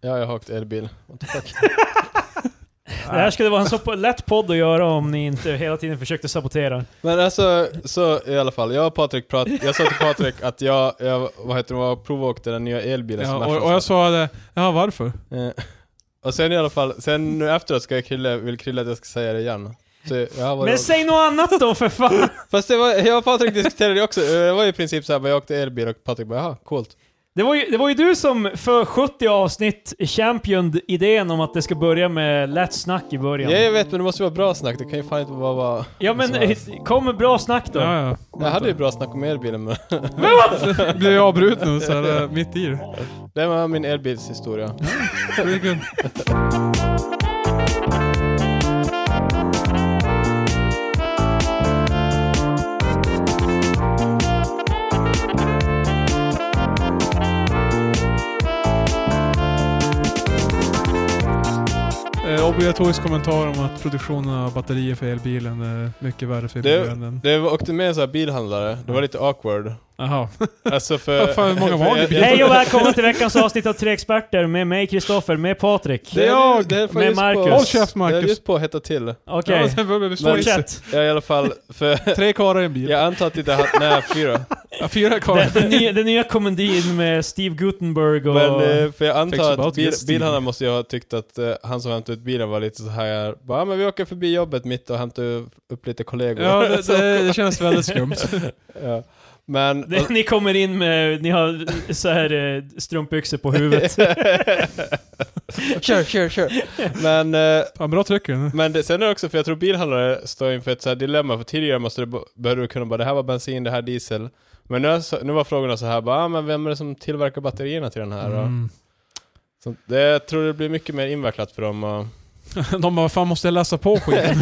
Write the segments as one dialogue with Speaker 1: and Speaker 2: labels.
Speaker 1: Ja, jag har åkt elbil. What the fuck?
Speaker 2: Det här skulle vara en så po- lätt podd att göra om ni inte hela tiden försökte sabotera.
Speaker 1: Men alltså, så i alla fall. Jag och Patrik pratade, jag sa till Patrik att jag, jag vad heter det, var provåkte den nya elbilen
Speaker 3: Ja,
Speaker 1: som
Speaker 3: och,
Speaker 1: Ashton
Speaker 3: och jag
Speaker 1: sa.
Speaker 3: svarade, ja varför?
Speaker 1: Eh, Och sen i alla fall, sen nu efteråt ska jag krille, vill Krille att jag ska säga det igen. Så jag har varit-
Speaker 2: Men säg något annat då för fan!
Speaker 1: Fast det var, jag och Patrik diskuterade det också, eh, det var ju i princip såhär, jag åkte elbil och Patrik bara jaha, coolt.
Speaker 2: Det var ju, det var ju du som för 70 avsnitt championed idén om att det ska börja med lätt snack i
Speaker 1: Ja,
Speaker 2: början.
Speaker 1: jag vet men det måste ju vara bra snack, det kan ju fan inte bara vara...
Speaker 2: Ja men eh, kom med bra snack då.
Speaker 3: Ja, ja.
Speaker 1: Jag hade ju bra snack om elbilen men...
Speaker 3: Blev jag avbruten så här, eh, mitt i det.
Speaker 1: Det var min elbilshistoria.
Speaker 3: Pretty good. Eh, Obligatorisk kommentar om att produktionen av batterier för elbilen är mycket värre för
Speaker 1: Det-
Speaker 3: miljön än...
Speaker 1: Det var- åkte med en sån här bilhandlare, det var lite awkward.
Speaker 3: Jaha.
Speaker 1: Alltså för...
Speaker 3: Vad fan, hur många var det i bilen?
Speaker 2: Hej och välkomna till veckans avsnitt av Tre Experter med mig Kristoffer, med Patrik.
Speaker 1: Det är jag! Det är
Speaker 2: Med
Speaker 1: just
Speaker 2: Marcus.
Speaker 1: På,
Speaker 2: Håll
Speaker 3: käft, Marcus.
Speaker 1: Det är just på att hetta till.
Speaker 2: Okej,
Speaker 3: Ja, det börjar stå i sig.
Speaker 2: fortsätt.
Speaker 1: Ja i alla fall, för...
Speaker 3: Tre karlar i en bil.
Speaker 1: Jag antar att det inte hade... Nej, fyra.
Speaker 3: Ja, fyra karlar.
Speaker 2: Den, den, nya, den nya komedin med Steve Gutenberg och...
Speaker 1: Men eh, för jag
Speaker 3: Thanks
Speaker 1: antar att
Speaker 3: about
Speaker 1: bil,
Speaker 3: this, Steve.
Speaker 1: bilhandlaren måste ju ha tyckt att eh, han som hämtade ut bilen var lite så här bara, "Ja, men vi åker förbi jobbet mitt och hämtar upp lite kollegor.
Speaker 3: Ja, det,
Speaker 1: Så-
Speaker 3: det, det känns väldigt skumt.
Speaker 1: ja. Men...
Speaker 2: det, ni kommer in med, ni har så här eh, strumpbyxor på huvudet.
Speaker 1: kör, kör, kör. Men, eh,
Speaker 3: Fan, bra tryck i den.
Speaker 1: men det, sen är det också, för jag tror bilhandlare står inför ett så här dilemma, för tidigare måste du, b- behövde du kunna bara, det här var bensin, det här diesel. Men nu, är så- nu var frågorna så här, bara, "Ah, men vem är det som tillverkar batterierna till den här? då?"
Speaker 3: Mm.
Speaker 1: Så det, jag tror det blir mycket mer invecklat för dem. Och,
Speaker 3: De bara, fan måste jag läsa på skiten?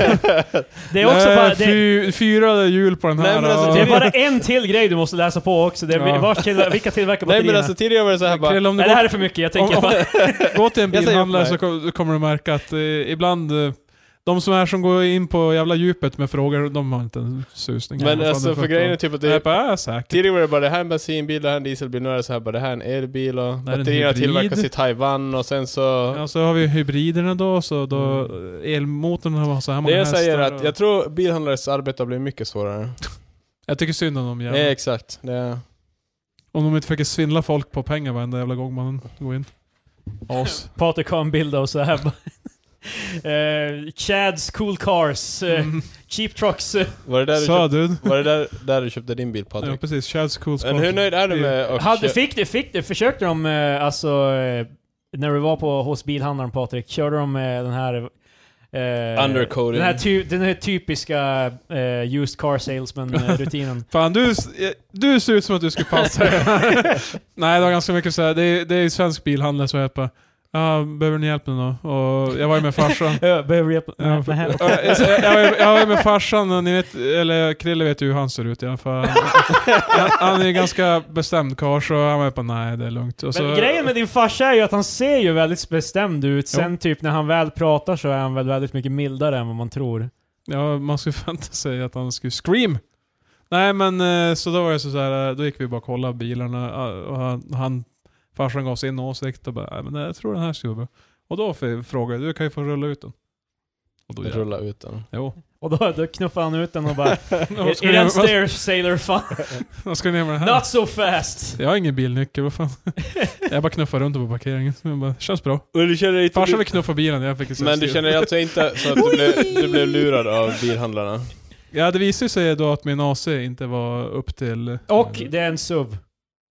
Speaker 2: Det är också
Speaker 3: Nej,
Speaker 2: bara... Det,
Speaker 3: fy, fyra hjul på den
Speaker 1: Nej,
Speaker 3: här.
Speaker 1: men alltså,
Speaker 3: och-
Speaker 2: det är bara en till grej du måste läsa på också. Det är,
Speaker 3: Ja.
Speaker 2: vars till, vilka
Speaker 1: nej
Speaker 2: tillverkar batterierna?
Speaker 1: men alltså tidigare var det så här bara,
Speaker 3: Krill, om du
Speaker 2: Nej, det här är för mycket, jag tänker
Speaker 3: Om-
Speaker 2: bara...
Speaker 3: går, går till en
Speaker 1: Jag säger
Speaker 3: bilhandlare
Speaker 1: upp
Speaker 3: så
Speaker 1: mig.
Speaker 3: kom- då kommer du märka att eh, ibland eh, de som är som går in på jävla djupet med frågor, de har inte en susning.
Speaker 1: men alltså för grejen är typ att det typ-
Speaker 3: det... Jag bara, äh, säkert.
Speaker 1: Tidigare var det bara det här är en bensinbil, det här är en dieselbil, nu är det så här bara det här är en elbil och
Speaker 3: är en
Speaker 1: batterierna
Speaker 3: hybrid.
Speaker 1: tillverkas i Taiwan och sen så...
Speaker 3: Ja, så har vi hybriderna då, så då elmotorn har så här många
Speaker 1: Mm. det jag säger är
Speaker 3: hästar
Speaker 1: att
Speaker 3: och-
Speaker 1: jag tror bilhandlares arbete har blivit mycket svårare.
Speaker 3: jag tycker synd om dem
Speaker 1: Ja.
Speaker 3: jävlar.
Speaker 1: Nej exakt. Det är...
Speaker 3: Om de inte försöker svindla folk på pengar varenda jävla gång man går in. As.
Speaker 2: Patrik har en bild av så här. Eh, Chads Cool Cars, eh,
Speaker 3: Mm.
Speaker 2: Cheap Trucks. eh.
Speaker 1: Var det, där du
Speaker 3: Så
Speaker 1: köpt,
Speaker 3: dude.
Speaker 1: var det där, där du köpte din bil
Speaker 3: Ja
Speaker 1: Patrik?
Speaker 3: precis, Chads cool spot.
Speaker 1: Men hur nöjd är du med att
Speaker 2: Hade,
Speaker 1: kö-
Speaker 2: fick det, fick det, försökte de eh, alltså... Eh, när du var på, hos bilhandlaren Patrik, körde de eh, den här... Eh,
Speaker 1: Undercoating.
Speaker 2: Den här, ty, den här typiska eh, used car eh, salesman-rutinen.
Speaker 3: Fan du, eh, du ser ut som att du skulle passa. Nej det var ganska mycket såhär, det, är- det är svensk bilhandel så jag bara, ja behöver ni hjälp nu då? Och jag var ju med farsan.
Speaker 2: Behöver hjälp?
Speaker 3: Ja,
Speaker 2: Nej,
Speaker 3: för-
Speaker 2: nej.
Speaker 3: jag, jag, jag, var ju- jag var ju med farsan, och ni vet, eller Krille vet ju hur han ser ut i alla fall. Han, han är ju ganska bestämd karl så han var ju bara nej det är lugnt. Och så,
Speaker 2: Men grejen med din farsa är ju att han ser ju väldigt bestämd ut.
Speaker 3: Jo.
Speaker 2: Sen typ när han väl pratar så är han väl väldigt mycket mildare än vad man tror.
Speaker 3: Ja, man skulle förvänta sig att han skulle scream. Nej men eh, så då var det så här, eh, då gick vi bara och kollade bilarna eh, och han, han farsan gav sin åsikt och bara, "Nej, men eh, jag tror den här skulle vara bra. Och då f- frågade jag, du kan ju få rulla ut den. Och då
Speaker 1: rulla ut den?
Speaker 3: Jo.
Speaker 2: Och då, då knuffar han ut den och bara
Speaker 3: Vad
Speaker 2: Är
Speaker 3: ska, ni
Speaker 2: är
Speaker 3: göra-
Speaker 2: den
Speaker 3: vad,
Speaker 2: stair sailor fan?
Speaker 3: vad ska ni göra med den här?
Speaker 2: Not so fast!
Speaker 3: Jag har ingen bilnyckel, vad fan. jag bara knuffade runt på parkeringen. Jag bara, känns bra.
Speaker 1: Och du känner inte
Speaker 3: Farsan vill knuffa bilen, jag fick
Speaker 1: men du känner alltså inte så att du blev, du blev lurad av bilhandlarna?
Speaker 3: Ja, det visade sig då att min AC inte var upp till...
Speaker 2: Och det är en SUV.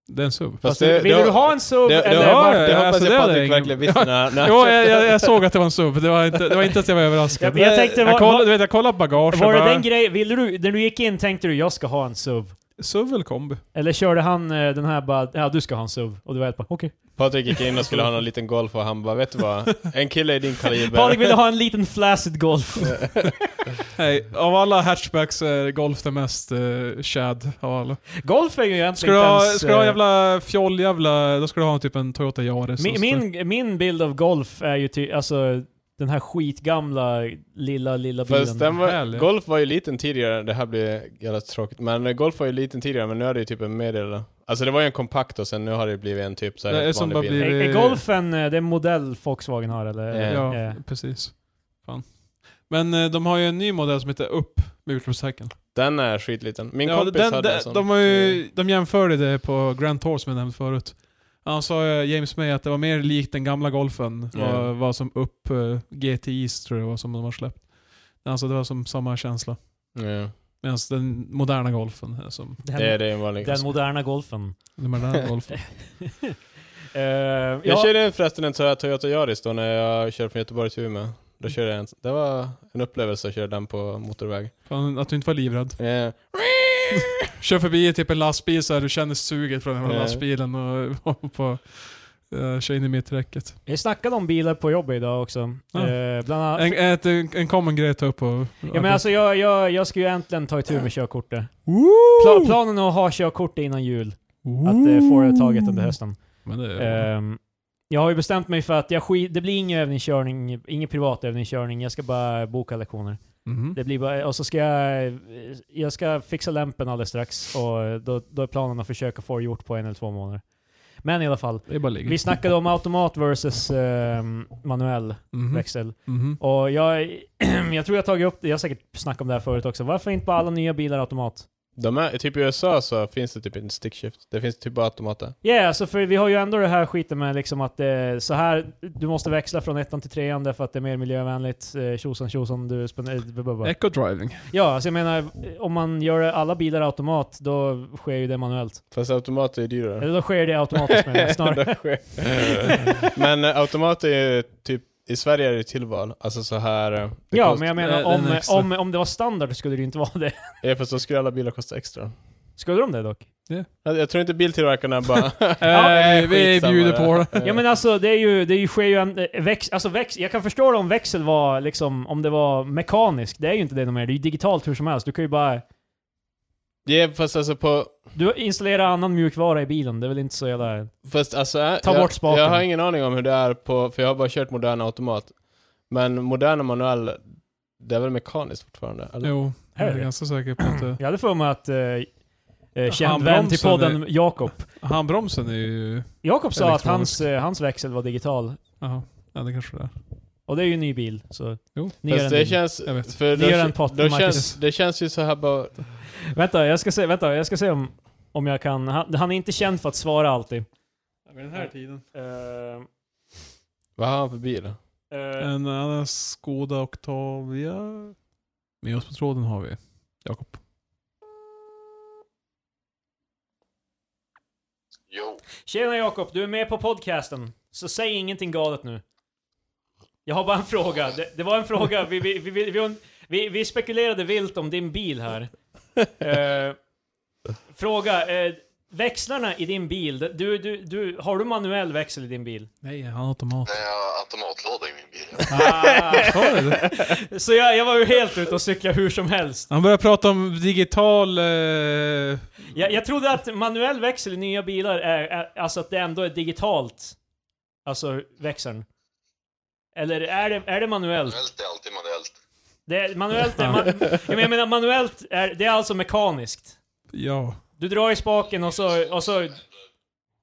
Speaker 2: Alltså,
Speaker 3: Det är en SUV.
Speaker 1: Fast
Speaker 2: Vill du ha en SUV
Speaker 1: det, det,
Speaker 2: eller?
Speaker 1: det,
Speaker 3: var-
Speaker 2: var,
Speaker 1: det,
Speaker 3: ja,
Speaker 1: hoppas
Speaker 3: alltså, det
Speaker 1: jag
Speaker 3: hade
Speaker 1: Patrik
Speaker 3: ingen-
Speaker 1: verkligen visste när, när
Speaker 3: Jo, jag, jag, jag såg att det var en SUV. Det var inte, det var inte att jag var överraskad.
Speaker 2: Jag- jag tänkte, var-
Speaker 3: kollade,
Speaker 2: var-
Speaker 3: du vet, jag kollade bagage
Speaker 2: var
Speaker 3: och
Speaker 2: det
Speaker 3: bara,
Speaker 2: den grejen, ville du, när du gick in tänkte du jag ska ha en SUV?
Speaker 3: SUV eller kombi?
Speaker 2: Eller körde han eh, den här bara, ja du ska ha en SUV? Och du var helt bara okej.
Speaker 1: Patrik gick in och skulle ha någon liten golf och han bara, vet du vad? En kille i din kaliber.
Speaker 2: Patrik ville ha en liten flaccid Golf.
Speaker 3: Nej, av alla hatchbacks är golf den mest uh, chad av alla.
Speaker 2: Golf är ju
Speaker 3: Ska
Speaker 2: egentligen
Speaker 3: du
Speaker 2: inte
Speaker 3: ha,
Speaker 2: ens,
Speaker 3: ska du ha
Speaker 2: eh,
Speaker 3: jävla fjoll jävla, då ska du ha typ en Toyota Yaris.
Speaker 2: Min, min, min bild av golf är ju ty, alltså, den här skitgamla lilla, lilla bilen.
Speaker 1: Fast den var,
Speaker 3: Härlig.
Speaker 1: golf var ju liten tidigare, det här blir jävla tråkigt, men eh, golf var ju liten tidigare men nu är det ju typ en medel. Alltså det var ju en kompakt och sen nu har det blivit en typ såhär
Speaker 3: Det är
Speaker 1: helt
Speaker 3: som
Speaker 1: vanlig
Speaker 3: bara
Speaker 1: bil.
Speaker 3: blir-
Speaker 2: Är, är golfen eh, den modell Volkswagen har eller?
Speaker 1: Eh,
Speaker 3: Ja,
Speaker 2: Eh,
Speaker 3: precis. Fan. Men eh, de har ju en ny modell som heter Upp med utropstecken.
Speaker 1: Den är skitliten. Min
Speaker 3: Ja,
Speaker 1: kompis
Speaker 3: den,
Speaker 1: hade en
Speaker 3: den,
Speaker 1: sån.
Speaker 3: de, har ju, de jämförde det på Grand Tour som jag nämnde förut. Han sa eh, James May att det var mer likt den gamla golfen.
Speaker 1: Ja.
Speaker 3: Vad, vad som Upp eh, GTIs tror jag var som de har släppt. Alltså det var som samma känsla.
Speaker 1: Ja.
Speaker 3: Medan den moderna golfen är som
Speaker 2: den,
Speaker 1: Det är det är en vanlig.
Speaker 2: den moderna golfen.
Speaker 3: den moderna golfen.
Speaker 2: Eh,
Speaker 1: Jag
Speaker 2: ja,
Speaker 1: körde förresten en sån här Toyota Yaris då när jag körde från Göteborg till Umeå. Då
Speaker 2: Mm.
Speaker 1: körde jag en, det var en upplevelse att köra den på motorväg.
Speaker 3: Fan, att du inte var livrädd.
Speaker 1: Eh,
Speaker 3: Kör förbi typ en lastbil så här, du känner suget från den här
Speaker 1: Ja.
Speaker 3: lastbilen och, och på, eh, kör in i mitträcket.
Speaker 2: vi snackade om bilar på jobbet idag också.
Speaker 3: Ja.
Speaker 2: Eh, bland annat,
Speaker 3: En, ett, en, en common grej att ta upp och...
Speaker 2: ja, men alltså, jag, jag, jag ska ju äntligen ta itu med körkortet. Pla,
Speaker 3: Woo!
Speaker 2: planen är att ha körkortet innan jul. Att eh, få det taget under hösten.
Speaker 3: Men det är,
Speaker 2: Ehm, jag har ju bestämt mig för att jag skit, det blir ingen övningskörning, ingen privat övningskörning. Jag ska bara boka lektioner.
Speaker 3: Mhm.
Speaker 2: Det blir bara, och så ska jag, jag ska fixa lämpen alldeles strax och då, då är planen att försöka få det gjort på en eller två månader. Men i alla fall,
Speaker 3: det är bara ligg.
Speaker 2: vi snackade om automat versus ehm, manuell
Speaker 3: Mhm.
Speaker 2: växel.
Speaker 3: Mhm.
Speaker 2: Och jag, jag tror jag har tagit upp det, jag har säkert snackat om det här förut också. Varför inte på alla nya bilar automat?
Speaker 1: de är, typ i USA så finns det typ inte stickshift. Det finns typ bara automater.
Speaker 2: Ja, yeah, alltså för vi har ju ändå det här skiten med liksom att eh, så här, du måste växla från ettan till trean därför att det är mer miljövänligt. Eh, tjosan tjosan, du spenderar...
Speaker 3: Eco-driving.
Speaker 2: Ja, alltså jag menar, om man gör alla bilar automat, då sker ju det manuellt.
Speaker 1: Fast automater är dyrare.
Speaker 2: Eller då sker det automatiskt menar jag, snarare.
Speaker 1: Det sker. men eh, automater är ju typ, i Sverige är det tillval. Alltså så här. eh, det
Speaker 2: Ja,
Speaker 1: kost-
Speaker 2: men jag
Speaker 3: Eh,
Speaker 2: menar
Speaker 3: den
Speaker 2: om,
Speaker 3: extra.
Speaker 2: om, om det var standard skulle det ju inte vara det.
Speaker 1: Ja, fast då skulle alla bilar kosta extra.
Speaker 2: Skulle de det dock?
Speaker 1: Jag, jag tror inte biltillverkarna bara...
Speaker 3: Eh,
Speaker 1: eh,
Speaker 3: vi
Speaker 1: skitsamma
Speaker 3: bjuder på det.
Speaker 1: Eh,
Speaker 2: Ja men alltså det är ju, det är ju, sker ju en eh, väx, alltså väx, jag kan förstå det om växel var liksom, om det var mekanisk. Det är ju inte det något mer, det är ju digitalt hur som helst. Du kan ju bara,
Speaker 1: Ja, fast alltså på...
Speaker 2: du installerar annan mjukvara i bilen, det är väl inte så jävla...
Speaker 1: Fast alltså, eh,
Speaker 2: Ta
Speaker 1: jag,
Speaker 2: bort spaken.
Speaker 1: Jag har ingen aning om hur det är på, för jag har bara kört moderna automat. Men moderna manuell, det är väl mekaniskt fortfarande? Eller?
Speaker 3: Jo, jag
Speaker 2: Är
Speaker 3: är
Speaker 2: det?
Speaker 3: ganska säker på att det...
Speaker 2: Jag hade för mig att eh, eh, känd
Speaker 3: Handbromsen
Speaker 2: vän till podden Jakob.
Speaker 3: Handbromsen är ju...
Speaker 2: Jakob sa att
Speaker 3: Elektronisk.
Speaker 2: hans, eh, hans växel var digital.
Speaker 3: Jaha, ja, det kanske det är.
Speaker 2: Och det är ju en ny bil, så...
Speaker 3: Jo.
Speaker 2: Nyare
Speaker 1: Fast
Speaker 2: än
Speaker 1: det
Speaker 2: din.
Speaker 1: känns...
Speaker 3: Jag vet.
Speaker 1: För
Speaker 2: Nyare än
Speaker 1: då,
Speaker 2: Pat-
Speaker 1: då
Speaker 2: Marcus.
Speaker 1: känns, det känns ju så här bara...
Speaker 2: Vänta, jag ska se, vänta, jag ska se om, om jag kan... Han, han är inte känd för att svara alltid.
Speaker 3: Vid
Speaker 2: den här
Speaker 3: tiden.
Speaker 2: Eh,
Speaker 1: Vad har han för bil?
Speaker 2: eh,
Speaker 3: En annan Skoda Octavia. Med oss på tråden har vi Jakob.
Speaker 4: Jo,
Speaker 2: Tjena Jakob, du är med på podcasten. Så säg ingenting galet nu. Jag har bara en fråga. Det, det var en fråga, vi, vi, vi, vi, vi, vi, vi spekulerade vilt om din bil här. Eh, fråga, eh, växlarna i din bil, du, du, du, har du manuell växel i din bil?
Speaker 3: Nej, han har automat.
Speaker 4: nej, jag har automatlåda i min bil.
Speaker 2: Ah,
Speaker 3: Har du det?
Speaker 2: så jag, jag var ju helt ute och cyklade hur som helst.
Speaker 3: Han börjar prata om digital... Eh,
Speaker 2: Jag, jag trodde att manuell växel i nya bilar är, är, alltså att det ändå är digitalt. Alltså växeln. Eller är det, är det manuellt?
Speaker 4: Manuellt är alltid manuellt.
Speaker 2: Det är, manuellt är, man, jag menar- jag menar manuellt är, det är alltså mekaniskt.
Speaker 3: ja.
Speaker 2: Du drar i spaken och så, och så...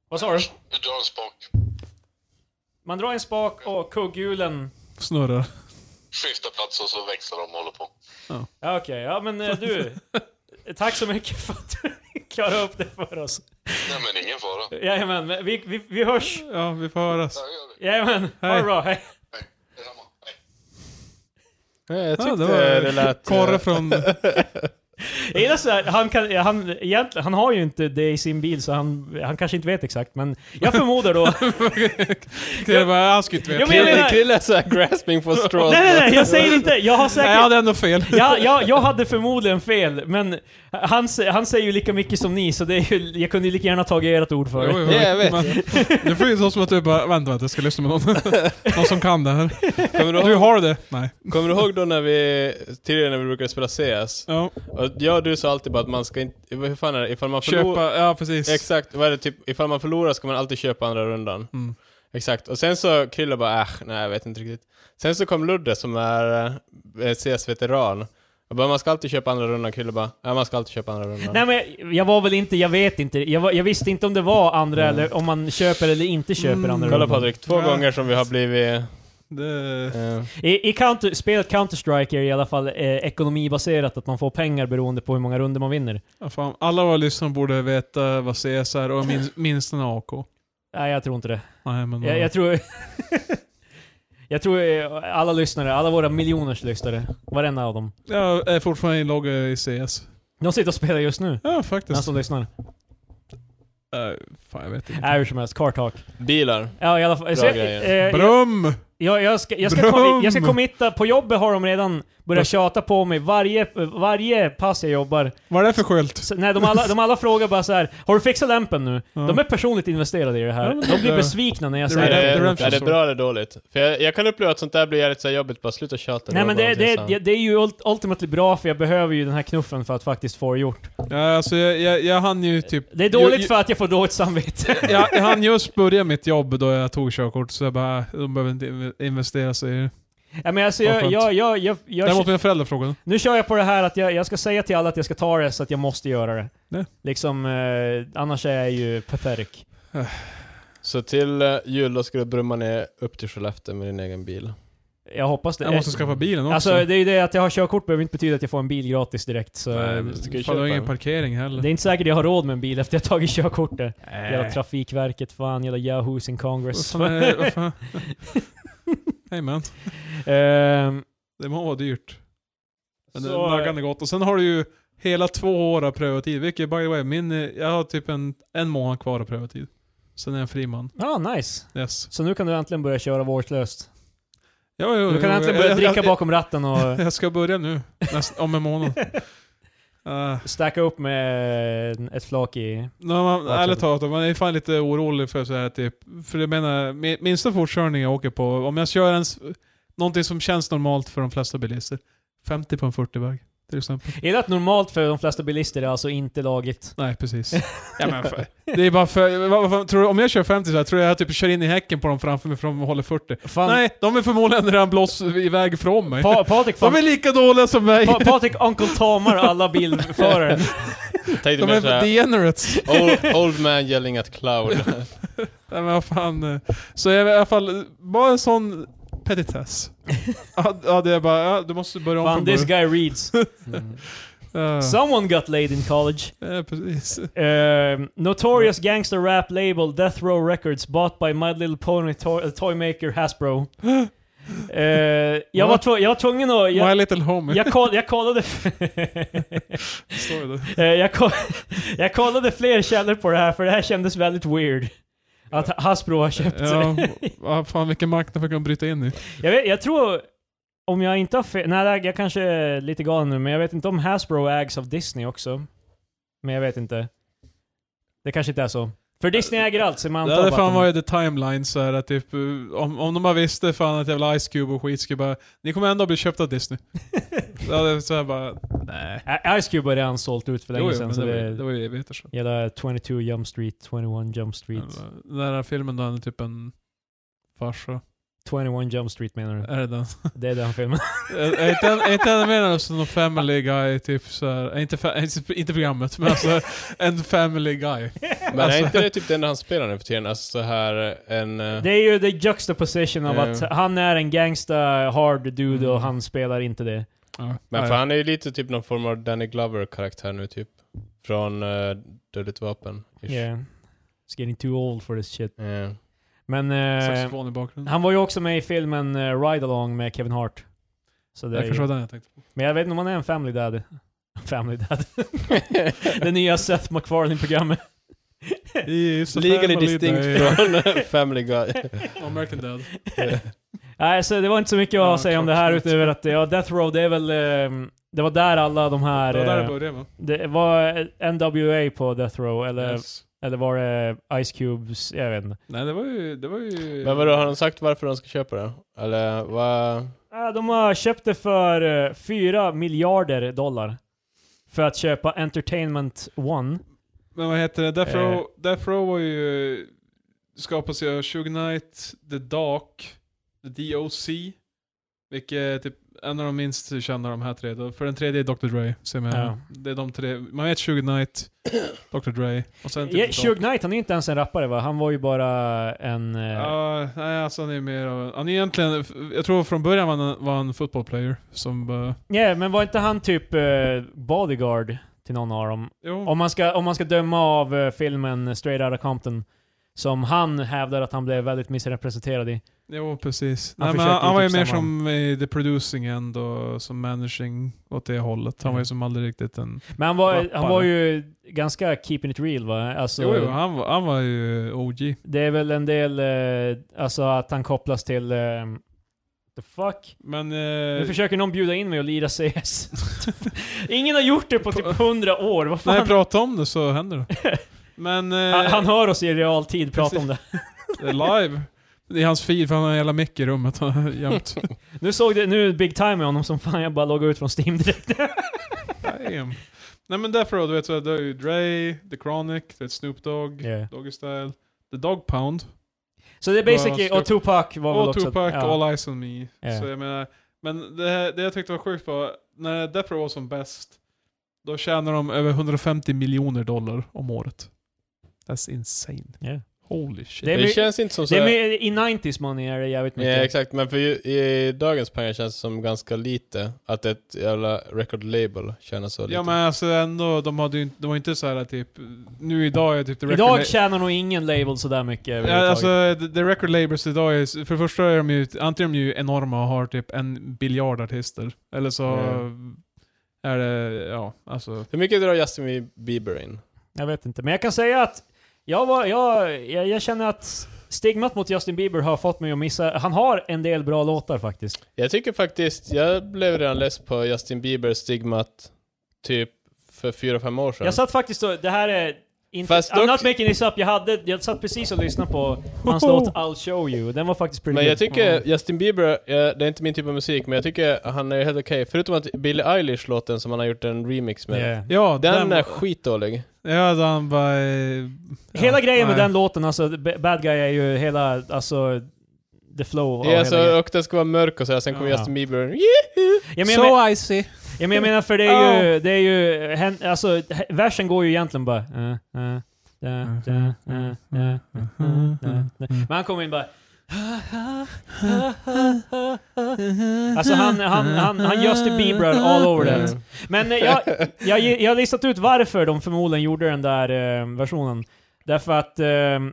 Speaker 2: Vad sa du?
Speaker 4: Du drar en spak,
Speaker 2: Man drar i en spak och kugghjulen...
Speaker 3: Snurrar.
Speaker 4: skiftar plats och så växlar de och håller på.
Speaker 2: Ja okej, ja men eh, du. Tack så mycket för att du klarade upp det för oss.
Speaker 4: Nej, men ingen fara.
Speaker 2: Jajamän, men vi, vi, vi hörs.
Speaker 3: Ja, vi får höras.
Speaker 4: Ja, gör vi.
Speaker 2: Jajamän, ha det
Speaker 3: Hej.
Speaker 2: bra, hej.
Speaker 4: Hej. Detsamma. Hej.
Speaker 1: Ja, jag tyckte
Speaker 3: Ja, det
Speaker 1: det,
Speaker 3: var
Speaker 1: lät... eh,
Speaker 3: Korre från...
Speaker 2: Jag gillar sådär, han, kan, han, egentligen, han har ju inte det i sin bil så han, han kanske inte vet exakt men jag förmodar då...
Speaker 3: Det var, jag skulle inte
Speaker 2: Ja,
Speaker 3: veta.
Speaker 2: men jag
Speaker 1: Krille,
Speaker 2: menar-
Speaker 1: Krille är såhär grasping for straws.
Speaker 2: Nej nej nej, jag säger inte, jag har
Speaker 3: Nej,
Speaker 2: säkert...
Speaker 3: jag hade ändå fel.
Speaker 2: Ja, ja, jag hade förmodligen fel, men han, sä- han säger ju lika mycket som ni, så det är ju, jag kunde ju lika gärna tagit ert ord för
Speaker 3: Jo,
Speaker 2: det.
Speaker 3: jo,
Speaker 1: Ja, jag vet.
Speaker 3: men- Det får ju så som att du bara, vänta, vänta, jag ska lyssna med någon. någon som kan det här.
Speaker 1: Kommer du,
Speaker 3: Du
Speaker 1: ihåg,
Speaker 3: har det? Nej.
Speaker 1: kommer du ihåg då när vi, tidigare när vi brukade spela CS?
Speaker 3: Ja,
Speaker 1: Och jag och du sa alltid bara att man ska inte, hur fan är det, ifall man förlorar...
Speaker 3: köpa, ja precis.
Speaker 1: Exakt, vad är det typ, ifall man förlorar ska man alltid köpa andra rundan.
Speaker 3: Mm.
Speaker 1: Exakt, och sen så Krille bara äh, nej jag vet inte riktigt. Sen så kom Ludde som är eh, CS-veteran. Jag bara, man ska alltid köpa andra rundan. Krille bara, ja man ska alltid köpa andra rundan.
Speaker 2: Nej men jag, jag var väl inte, jag vet inte. Jag, var, jag visste inte om det var andra
Speaker 1: Mm.
Speaker 2: eller om man köper eller inte köper
Speaker 3: Mm.
Speaker 2: andra
Speaker 1: Kolla
Speaker 2: rundan.
Speaker 1: Patrik, två
Speaker 3: Ja.
Speaker 1: gånger som vi har blivit...
Speaker 3: Det,
Speaker 1: Eh,
Speaker 2: I, i counter, spelet Counter-Strike är i alla fall eh, ekonomibaserat, att man får pengar beroende på hur många runder man vinner.
Speaker 3: ja, fan, alla våra lyssnare borde veta vad CS är och minst, minst en AK.
Speaker 2: Nej, jag tror inte det.
Speaker 3: Nej, men, eh,
Speaker 2: Jag, jag tror... jag tror eh, alla lyssnare, alla våra miljoners lyssnare, varenda av dem.
Speaker 3: jag är fortfarande inloggad i CS.
Speaker 2: De sitter och spelar just nu,
Speaker 3: Ja,
Speaker 2: den
Speaker 3: faktiskt.
Speaker 2: som lyssnar.
Speaker 3: Eh, fan, jag vet inte.
Speaker 2: Nej, hur som helst. Car talk.
Speaker 1: bilar.
Speaker 2: Ja, i alla fall. Så,
Speaker 1: Bra
Speaker 2: jag-
Speaker 1: grejer.
Speaker 2: eh,
Speaker 3: Brum!
Speaker 2: Jag, jag, ska, jag, ska
Speaker 3: Brum!
Speaker 2: kom, jag ska committa, på jobbet har de redan börjat tjata på mig varje, varje pass jag jobbar.
Speaker 3: Vad är det för skylt?
Speaker 2: Så, nej, de, alla, de alla frågar bara så här. har du fixat lampen nu?
Speaker 3: Ja.
Speaker 2: De är personligt investerade i det här.
Speaker 3: Ja, men
Speaker 2: De blir
Speaker 3: det-
Speaker 2: besvikna när jag
Speaker 3: det
Speaker 1: Är
Speaker 2: säger
Speaker 1: det,
Speaker 2: det.
Speaker 3: är
Speaker 1: Eh, är
Speaker 3: redemption
Speaker 1: det
Speaker 3: story.
Speaker 1: bra eller dåligt? För jag, jag kan uppleva att sånt där blir jävligt så här jobbigt, bara sluta tjata.
Speaker 2: Nej men
Speaker 1: var
Speaker 2: det,
Speaker 1: bara
Speaker 2: det,
Speaker 1: någonting
Speaker 2: det, det är ju ult- ultimately bra för jag behöver ju den här knuffen för att faktiskt få det gjort.
Speaker 3: Ja, alltså, jag, jag, jag hann ju typ...
Speaker 2: Det är dåligt
Speaker 3: ju-
Speaker 2: för att jag får dåligt samvete.
Speaker 3: jag, jag hann just börja mitt jobb då jag tog körkort, så jag bara, äh, de behöver inte inve- investera sig i det.
Speaker 2: ja, men alltså,
Speaker 3: Vad
Speaker 2: jag,
Speaker 3: skönt.
Speaker 2: jag, jag, jag, jag,
Speaker 3: Däremot mina föräldrar frågade.
Speaker 2: Nu kör jag på det här att jag, jag ska säga till alla att jag ska ta det så att jag måste göra det.
Speaker 3: Nej.
Speaker 2: Liksom, eh, annars är jag ju pathetic.
Speaker 1: sånt. Så till eh, jul då ska du brumma ner upp till Skellefteå med din egen bil.
Speaker 2: Jag hoppas det.
Speaker 3: Jag måste skaffa bilen också.
Speaker 2: Alltså det är ju det att jag har körkort behöver inte betyda att jag får en bil gratis direkt. Så
Speaker 3: Nej, men
Speaker 1: du ska ju
Speaker 3: fan, det
Speaker 1: köpa
Speaker 3: var ingen
Speaker 1: den.
Speaker 3: parkering heller.
Speaker 2: det är inte säkert jag har råd med en bil efter jag tagit körkortet. Jävla
Speaker 3: Nej.
Speaker 2: Trafikverket, fan, jävla Yahoo's in
Speaker 3: Vad
Speaker 2: Congress.
Speaker 3: fan är- vad fan? Hey man,
Speaker 2: Ehm,
Speaker 3: det må vara dyrt. Men det
Speaker 2: Så,
Speaker 3: är naggande gott. Och sen har du ju hela två år av prövotid, vilket by the way, min, eh, jag har typ en, en månad kvar av prövotid. Sen är jag fri man.
Speaker 2: Ja, nice.
Speaker 3: Yes.
Speaker 2: Så nu kan du äntligen börja köra vårdslöst.
Speaker 3: Jo, jo,
Speaker 2: Du kan
Speaker 3: jo,
Speaker 2: äntligen
Speaker 3: jag-
Speaker 2: börja
Speaker 3: jag-
Speaker 2: dricka
Speaker 3: jag-
Speaker 2: bakom ratten och
Speaker 3: Jag ska börja nu, näst, om en månad. Uh,
Speaker 2: stacka upp med ett flak i...
Speaker 3: No, man,
Speaker 2: Absolut.
Speaker 3: ärligt talat, man är fan lite orolig för så här typ, för jag menar, mi- minsta fortkörning jag åker på, om jag kör ens, någonting som känns normalt för de flesta bilister, 50 på en 40-väg till exempel.
Speaker 2: Är det att normalt för de flesta bilister är alltså inte lagligt?
Speaker 3: Nej, precis. ja, men för, det är bara för, vad, vad, fan, tror du, om jag kör 50 så här, tror jag jag typ kör in i häcken på dem framför mig för de håller 40.
Speaker 2: Fan,
Speaker 3: Nej, de är förmodligen redan blåst iväg från mig.
Speaker 2: pa Patrik, fan,
Speaker 3: de är lika dåliga som mig.
Speaker 2: pa Patrik Uncle Tomar alla bilförare.
Speaker 1: Jag tänkte
Speaker 3: de
Speaker 1: mer
Speaker 3: är
Speaker 1: såhär,
Speaker 3: degenerates.
Speaker 1: old, old man yelling at cloud.
Speaker 3: Nej men vad fan. eh, Så jag, i alla fall, eh, bara en sån petitess. Ja, ja, det är bara, ja, du måste börja om
Speaker 2: Fan,
Speaker 3: från
Speaker 2: this
Speaker 3: början.
Speaker 2: guy reads.
Speaker 1: Mm.
Speaker 3: Ja,
Speaker 2: Someone got laid in college.
Speaker 3: ja, precis.
Speaker 2: Ehm, notorious gangster rap label Death Row Records bought by My Little Pony to eh, Toymaker Hasbro. Eh, jag, var tv- jag var tvungen att...
Speaker 3: My
Speaker 2: Jag,
Speaker 3: little homie.
Speaker 2: jag, koll jag kollade...
Speaker 3: Står det.
Speaker 2: Eh, jag, ko- jag kollade fler källor på det här för det här kändes väldigt weird. Att Hasbro har köpt
Speaker 3: Ja, vad fan vilken marknad fick de bryta in i?
Speaker 2: Jag, vet, jag tror, om jag inte har fel, nej jag kanske är lite galen nu, men jag vet inte om Hasbro ägs av Disney också. Men jag vet inte. Det kanske inte är så. För Disney äger allt, så man
Speaker 3: Det
Speaker 2: antar
Speaker 3: hade
Speaker 2: bara att
Speaker 3: fan
Speaker 2: de-
Speaker 3: varit the timeline så här, att typ, eh, om, om de bara visste fan att jävla Ice Cube och skit skulle bara, ni kommer ändå bli köpta av Disney. Det hade så här bara, nej.
Speaker 2: Ä- Ice Cube har redan sålt ut för
Speaker 3: Jo,
Speaker 2: länge
Speaker 3: jo,
Speaker 2: sedan,
Speaker 3: men
Speaker 2: så
Speaker 3: det, var ju-
Speaker 2: det...
Speaker 3: det var ju evigheter sedan.
Speaker 2: Hela 22 Jump Street, 21 Jump Street.
Speaker 3: eh, Den där filmen då han är typ en farsa.
Speaker 2: 21 Jump Street menar du?
Speaker 3: Är det den?
Speaker 2: Det är den filmen.
Speaker 3: Är är inte är inte en mer än som någon family guy, typ såhär, inte, fa- inte- inte programmet, men alltså en family guy.
Speaker 1: Men
Speaker 2: Alltså-
Speaker 1: är inte det typ det enda han spelar nu för tiden? Alltså så här en... eh,
Speaker 2: Det är ju the juxtaposition av
Speaker 1: Ja.
Speaker 2: att han är en gangsta hard dude och
Speaker 3: Mm.
Speaker 2: han spelar inte det.
Speaker 3: Ja.
Speaker 1: Men
Speaker 3: Ja,
Speaker 1: för han är ju lite typ någon form av Danny Glover-karaktär nu typ. Från uh, Dödligt Vapen. ish.
Speaker 2: Yeah. It's getting too old for this shit.
Speaker 1: Eh,
Speaker 2: Men... eh,
Speaker 3: Saxofon i bakgrunden.
Speaker 2: Han var ju också med i filmen eh, Ride Along med Kevin Hart. Så det
Speaker 3: Det
Speaker 2: är
Speaker 3: kanske
Speaker 2: ju,
Speaker 3: var den jag tänkte på.
Speaker 2: men jag vet inte om han är en family dad. Family dad. det nya Seth MacFarlane-programmet.
Speaker 3: He's a
Speaker 1: Legally
Speaker 3: family
Speaker 1: distinct
Speaker 3: guy.
Speaker 1: från eh, Family Guy.
Speaker 3: American Dad.
Speaker 2: Nej, så det var inte så mycket att
Speaker 3: Ja,
Speaker 2: säga om det
Speaker 3: klart,
Speaker 2: här
Speaker 3: klart.
Speaker 2: utöver att ja, Death Row, det är väl... ehm, det var där alla de här...
Speaker 3: Det var där det
Speaker 2: eh,
Speaker 3: började va?
Speaker 2: det var NWA på Death Row, eller,
Speaker 3: Yes.
Speaker 2: eller var det Ice Cubes? Jag vet inte.
Speaker 3: Nej det var ju... Det var ju
Speaker 1: Men vadå, har de sagt varför de ska köpa det? Eller vad...
Speaker 2: Ah, De har köpt det för eh, 4 miljarder dollar. För att köpa Entertainment One.
Speaker 3: Men vad heter det? Death
Speaker 2: Eh.
Speaker 3: Row, Death Row var ju... skapas ju av Suge Knight, The Dark, The DOC. Vilket är typ en av de minst kända de här tre. Då- För den tredje är Dr. Dre. Ser man.
Speaker 2: Ja.
Speaker 3: Det är de tre. Man vet Suge Knight, Dr. Dre och sen typ
Speaker 2: Ja,
Speaker 3: The Dark.
Speaker 2: Suge Knight, han är ju inte ens en rappare va? Han var ju bara en... eh,
Speaker 3: Ja, nej alltså han är mer av en- Han är egentligen, jag tror från början var han, var han en football player som bara...
Speaker 2: Nej, men var inte han typ eh, bodyguard till någon av dem?
Speaker 3: Jo,
Speaker 2: Om man ska, om man ska döma av eh, filmen Straight Outta Compton, som han hävdar att han blev väldigt missrepresenterad i.
Speaker 3: jo precis.
Speaker 2: Han
Speaker 3: Han, nej, men
Speaker 2: försöker
Speaker 3: han, han var
Speaker 2: ju typ samma-
Speaker 3: ju mer som i the producing end och som managing åt det hållet. Han var ju
Speaker 2: Mm.
Speaker 3: som aldrig riktigt en...
Speaker 2: Men han var,
Speaker 3: Rappare.
Speaker 2: han var ju ganska keeping it real va? Alltså,
Speaker 3: Jo, jo han, var- han var ju OG.
Speaker 2: Det är väl en del, eh, alltså att han kopplas till... Eh, the fuck?
Speaker 3: Men...
Speaker 2: Nu
Speaker 3: Eh,
Speaker 2: försöker någon bjuda in mig och lira CS. Ingen har gjort det på typ 100 år, vad
Speaker 3: när jag
Speaker 2: fan?
Speaker 3: pratar om det så händer det. Men... Eh,
Speaker 2: Han, han hör oss i realtid prata
Speaker 3: Precis.
Speaker 2: om det.
Speaker 3: det är live. I hans feed, för han har en jävla mick i rummet jämt.
Speaker 2: Nu såg det, nu är det big time med honom som fan jag bara loggade ut från Steam direkt.
Speaker 3: Damn. Nej men därför då, du vet så här, det är ju Dre, The Chronic, det är Snoop Dogg, Doggy Style, The Dog Pound.
Speaker 2: Så det är basically,
Speaker 3: Ja, ska-
Speaker 2: och Tupac var väl
Speaker 3: Och
Speaker 2: också...
Speaker 3: Tupac,
Speaker 2: ja.
Speaker 3: All Eyes On Me.
Speaker 2: Ja.
Speaker 3: Så jag menar, men det, här- det jag tyckte var sjukt var, när Death Row var som bäst, då tjänar de över 150 miljoner dollar om året. That's insane.
Speaker 2: Ja.
Speaker 3: Holy shit.
Speaker 2: Det är
Speaker 1: Det,
Speaker 2: my-
Speaker 1: känns inte som så
Speaker 2: Det är
Speaker 1: här-
Speaker 2: med, I 90s money är det jävligt
Speaker 1: Nej
Speaker 2: mycket.
Speaker 1: exakt, men för ju, i dagens pengar känns det som ganska lite att ett jävla record label tjänar så lite.
Speaker 3: ja men alltså ändå, de, hade ju, inte- de var inte så här typ, nu idag är typ the
Speaker 2: Idag
Speaker 3: record-
Speaker 2: tjänar nog ingen label sådär mycket
Speaker 3: Ja,
Speaker 2: överhuvudtaget.
Speaker 3: alltså, the- the record labels idag är, för det första är de ju, antingen är de ju enorma och har typ en biljard artister, eller så är det, ja, alltså.
Speaker 1: Hur mycket drar Justin Bieber in?
Speaker 2: Jag vet inte, men jag kan säga att jag, var, jag, jag, jag känner att stigmat mot Justin Bieber har fått mig att missa... Han har en del bra låtar faktiskt.
Speaker 1: Jag tycker faktiskt, jag blev redan less på Justin Bieber stigmat typ för fyra fem år sedan.
Speaker 2: Jag satt faktiskt och... Det här är... Inte,
Speaker 1: Fast
Speaker 2: I'm
Speaker 1: dock-
Speaker 2: not making this up, jag, hade, jag satt precis och lyssnade på hans
Speaker 3: Hoho!
Speaker 2: låt I'll show you, den var faktiskt pretty
Speaker 1: men
Speaker 2: good.
Speaker 1: jag tycker Justin Bieber, eh, det är inte min typ av musik, men jag tycker han är helt okej. Förutom att Billie Eilish-låten som han har gjort en remix
Speaker 3: Mm.
Speaker 1: med,
Speaker 2: Yeah.
Speaker 3: Ja,
Speaker 1: den är skitdålig.
Speaker 3: Ja, den var... eh, Ja,
Speaker 2: Hela grejen med
Speaker 3: nej.
Speaker 2: den låten, alltså B- Bad Guy är ju hela, alltså... The flow av
Speaker 1: Ja,
Speaker 2: hela grejen.
Speaker 1: så, alltså, och den ska vara mörk och sådär, sen kommer
Speaker 2: Ja.
Speaker 1: Justin Bieber...
Speaker 2: Ja, men jag men-
Speaker 3: icy.
Speaker 2: Ja, men jag menar för det är ju, det är ju hen, alltså, he- versen går ju egentligen bara... eh, eh, da,
Speaker 3: Mm.
Speaker 2: da, eh, eh, eh, da, da. Men han kommer in bara... Alltså han, han, han, han Justin Bieber all over that.
Speaker 1: Mm.
Speaker 2: Men eh, jag, jag, gi- jag har listat ut varför de förmodligen gjorde den där eh, versionen. Därför att eh,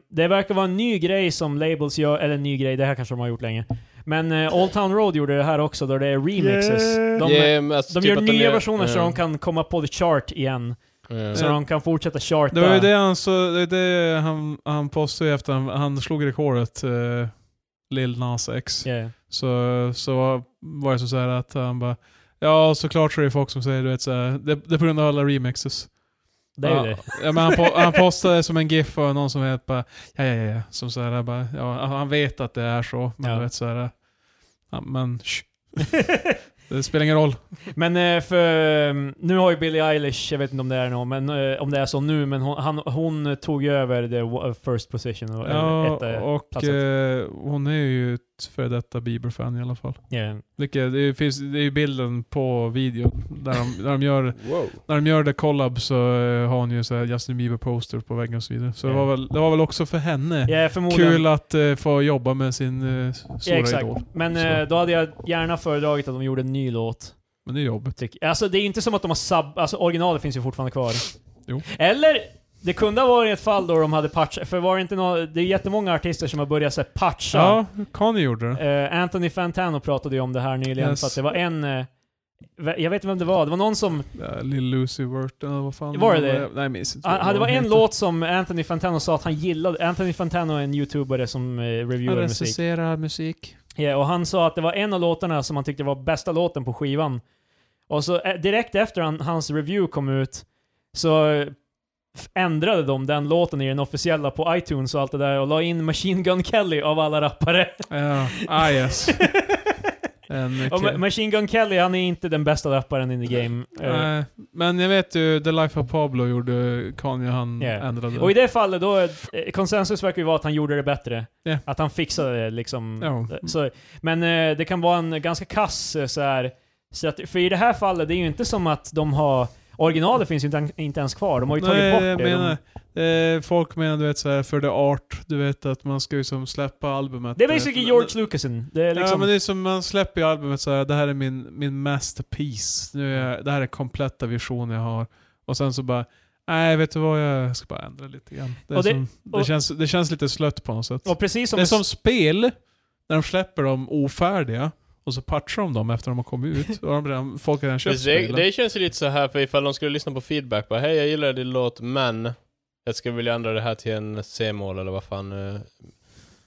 Speaker 2: det verkar vara en ny grej som labels gör, eller en ny grej, det här kanske de har gjort länge. Men eh, Old Town Road gjorde det här också, då det är remixes.
Speaker 3: Yeah.
Speaker 2: De,
Speaker 1: Yeah, men alltså
Speaker 2: de
Speaker 1: typ
Speaker 2: gör
Speaker 1: att
Speaker 2: nya versioner så de kan komma på the chart igen.
Speaker 1: Ja, ja.
Speaker 2: Så
Speaker 3: Ja.
Speaker 2: de kan fortsätta charta.
Speaker 3: Det var ju det han, så, det, det han, han postade ju efter han, han slog rekordet, eh, Lil Nas X.
Speaker 2: Yeah.
Speaker 3: Så, så var det så så här att han bara Ja, såklart så är det folk som säger du vet såhär, det, det är på grund av alla remixes.
Speaker 2: Det är ju
Speaker 3: ja,
Speaker 2: det.
Speaker 3: Ja, men han, po- han postade som en GIF och någon som vet bara, ja ja ja, som så här, bara, ja, han vet att det är så, men
Speaker 2: Ja.
Speaker 3: du vet så här, ja, men shh. Det spelar ingen roll.
Speaker 2: Men eh, för, eh, nu har ju Billie Eilish, jag vet inte om det är nå, men eh, om det är så nu, men hon, han, hon tog ju över the wa- uh, first position. eller
Speaker 3: Ja,
Speaker 2: etta,
Speaker 3: och
Speaker 2: platsen.
Speaker 3: eh, hon är ju ett före detta Bieber-fan i alla fall.
Speaker 2: yeah.
Speaker 3: Vilket, det, finns, det är ju bilden på videon, där de, där de gör
Speaker 1: Wow.
Speaker 3: när de gör det collab så eh, har hon ju så här Justin Bieber poster på väggen och så vidare. Så
Speaker 2: Ja.
Speaker 3: det, var väl, det var väl också för henne
Speaker 2: Ja, förmodligen.
Speaker 3: kul att eh, få jobba med sin eh, stora
Speaker 2: ja, exakt.
Speaker 3: idol.
Speaker 2: Men
Speaker 3: Så.
Speaker 2: eh, då hade jag gärna föredragit att de gjorde en ny låt.
Speaker 3: Men det är jobbigt.
Speaker 2: Tycker. Alltså det är ju inte som att de har sub... Alltså originalet finns ju fortfarande kvar.
Speaker 3: Jo.
Speaker 2: Eller, det kunde ha varit ett fall då de hade patchat, för var det inte nå Det är jättemånga artister som har börjat så här, patcha.
Speaker 3: Ja, Kanye gjorde det.
Speaker 2: Eh, Anthony Fantano pratade ju om det här nyligen,
Speaker 3: Yes.
Speaker 2: för att det var en... eh, ve- jag vet inte vem det var, det var någon som...
Speaker 3: Ja, Lil Lucy Wurt, eller vad fan.
Speaker 2: Var det det?
Speaker 3: Nej, jag minns inte.
Speaker 2: Han,
Speaker 3: vad
Speaker 2: han- det var
Speaker 3: hon
Speaker 2: en
Speaker 3: heter.
Speaker 2: låt som Anthony Fantano sa att han gillade. Anthony Fantano är en YouTubare som eh,
Speaker 3: Han
Speaker 2: reviewar musik.
Speaker 3: recenserar musik.
Speaker 2: Ja, och han sa att det var en av låtarna som han tyckte var bästa låten på skivan. Och så eh, direkt efter han, hans review kom ut så eh, f- ändrade de den låten i den officiella på iTunes och allt det där och la in Machine Gun Kelly av alla rappare.
Speaker 3: Ja, ah yes. Ja, en
Speaker 2: Och Ma-
Speaker 3: kille.
Speaker 2: Machine Gun Kelly, han är inte den bästa rapparen in the game. Eh,
Speaker 3: Nej, men jag vet ju, The Life of Pablo gjorde Kanye, han
Speaker 2: Yeah.
Speaker 3: ändrade.
Speaker 2: Och i det fallet då, eh, konsensus verkar ju vara att han gjorde det bättre.
Speaker 3: Ja.
Speaker 2: Att han fixade det liksom.
Speaker 3: Ja.
Speaker 2: Så, men eh, det kan vara en ganska kass eh, så här, så att, För i det här fallet, det är ju inte som att de har... Originalet finns ju inte, inte ens kvar, de har ju tagit
Speaker 3: Nej,
Speaker 2: bort det.
Speaker 3: jag
Speaker 2: De-
Speaker 3: menar, eh, folk menar du vet såhär, för the art, du vet att man ska ju som släppa albumet.
Speaker 2: Det är
Speaker 3: du vet.
Speaker 2: basically George Lucasen. Det är
Speaker 3: Ja
Speaker 2: liksom...
Speaker 3: men det är som man släpper ju albumet såhär, det här är min, min masterpiece. Nu är jag, det här är kompletta vision jag har. Och sen så bara, nej vet du vad, jag ska bara ändra lite grann. Det, är
Speaker 2: Och det-
Speaker 3: som, det,
Speaker 2: och-
Speaker 3: känns, det känns lite slött på något sätt.
Speaker 2: och precis som...
Speaker 3: det är som spel, när de släpper dem ofärdiga och så patchar de dem efter de har kommit ut. Och de redan, folk har redan köpt
Speaker 1: Precis, Det,
Speaker 3: spelen.
Speaker 1: det känns ju lite så här för ifall de skulle lyssna på feedback, bara hej jag gillar din låt men jag skulle vilja ändra det här till en C-mål eller vad fan. eh."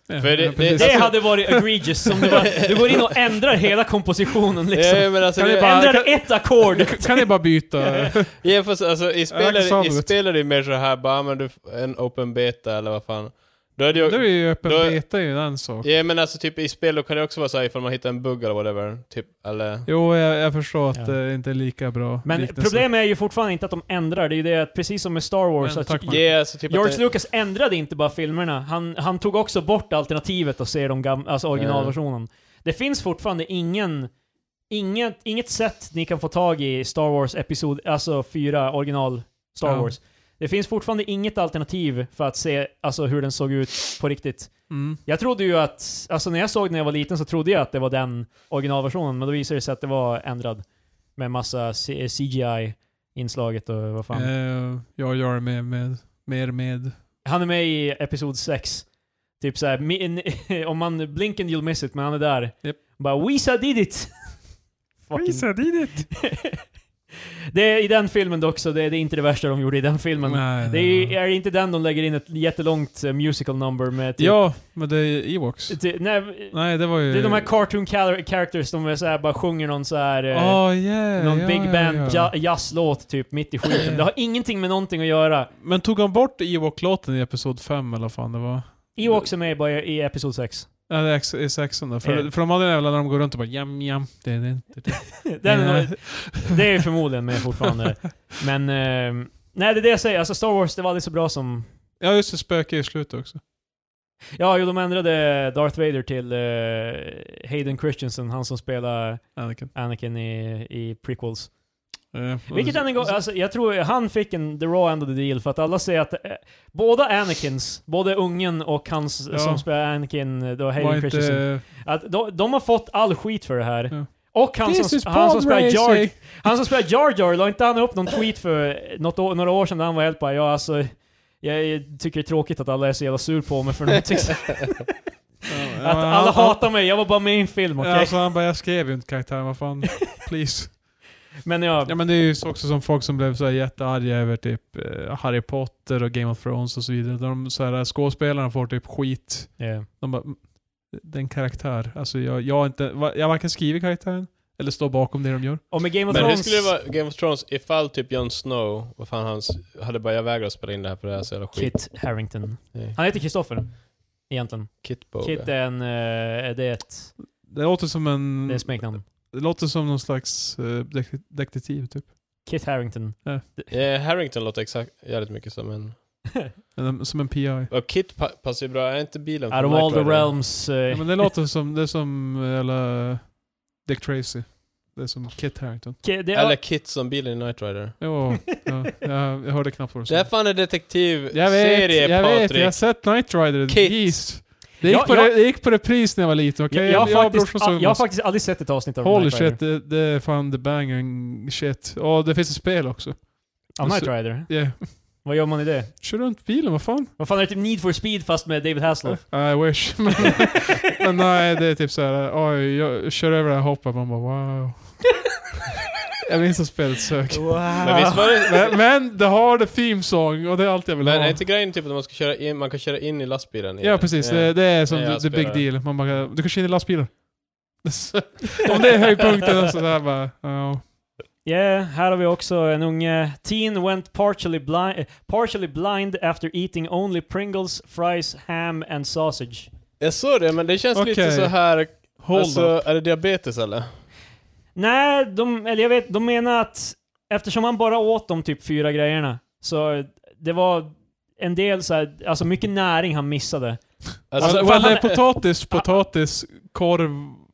Speaker 3: Ja,
Speaker 1: för det-
Speaker 3: ja, precis.
Speaker 2: det hade varit egregious som det var. Du går in och ändrar hela kompositionen liksom.
Speaker 1: Ja, men alltså,
Speaker 3: Kan
Speaker 1: det,
Speaker 3: vi bara-
Speaker 2: Ändrar ett ackord!
Speaker 3: Alltså, Kan ni bara byta?
Speaker 1: ja, fast, alltså, i
Speaker 3: Jag
Speaker 1: spel är
Speaker 3: sa
Speaker 1: det- i
Speaker 3: det.
Speaker 1: spel är det ju mer så här bara, "Ah, men du, f- en open beta eller vad fan. Då är det
Speaker 3: Nu är
Speaker 1: ju,
Speaker 3: ju öppen
Speaker 1: då-
Speaker 3: beta ju en sak.
Speaker 1: ja men alltså typ i spel då kan det också vara så här ifall man hittar en bugg eller whatever, typ, eller...
Speaker 3: Jo, jag, jag förstår att
Speaker 2: Ja.
Speaker 3: det inte är lika bra
Speaker 2: Men
Speaker 3: liknelse.
Speaker 2: problemet är ju fortfarande inte att de ändrar, det är ju det att precis som med Star Wars,
Speaker 3: Men tack,
Speaker 2: att
Speaker 3: man.
Speaker 1: Ja, alltså typ att
Speaker 2: George
Speaker 1: det-
Speaker 2: Lucas ändrade inte bara filmerna, han, han tog också bort alternativet och ser de gamla, alltså originalversionen. Det finns fortfarande ingen, inget, inget sätt ni kan få tag i Star Wars Episod, alltså 4, original Star
Speaker 3: Ja.
Speaker 2: Wars. Det finns fortfarande inget alternativ för att se alltså, hur den såg ut på riktigt.
Speaker 3: Mm.
Speaker 2: Jag trodde ju att, alltså när jag såg den när jag var liten så trodde jag att det var den originalversionen, men då visade det sig att det var ändrad. Med massa C- CGI-inslaget och vad fan.
Speaker 3: Eh, jag gör med, med, mer med.
Speaker 2: Han är med i Episod 6. Typ såhär, mi- om man blinkar you'll miss it, men han är där.
Speaker 3: Japp.
Speaker 2: Bara Weeza did it! Fucking- Typ.
Speaker 3: dit!
Speaker 2: det är i den filmen dock, så det är, det är inte det värsta de gjorde i den filmen.
Speaker 3: Nej,
Speaker 2: Det är, ju-
Speaker 3: nej.
Speaker 2: är det inte den de lägger in ett jättelångt eh, musical number med typ...
Speaker 3: Ja, men det är Ewoks.
Speaker 2: ty- nej,
Speaker 3: Nej, det var ju...
Speaker 2: Det är de här cartoon cal- characters, de är så här, bara sjunger någon så här eh,
Speaker 3: Ah, yeah,
Speaker 2: Någon
Speaker 3: ja,
Speaker 2: big
Speaker 3: ja,
Speaker 2: band
Speaker 3: ja.
Speaker 2: ja, jazzlåt typ mitt i skiten. Det har ingenting med någonting att göra.
Speaker 3: Men tog han bort Ewok-låten i Episod 5 eller vad fan det var?
Speaker 2: Ewoks är med bara i Episod 6.
Speaker 3: Ja, det är ex- i sexan där. För,
Speaker 2: Ja.
Speaker 3: för de hade en jävla när de går runt och bara jam jam. Det är det inte. det.
Speaker 2: Den är
Speaker 3: Ja.
Speaker 2: nog-
Speaker 3: Eh.
Speaker 2: det är ju förmodligen med fortfarande. Men... Eh, nej, det är det jag säger. Alltså Star Wars, det var aldrig så bra som...
Speaker 3: Ja, just det. Spöke i slutet också.
Speaker 2: Ja, jo, de ändrade Darth Vader till eh, Hayden Christensen, han som spelar
Speaker 3: Anakin.
Speaker 2: Anakin i, i prequels.
Speaker 3: Eh,
Speaker 2: Vilket än en gång, alltså, jag tror han fick en the raw end of the deal för att alla säger att eh, båda Anakins, både ungen och hans
Speaker 3: Ja.
Speaker 2: som spelar Anakin, eh, då
Speaker 3: Var
Speaker 2: Hayden Christensen,
Speaker 3: inte...
Speaker 2: att de, de har fått all skit för det här.
Speaker 3: Ja.
Speaker 2: Och han
Speaker 3: This
Speaker 2: som,
Speaker 3: is
Speaker 2: han, som
Speaker 3: pod
Speaker 2: spelar Jar,
Speaker 3: racing!
Speaker 2: han som spelar Jar Jar, la inte han upp någon tweet för något år, några år sedan där han var helt bara ja alltså, jag tycker det är tråkigt att alla är så jävla sur på mig för någonting.
Speaker 3: Ja,
Speaker 2: att
Speaker 3: han-
Speaker 2: alla
Speaker 3: han-
Speaker 2: hatar mig, jag var bara med i en film, okej?
Speaker 3: Ja, alltså han bara, jag skrev ju inte karaktären, vad fan. Please.
Speaker 2: Men ja,
Speaker 3: Ja men det är ju också som folk som blev så här jättearga över typ eh, Harry Potter och Game of Thrones och så vidare. Där de så här, eh, skådespelarna får typ skit.
Speaker 2: ja.
Speaker 3: De bara, "Mm, det är en karaktär. Alltså jag, jag har inte, va- jag har varken skrivit karaktären eller står bakom det de gör.
Speaker 2: Och med Game of
Speaker 1: Men hur
Speaker 2: Thrones...
Speaker 1: skulle det vara Game of Thrones ifall typ Jon Snow, vad fan hans, hade bara jag vägrar spela in det här för det här är så jävla skit.
Speaker 2: Kit Harrington.
Speaker 1: Nej.
Speaker 2: Han heter Kristoffer. Egentligen.
Speaker 1: Kitboga.
Speaker 2: Kit är en... eh, det är ett...
Speaker 3: Det låter som en,
Speaker 2: Det är ett smeknamn.
Speaker 3: det låter som någon slags eh, dek- detektiv typ.
Speaker 2: Kit Harrington.
Speaker 1: Eh, Harrington låter exakt jävligt mycket som en...
Speaker 3: Eller, som en PI. Ja,
Speaker 1: Och Kit pa passar ju bra, är inte bilen
Speaker 2: Out of all the realms... eh,
Speaker 3: men det låter som, det är som, eller Dick Tracy. Det är som Kit Harington.
Speaker 2: Ki- det,
Speaker 1: Eller
Speaker 2: är,
Speaker 1: Kit som bilen i Knight Rider.
Speaker 3: Jo, ja, jag, jag hörde knappt vad du
Speaker 1: Det
Speaker 3: sa.
Speaker 1: här är fan en
Speaker 3: Jag vet,
Speaker 1: detektivserie
Speaker 3: jag vet,
Speaker 1: Patrik.
Speaker 3: jag har sett Knight Rider.
Speaker 1: Kit.
Speaker 3: Jeez. Det gick,
Speaker 2: Ja,
Speaker 3: på
Speaker 2: ja.
Speaker 3: det, det gick på repris när jag var liten, okej?
Speaker 2: jag, jag, har
Speaker 3: Jag och
Speaker 2: faktiskt,
Speaker 3: brorsan såg
Speaker 2: jag har
Speaker 3: massa.
Speaker 2: faktiskt aldrig sett ett avsnitt av
Speaker 3: Holy
Speaker 2: Knight Rider.
Speaker 3: shit, det, det är fan the banging shit. Och det finns ett spel också.
Speaker 2: Av Knight Rider?
Speaker 3: Yeah.
Speaker 2: Vad gör man i det?
Speaker 3: Kör runt bilen, vad fan?
Speaker 2: Vad fan är det typ Need for Speed fast med David Hasselhoff?
Speaker 3: I wish. Men, men nej, det är typ såhär, oj, jag kör över det här hoppet, man bara wow. jag minns att spelet sök.
Speaker 1: Men visst var det...
Speaker 3: Men, men det har the theme song och det är allt jag vill
Speaker 1: Men är
Speaker 3: ha.
Speaker 1: inte grejen typ att man, ska köra in, man kan köra in i lastbilen? i
Speaker 3: Ja
Speaker 1: den?
Speaker 3: precis,
Speaker 1: Ja.
Speaker 3: det, det är som
Speaker 1: Ja, jag
Speaker 3: the, the big
Speaker 1: spelar.
Speaker 3: deal. Man bara, du kan köra in i lastbilen. Om det är höjdpunkten och sådär bara, ja.
Speaker 2: Yeah, här har vi också en unge. Teen went partially blind, eh, partially blind after eating only Pringles, fries, ham and sausage.
Speaker 1: Jag såg det, men det känns lite
Speaker 3: Okej.
Speaker 1: så här
Speaker 3: Hold up.
Speaker 1: alltså, är det diabetes eller?
Speaker 2: Nej, de, eller jag vet, de menar att eftersom han bara åt de typ fyra grejerna, så det var en del så här, alltså mycket näring han missade.
Speaker 3: Alltså,
Speaker 2: Alltså, han-
Speaker 3: well, det är
Speaker 1: eh,
Speaker 3: potatis, potatis, korv,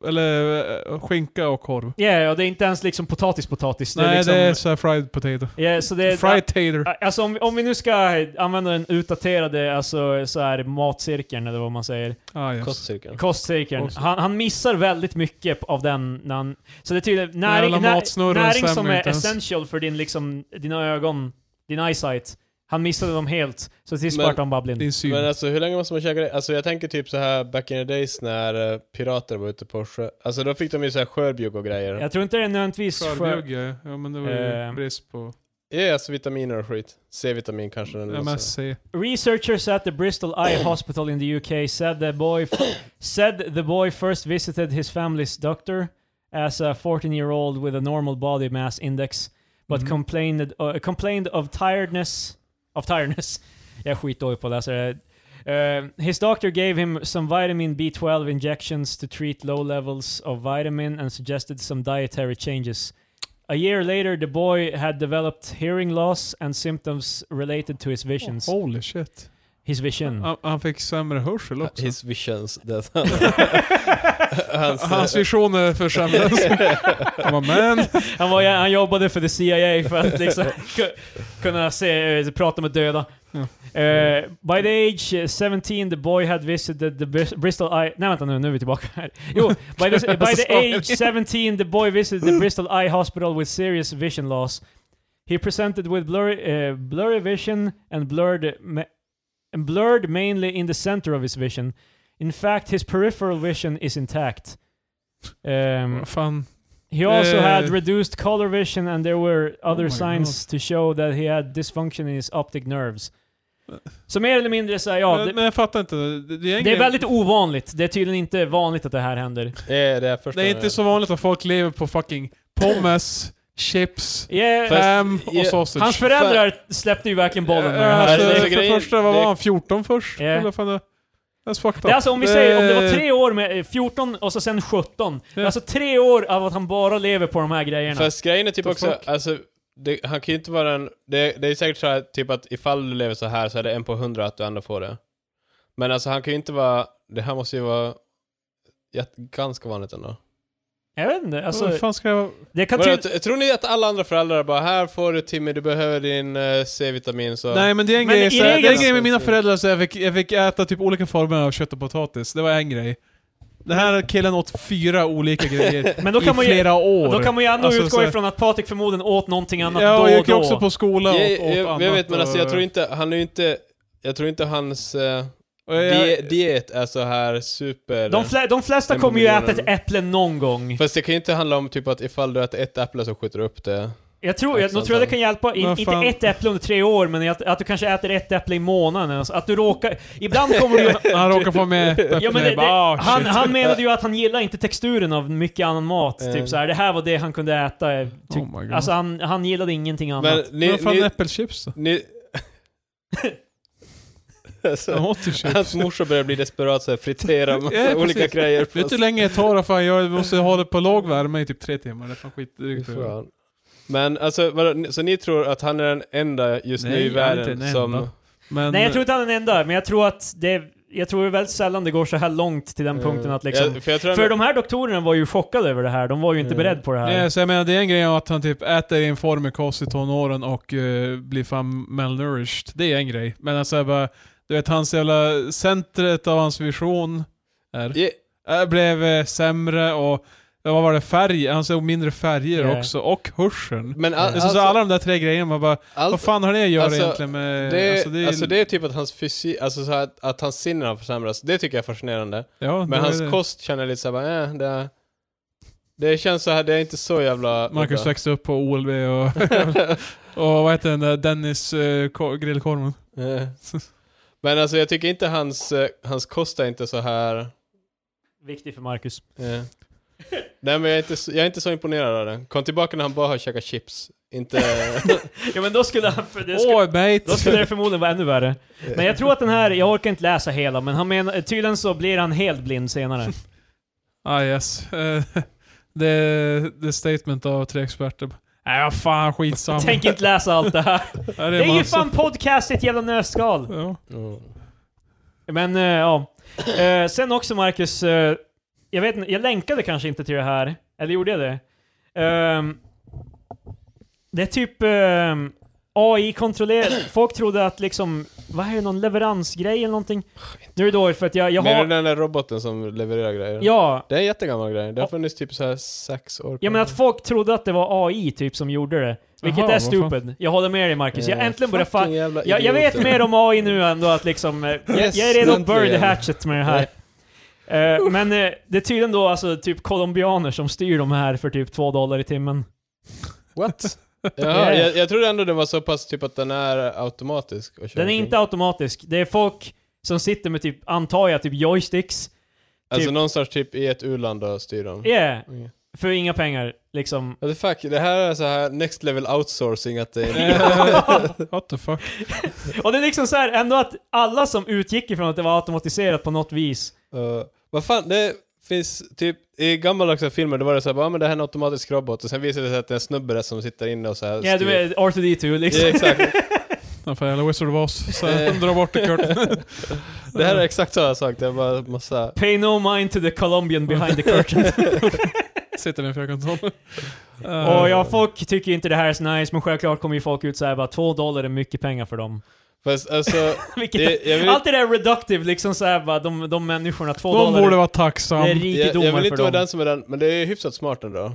Speaker 3: eller eh, skinka och korv.
Speaker 2: Ja, yeah, och det är inte ens liksom potatis, potatis. Det
Speaker 3: Nej,
Speaker 2: är liksom,
Speaker 3: det är såhär fried potato.
Speaker 2: Ja, så det är...
Speaker 3: fried tater.
Speaker 2: Alltså om, om vi nu ska använda den utdaterade, alltså så här matcirkeln eller vad man säger.
Speaker 3: Ah, yes.
Speaker 1: Kostcirkeln.
Speaker 2: Kostcirkeln.
Speaker 3: Kostcirkeln.
Speaker 2: Han, han missar väldigt mycket av den när han... Så det är tydligen näring,
Speaker 3: jävla
Speaker 2: nä,
Speaker 3: matsnurren
Speaker 2: näring som
Speaker 3: stämmer
Speaker 2: är
Speaker 3: inte ens.
Speaker 2: essential för din liksom, dina ögon, din eyesight. Han missade dem helt, så till
Speaker 1: Men-
Speaker 2: sist vart han bara blind.
Speaker 3: Din syn.
Speaker 1: Men alltså hur länge måste man käka det? Alltså jag tänker typ så här back in the days när eh, pirater var ute på sjö. Alltså då fick de ju så här skörbjugg och grejer. Ja,
Speaker 2: Jag tror inte det är nödvändigtvis för...
Speaker 3: Skörbjugg, ja. ja. men det var ju
Speaker 2: Eh,
Speaker 3: brist på
Speaker 1: alltså vitaminer och skit. C-vitamin kanske. Eller något sånt.
Speaker 3: MSC.
Speaker 2: Researchers at the Bristol Eye Hospital in the UK said the boy said the boy first visited his family's doctor as a 14-year-old with a normal body mass index, but
Speaker 3: Mhm.
Speaker 2: complained uh, complained of tiredness of tiredness. Jag är skitdålig på att läsa det. Uh, his doctor gave him some vitamin B12 injections to treat low levels of vitamin and suggested some dietary changes. A year later, the boy had developed hearing loss and symptoms related to his visions.
Speaker 3: Oh, Holy shit.
Speaker 2: His vision.
Speaker 3: Han, han fick sämre hörsel också.
Speaker 1: Mm. His visions. Det är Hans, eh,
Speaker 3: Hans visioner försämrades. Han bara, men...
Speaker 2: Han, var, han jobbade för the CIA för att liksom ku- kunna se, eh, prata med döda.
Speaker 3: Ja.
Speaker 2: Eh, by the age eh, 17 the boy had visited the Bris- Bristol Eye... Nej vänta nu, nu är vi tillbaka här. Jo, by the, by the
Speaker 3: Sorry.
Speaker 2: age 17 the boy visited the Bristol Eye Hospital with serious vision loss. He presented with blurry, eh, blurry vision and blurred, ma- and blurred mainly in the center of his vision. In fact, his peripheral vision is intact. Ehm,
Speaker 3: Vad fan.
Speaker 2: He also
Speaker 3: Eh. Oh
Speaker 2: had reduced color vision and there were other
Speaker 3: my
Speaker 2: signs to show that he had dysfunction in his optic nerves. Så mer eller mindre så här, ja,
Speaker 3: Eh. men,
Speaker 2: det,
Speaker 3: men jag fattar inte. Det, det, är, ingen,
Speaker 2: det är väldigt ovanligt. Det är tydligen inte vanligt att det här händer.
Speaker 1: det, det, är första
Speaker 3: det är inte så vanligt att folk lever på fucking pommes, chips,
Speaker 2: Yeah,
Speaker 1: Fast-
Speaker 3: ham och
Speaker 1: ja,
Speaker 3: sausage.
Speaker 2: hans föräldrar släppte ju verkligen bollen med det
Speaker 3: Ja,
Speaker 2: här.
Speaker 3: alltså,
Speaker 1: det är
Speaker 2: Det-
Speaker 1: så
Speaker 3: för det
Speaker 1: grejen-
Speaker 3: första, vad
Speaker 1: det-
Speaker 3: var han? 14 först?
Speaker 2: Ja.
Speaker 3: Eller vad fan det... That's fucked up.
Speaker 2: Det är alltså om vi säger, om det var tre år med eh, 14 och så sen 17. Det är
Speaker 3: Ja.
Speaker 2: alltså tre år av att han bara lever på de här grejerna.
Speaker 1: Fast grejen är typ
Speaker 3: The
Speaker 1: också,
Speaker 3: fuck?
Speaker 1: alltså, det, han kan ju inte vara en... Det, det är säkert så här, typ att ifall du lever så här så är det en på hundra att du ändå får det. Men alltså han kan ju inte vara... Det här måste ju vara jätte- ganska vanligt ändå.
Speaker 2: jag vet inte, alltså,
Speaker 3: Vad fan ska jag...
Speaker 2: det kan
Speaker 1: Vadå,
Speaker 2: till,
Speaker 1: t- tror ni att alla andra föräldrar bara här får du Timmy, du behöver din eh, C-vitamin så...
Speaker 3: Nej men det är en
Speaker 2: Men
Speaker 3: grej,
Speaker 2: i
Speaker 3: så här, det är en
Speaker 2: regel-
Speaker 3: grej med mina föräldrar, så jag fick, jag fick äta typ olika former av kött och potatis. Det var en grej. Den här killen åt fyra olika grejer
Speaker 2: Men då
Speaker 3: i
Speaker 2: kan man ju-
Speaker 3: flera år.
Speaker 2: då kan man ju ändå
Speaker 3: Alltså,
Speaker 2: utgå
Speaker 3: så-
Speaker 2: ifrån att Patrik förmodligen åt någonting annat
Speaker 3: Ja,
Speaker 2: då
Speaker 3: och
Speaker 2: och
Speaker 3: jag
Speaker 2: då.
Speaker 3: gick ju också på skola och
Speaker 1: jag,
Speaker 3: åt
Speaker 1: jag, jag,
Speaker 3: annat.
Speaker 1: jag vet men
Speaker 3: och-
Speaker 1: alltså jag tror inte, han är ju inte... Jag tror inte hans eh,
Speaker 3: och jag-
Speaker 1: die, diet är så här super...
Speaker 2: De, flä, de flesta
Speaker 1: Den
Speaker 2: kommer ju äta
Speaker 1: miljonen.
Speaker 2: ett äpple någon gång.
Speaker 1: Fast det kan ju inte handla om typ att ifall du äter ett äpple så skjuter du upp det.
Speaker 2: Jag tror, jag, nog tror jag det kan hjälpa, in,
Speaker 3: Vad
Speaker 2: inte
Speaker 3: fan.
Speaker 2: ett äpple under tre år, men att, att du kanske äter ett äpple i månaden. Alltså, att du råkar... Ibland kommer du ju...
Speaker 3: Han råkar få med ett
Speaker 2: Ja,
Speaker 3: äpple.
Speaker 2: men det,
Speaker 3: Jag bara,
Speaker 2: det,
Speaker 3: ah, shit.
Speaker 2: han, han menade ju att han gillar inte texturen av mycket annan mat.
Speaker 1: Eh.
Speaker 2: Typ så här, det här var det han kunde äta. eh, Typ.
Speaker 3: Oh my God.
Speaker 2: alltså han, han gillade ingenting annat.
Speaker 1: Men ni...
Speaker 3: Men vad fan
Speaker 1: ni,
Speaker 3: äppelchips då?
Speaker 1: ni
Speaker 3: Han
Speaker 1: alltså,
Speaker 3: åt ju chips.
Speaker 1: hans morsa börjar bli desperat så här, fritera massa
Speaker 3: typ. Ja, precis.
Speaker 1: olika grejer.
Speaker 3: Vet du hur länge det tar? Fan, jag måste ha det på låg värme i typ tre timmar. Det är fan skitdrygt.
Speaker 1: Fy fan. Men alltså, vadå, så ni tror att han är den enda just nu
Speaker 3: Nej,
Speaker 1: i
Speaker 3: han är inte
Speaker 1: världen
Speaker 3: den
Speaker 1: som...
Speaker 3: enda. Men,
Speaker 2: Nej, jag tror inte han är den enda, men jag tror att det... Jag tror väldigt sällan det går så här långt till den
Speaker 3: Eh,
Speaker 1: Eh,
Speaker 2: punkten att liksom...
Speaker 1: Ja, för jag tror
Speaker 2: För
Speaker 1: han,
Speaker 2: de här doktorerna var ju chockade över det här, de var ju
Speaker 3: Eh.
Speaker 2: inte
Speaker 1: Mm.
Speaker 2: beredda på det här.
Speaker 3: Nej, så jag menar det är en grej att han typ äter i en form kost i tonåren och eh, blir fan malnourished. Det är en grej. Men alltså jag bara, du vet hans jävla, centret av hans vision är,
Speaker 1: Ja,
Speaker 3: eh, blev eh, sämre och, ja, vad var det, färg? Han såg mindre färger
Speaker 2: Ja.
Speaker 3: också, och hörseln.
Speaker 1: men all,
Speaker 3: Det är så-
Speaker 1: alltså,
Speaker 3: så alla de där tre grejerna, man bara, vad
Speaker 1: allt,
Speaker 3: fan har det att göra
Speaker 1: alltså,
Speaker 3: egentligen med...
Speaker 1: det, alltså, det, är typ att hans fysik, alltså så här, att, att hans sinnen har försämrats, det tycker jag är fascinerande.
Speaker 3: ja, det
Speaker 1: Men
Speaker 3: är
Speaker 1: hans
Speaker 3: det.
Speaker 1: kost känner jag lite såhär, eh, det, är- det känns så här, det är inte så jävla...
Speaker 3: Marcus växte upp på OLB och, och vad heter den där Dennis eh, ko- grillkorven?
Speaker 1: Eh. Men alltså jag tycker inte hans, eh, hans kost är inte så här...
Speaker 2: Viktigt för Marcus.
Speaker 1: eh. Nej men jag är, inte, så- jag är inte så imponerad av den. Kom tillbaka när han bara har käkat chips. Inte...
Speaker 2: Ja men då skulle han... För det skulle,
Speaker 3: Åh, mate!
Speaker 2: då skulle det förmodligen vara ännu värre. Men jag tror att den här, jag orkar inte läsa hela, men han menar, tydligen så blir han helt blind senare.
Speaker 3: Ah yes. Eh, det det är statement av tre experter. Nej, vad fan skitsamma.
Speaker 2: Tänk inte läsa allt det här.
Speaker 3: Ja,
Speaker 2: Det är ju
Speaker 3: massa-
Speaker 2: fan podcast i ett jävla nötskal.
Speaker 3: Ja.
Speaker 1: Mm.
Speaker 2: Men eh, ja. Eh, sen också Marcus, eh, jag vet inte, jag länkade kanske inte till det här. Eller gjorde jag det? Ehm, det är typ ehm, AI kontrollerar... Folk trodde att liksom, vad är det, någon leveransgrej eller någonting? Nu är det dåligt för att jag, jag
Speaker 1: Menar du
Speaker 2: har...
Speaker 1: den där roboten som levererar grejer?
Speaker 2: Ja,
Speaker 1: Det är en jättegammal grej. Det har funnits typ så här sex år
Speaker 2: jag menar att folk trodde att det var AI typ som gjorde det. Vilket
Speaker 3: Eh. Jaha,
Speaker 2: är
Speaker 3: vad fan. Eh,
Speaker 2: stupid. Jag håller med dig Marcus.
Speaker 1: Eh,
Speaker 2: Jag äntligen börjar fa-
Speaker 1: fatta.
Speaker 2: Jag, jag vet mer om AI nu ändå att liksom... eh, jag, jag är redo att
Speaker 1: äntligen.
Speaker 2: bird hatchet med det här. Eh, men eh, det är tydligen då alltså typ colombianer som styr de här för typ två dollar i timmen.
Speaker 1: What? ja,
Speaker 2: Yeah.
Speaker 1: jag, jag trodde ändå det var så pass typ att den är automatisk. Och kör
Speaker 2: Den är
Speaker 1: omkring.
Speaker 2: inte automatisk. Det är folk som sitter med typ, antar jag, typ joysticks.
Speaker 1: Alltså
Speaker 2: typ-
Speaker 1: någonstans typ i ett u-land och styr dem.
Speaker 3: Mm.
Speaker 2: Yeah,
Speaker 1: Okej.
Speaker 2: för inga pengar. Liksom.
Speaker 1: What the fuck, det här är så här next level outsourcing att det är...
Speaker 3: Eh, What the fuck.
Speaker 2: Och det är liksom så här ändå att alla som utgick ifrån att det var automatiserat på något vis.
Speaker 1: Eh, vad fan, det finns typ i gammaldags filmer då var det så här, bara, "Ah, men det här är en automatisk robot och sen visar det sig att det är en snubbe där som sitter inne och så här
Speaker 2: Ja, du vet, R2D2 liksom.
Speaker 1: Ja, exakt.
Speaker 3: Den för jävla Wizard of Oz. Så
Speaker 2: Eh.
Speaker 3: här, dra bort det kort.
Speaker 1: Det här är exakt samma sak, det är bara massa...
Speaker 2: Pay no mind to the Colombian behind the curtain.
Speaker 3: Sitter i en fjärrkontroll. Eh,
Speaker 2: Och ja, folk tycker ju inte det här är så nice, men självklart kommer ju folk ut såhär bara 2 dollar är mycket pengar för dem.
Speaker 1: Fast alltså,
Speaker 2: Vilket är,
Speaker 1: det, jag vill,
Speaker 2: Allt det där är reductive, liksom såhär bara de, de människorna, 2
Speaker 3: De
Speaker 2: dollar
Speaker 3: borde
Speaker 2: är,
Speaker 3: vara
Speaker 2: det är
Speaker 3: tacksam.
Speaker 1: jag, jag
Speaker 2: rikedomar
Speaker 1: vill
Speaker 2: för
Speaker 1: inte vara
Speaker 2: dem.
Speaker 1: den som är den, men det är ju hyfsat smart ändå.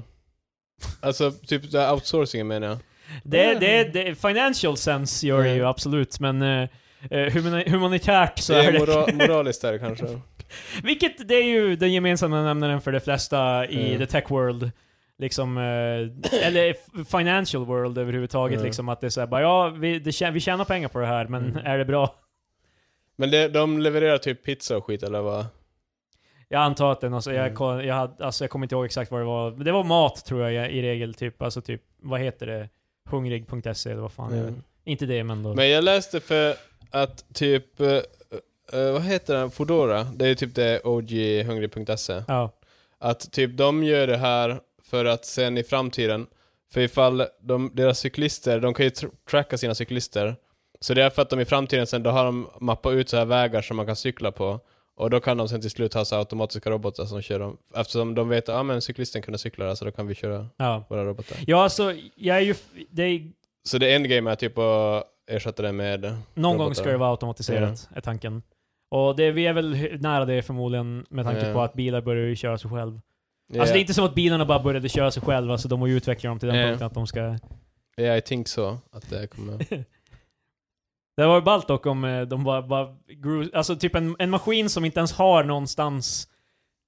Speaker 1: Alltså typ det här outsourcingen menar jag.
Speaker 2: Det, det, det, financial sense gör det ju
Speaker 1: Mm.
Speaker 2: absolut, men eh, eh, humani- humanitärt så
Speaker 1: det
Speaker 2: är
Speaker 1: är
Speaker 2: det...
Speaker 1: mora, moraliskt där kanske.
Speaker 2: Vilket, det är ju den gemensamma nämnaren för de flesta i
Speaker 1: Mm.
Speaker 2: the tech world. Liksom, eh, eller f- financial world överhuvudtaget
Speaker 1: Mm.
Speaker 2: liksom att det är såhär bara ja, vi, det, tjä- vi tjänar pengar på det här, men
Speaker 1: Mm.
Speaker 2: är det bra?
Speaker 1: Men det, de levererar typ pizza och skit eller vad?
Speaker 2: Jag antar att den, alltså, jag,
Speaker 1: Mm.
Speaker 2: koll- jag, hade, alltså, jag kommer inte ihåg exakt vad det var. Men Det var mat tror jag i regel, typ, alltså typ, vad heter det? Hungrig.se E eller vad fan jag
Speaker 1: Mm.
Speaker 2: vet. Inte det men då.
Speaker 1: Men jag läste för att typ, eh, eh, vad heter den, Foodora, det är typ det oghungrig.se.
Speaker 2: ja.
Speaker 1: E. Att typ de gör det här för att sen i framtiden, för ifall de, deras cyklister, de kan ju tr- tracka sina cyklister. Så det är för att de i framtiden sen, då har de mappat ut så här vägar som man kan cykla på. Och då kan de sen till slut ha så här automatiska robotar som kör dem. Eftersom de vet att ah, men cyklisten kunde cykla där, så då kan vi köra
Speaker 2: ja.
Speaker 1: våra robotar.
Speaker 2: Ja alltså, jag är ju... f- Det är,
Speaker 1: Så det endgame är typ att ersätta det med
Speaker 2: någon gång
Speaker 1: robotar.
Speaker 2: ska det vara automatiserat, är tanken. Och det, vi är väl hy- nära det förmodligen med tanke
Speaker 1: Ja.
Speaker 2: på att bilar börjar ju köra sig själv.
Speaker 1: Yeah.
Speaker 2: Alltså det är inte som att bilarna bara började köra sig själva, så de har ju utvecklat dem till den
Speaker 1: Ja.
Speaker 2: punkten att de ska...
Speaker 1: Yeah, I think so. Att det kommer...
Speaker 2: Det var ju ballt dock om eh, de bara, bara gru- alltså typ en, en maskin som inte ens har någonstans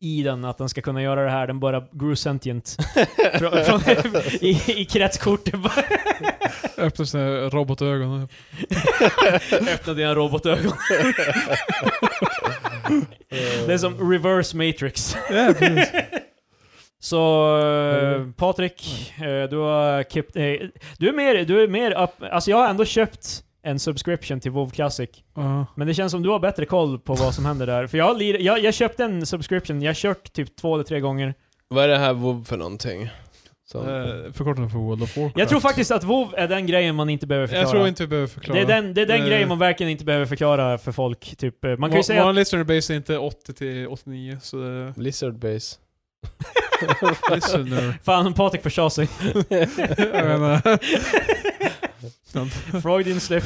Speaker 2: i den att den ska kunna göra det här, den bara grew sentient. från, från, i, I kretskortet bara
Speaker 3: Öppnar sina robotögon.
Speaker 2: öppna dina robotögon. det är som reverse matrix.
Speaker 3: Ja, precis.
Speaker 2: Så eh, Patrik, eh, du har kippt, eh, du är mer, du är mer upp, alltså jag har ändå köpt en subscription till WoW Classic.
Speaker 3: Ja.
Speaker 2: Men det känns som du har bättre koll på vad som händer där. För jag, har lir- jag, jag köpte en subscription, jag har kört typ två eller tre gånger.
Speaker 1: Vad är det här WoW för någonting? Som...
Speaker 3: Eh, Förkortningen för World of Warcraft.
Speaker 2: Jag tror faktiskt att WoW är den grejen man inte behöver förklara.
Speaker 3: Jag tror inte vi behöver förklara.
Speaker 2: det är den, det är den
Speaker 3: Eh,
Speaker 2: grejen man verkligen inte behöver förklara för folk. Typ. eh, Man kan ju
Speaker 3: vår-
Speaker 2: säga
Speaker 3: Vår
Speaker 2: att...
Speaker 3: listener base är inte 80 till 89, så det...
Speaker 1: Lizard Base.
Speaker 3: Listener.
Speaker 2: Fan, Patrik försade sig.
Speaker 3: jag menar...
Speaker 2: Freudian slip.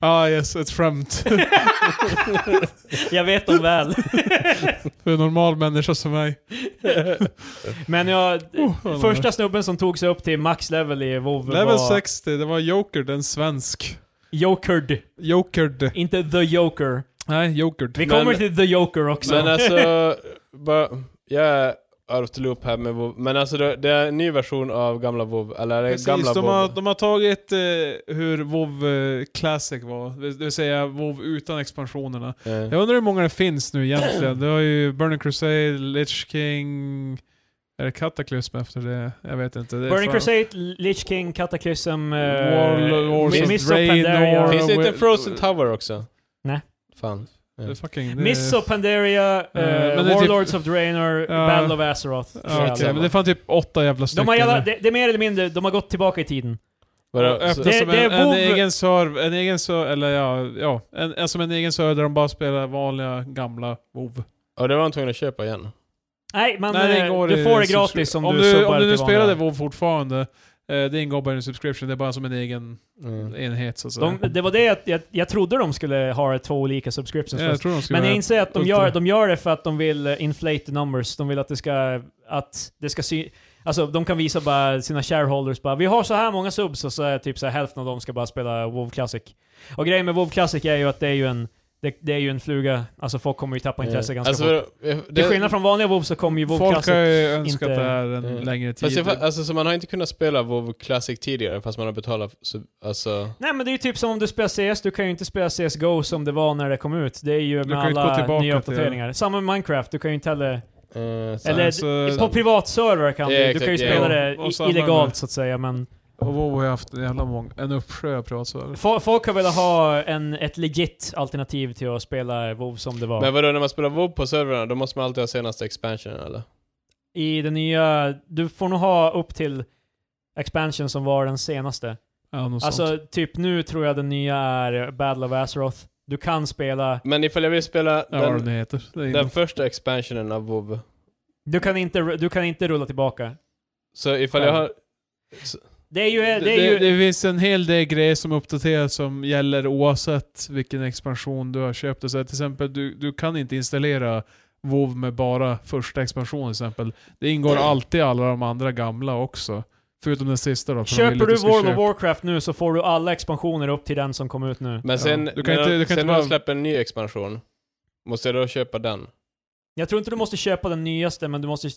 Speaker 3: Ah yes, ett skämt.
Speaker 2: Jag vet dem väl.
Speaker 3: För en normal människa som mig.
Speaker 2: Men jag...
Speaker 3: vad
Speaker 2: Oh, första snubben som tog sig upp till max level i WoW
Speaker 3: Oh. Level
Speaker 2: var...
Speaker 3: 60, det var Jokerd, en svensk.
Speaker 2: Jokerd.
Speaker 3: Jokerd.
Speaker 2: Inte The Joker.
Speaker 3: Nej, Jokerd.
Speaker 2: Vi
Speaker 1: Men-
Speaker 2: kommer till The Joker också.
Speaker 3: Liksom.
Speaker 1: Men alltså, bara, jag är out of the loop här med WoW. Men alltså det, det är en ny version av gamla WoW, eller är det
Speaker 3: Precis,
Speaker 1: gamla
Speaker 3: de,
Speaker 1: WoW.
Speaker 3: har, de har tagit eh, hur WoW eh, Classic var, det vill säga WoW utan expansionerna.
Speaker 1: Eh,
Speaker 3: Jag undrar hur många det finns nu egentligen. Det har ju Burning Crusade, Lich King... Är det Cataclysm efter det? Jag vet inte. Det är
Speaker 2: Burning
Speaker 3: fan-
Speaker 2: Crusade, Lich King, Cataclysm, eh,
Speaker 3: Warlords
Speaker 2: Mi-
Speaker 3: of
Speaker 2: Mist of
Speaker 3: Draenor.
Speaker 2: Pandaria.
Speaker 1: Finns det inte
Speaker 3: Well-
Speaker 1: en Frozen Tower också?
Speaker 2: Nej.
Speaker 1: Fan.
Speaker 3: Det är fucking... det är-
Speaker 2: Miss of Pandaria, eh,
Speaker 3: men det är typ-
Speaker 2: Warlords of Draenor, Battle of Azeroth.
Speaker 3: Ja, okej, men det är fan typ åtta jävla stycken.
Speaker 2: de har jävla, det, det är mer eller mindre, de har gått tillbaka i tiden.
Speaker 1: Vadå?
Speaker 3: öppna
Speaker 1: Så-
Speaker 2: Det-
Speaker 3: som
Speaker 2: det
Speaker 3: en,
Speaker 2: är
Speaker 3: en
Speaker 2: WoW.
Speaker 3: egen server, en egen server, eller ja, ja. En, en, som en egen server där de bara spelar vanliga gamla WoW.
Speaker 1: Ja, det var han tvungen att köpa igen.
Speaker 2: Nej, man,
Speaker 3: Nej, det
Speaker 2: eh,
Speaker 3: ingår
Speaker 2: du
Speaker 3: i
Speaker 2: får det
Speaker 3: subscri-
Speaker 2: gratis om,
Speaker 3: om
Speaker 2: du subbar
Speaker 3: Om du nu
Speaker 2: till vanliga.
Speaker 3: spelade WoW fortfarande, eh, det ingår bara i en subscription, det är bara som en egen
Speaker 1: Mm.
Speaker 3: enhet så att säga.
Speaker 2: de, Det var det jag, jag, jag trodde de skulle ha två olika subscriptions
Speaker 3: ja,
Speaker 2: först.
Speaker 3: jag tror de skulle
Speaker 2: Men jag
Speaker 3: vara-
Speaker 2: inser att de
Speaker 3: ultra-
Speaker 2: gör, de gör det för att de vill eh, inflate the numbers. De vill att det ska, att det ska sy... Alltså de kan visa bara sina shareholders bara vi har så här många subs och så är typ så här, hälften av dem ska bara spela WoW Classic. Och grejen med WoW Classic är ju att det är ju en, det, det är ju en fluga, alltså folk kommer ju tappa intresse ganska
Speaker 1: Alltså,
Speaker 2: fort.
Speaker 1: det-
Speaker 2: Till skillnad från vanliga WoW så kommer ju WoW
Speaker 3: Eh, Folk
Speaker 2: Classic...
Speaker 3: har ju önskat
Speaker 2: inte-
Speaker 3: det här en
Speaker 1: Mm.
Speaker 3: längre
Speaker 1: Fast jag,
Speaker 3: tid.
Speaker 1: fa- alltså, så man har inte kunnat spela WoW Classic tidigare fast man har betalat... sub- Alltså,
Speaker 2: Nej men det är ju typ som om du spelar CS, du kan ju inte spela CSGO som det var när det kom ut. Det är ju
Speaker 3: kan
Speaker 2: med
Speaker 3: ju inte gå
Speaker 2: alla
Speaker 3: tillbaka
Speaker 2: nya
Speaker 3: till-
Speaker 2: uppdateringar. Samma med Minecraft, du kan ju inte heller...
Speaker 1: eh, så-
Speaker 2: Eller
Speaker 3: så-
Speaker 2: på privatserver kan
Speaker 1: Ja,
Speaker 2: du, du
Speaker 1: exakt,
Speaker 2: kan ju
Speaker 1: ja.
Speaker 2: spela det
Speaker 3: Och- och
Speaker 2: i-
Speaker 3: samma
Speaker 2: illegalt
Speaker 3: med-
Speaker 2: så att säga men
Speaker 3: Och WoW har ju haft en jävla mång, en uppsjö av privatserver.
Speaker 2: fo- folk har velat ha en, ett legit alternativ till att spela WoW som det var.
Speaker 1: Men vadå, när man spelar WoW på servrarna, då måste man alltid ha senaste expansionen eller?
Speaker 2: I den nya, du får nog ha upp till expansion som var den senaste.
Speaker 3: Ja, något sånt.
Speaker 2: Alltså typ nu tror jag den nya är Battle of Azeroth. Du kan spela,
Speaker 1: Men ifall jag vill spela
Speaker 3: Ja, vad
Speaker 1: den,
Speaker 3: den heter. Det är
Speaker 1: den
Speaker 3: inget.
Speaker 1: första expansionen av WoW
Speaker 2: du kan inte, du kan inte rulla tillbaka.
Speaker 1: så ifall jag har...
Speaker 2: Det är ju,
Speaker 3: det,
Speaker 2: det är ju,
Speaker 3: det, det finns en hel del grejer som uppdateras som gäller oavsett vilken expansion du har köpt. Så här, till exempel, du, du kan inte installera WoW med bara första expansionen till exempel. Det ingår alltid alla de andra gamla också. Förutom den sista då. för de vill
Speaker 2: köper du
Speaker 3: att ska
Speaker 2: World of
Speaker 3: köpa-
Speaker 2: Warcraft nu så får du alla expansioner upp till den som kom ut nu.
Speaker 1: Men sen,
Speaker 3: Du kan
Speaker 1: när,
Speaker 3: inte-
Speaker 1: de-
Speaker 3: du kan
Speaker 1: sen
Speaker 3: inte
Speaker 1: när de
Speaker 3: bara-
Speaker 1: släpper en ny expansion, måste jag då köpa den?
Speaker 2: Jag tror inte du måste köpa den nyaste, men du måste...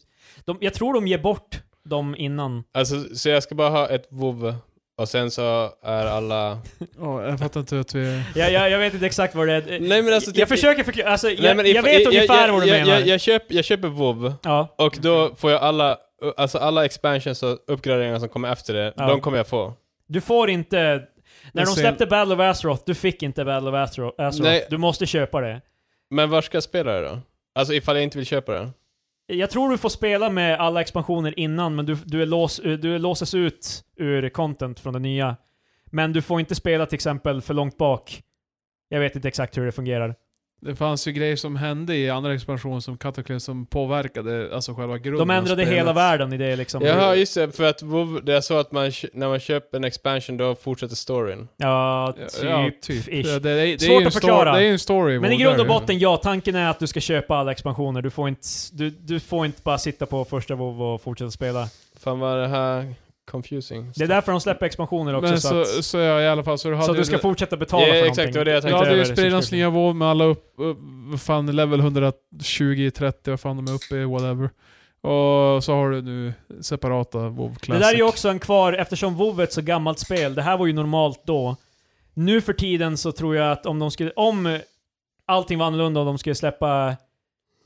Speaker 2: De, jag tror de ger bort dem innan.
Speaker 1: Alltså, så jag ska bara ha ett WoW och sen så är alla...
Speaker 3: Ja, jag fattar inte att vi...
Speaker 2: Jag, jag, jag vet inte exakt vad det är.
Speaker 1: Nej, men alltså,
Speaker 2: jag, jag
Speaker 1: typ-
Speaker 2: försöker förklara, alltså, jag,
Speaker 1: Nej, men if-
Speaker 2: jag vet ungefär vad du
Speaker 1: jag,
Speaker 2: menar.
Speaker 1: Jag, jag, köp, jag köper WoW
Speaker 2: ja.
Speaker 1: och
Speaker 3: Mm.
Speaker 1: då får jag alla, alltså alla expansions och uppgraderingar som kommer efter det,
Speaker 2: Ja.
Speaker 1: de kommer jag få.
Speaker 2: Du får inte... När
Speaker 3: Men
Speaker 2: de
Speaker 3: sen-
Speaker 2: släppte Battle of Azeroth, du fick inte Battle of Azero-
Speaker 1: Nej.
Speaker 2: Azeroth. Du måste köpa det.
Speaker 1: Men var ska jag spela det då? Alltså ifall jag inte vill köpa det?
Speaker 2: Jag tror du får spela med alla expansioner innan, men du, du, är lås, eh, du är låses ut ur content från det nya. Men du får inte spela till exempel för långt bak. Jag vet inte exakt hur det fungerar.
Speaker 3: Det fanns ju grejer som hände i andra expansionen som Cataclysm som påverkade alltså själva grunden.
Speaker 2: De
Speaker 3: av
Speaker 2: ändrade
Speaker 3: spelet.
Speaker 2: hela världen i det liksom.
Speaker 1: Jaha, just det. För att WoW, det är så att man, kö- när man köper en expansion då fortsätter storyn.
Speaker 2: Ja,
Speaker 3: Ja,
Speaker 2: typ.
Speaker 3: Ja, typ.
Speaker 2: ish.
Speaker 3: Ja, det, är- det, är
Speaker 2: Svårt
Speaker 3: ju
Speaker 2: att
Speaker 3: en
Speaker 2: förklara.
Speaker 3: Story, det är ju en story.
Speaker 2: Men i
Speaker 3: WoW,
Speaker 2: grund och
Speaker 3: där ju.
Speaker 2: botten, ja. Tanken är att du ska köpa alla expansioner. Du får inte, du, du får inte bara sitta på första WoW och fortsätta spela.
Speaker 1: Fan vad det här confusing.
Speaker 2: Det är därför de släpper expansioner också.
Speaker 3: Men
Speaker 2: så,
Speaker 3: så,
Speaker 2: att, så,
Speaker 3: så, ja, i alla fall, så du hade
Speaker 2: att du ska
Speaker 3: ju,
Speaker 2: fortsätta betala för
Speaker 1: Ja,
Speaker 2: någonting.
Speaker 1: exakt, det var det jag
Speaker 3: du
Speaker 1: tänkte
Speaker 3: hade ju
Speaker 2: över
Speaker 3: spridans
Speaker 2: subscription.
Speaker 3: nya WoW med alla upp, upp, vad fan, level 120, 30, vad fan de är uppe i, whatever. Och så har du nu separata WoW
Speaker 2: Det
Speaker 3: Classic.
Speaker 2: där är ju också en kvar, eftersom WoW är ett så gammalt spel. Det här var ju normalt då. Nu för tiden så tror jag att om de skulle, om allting var annorlunda och de skulle släppa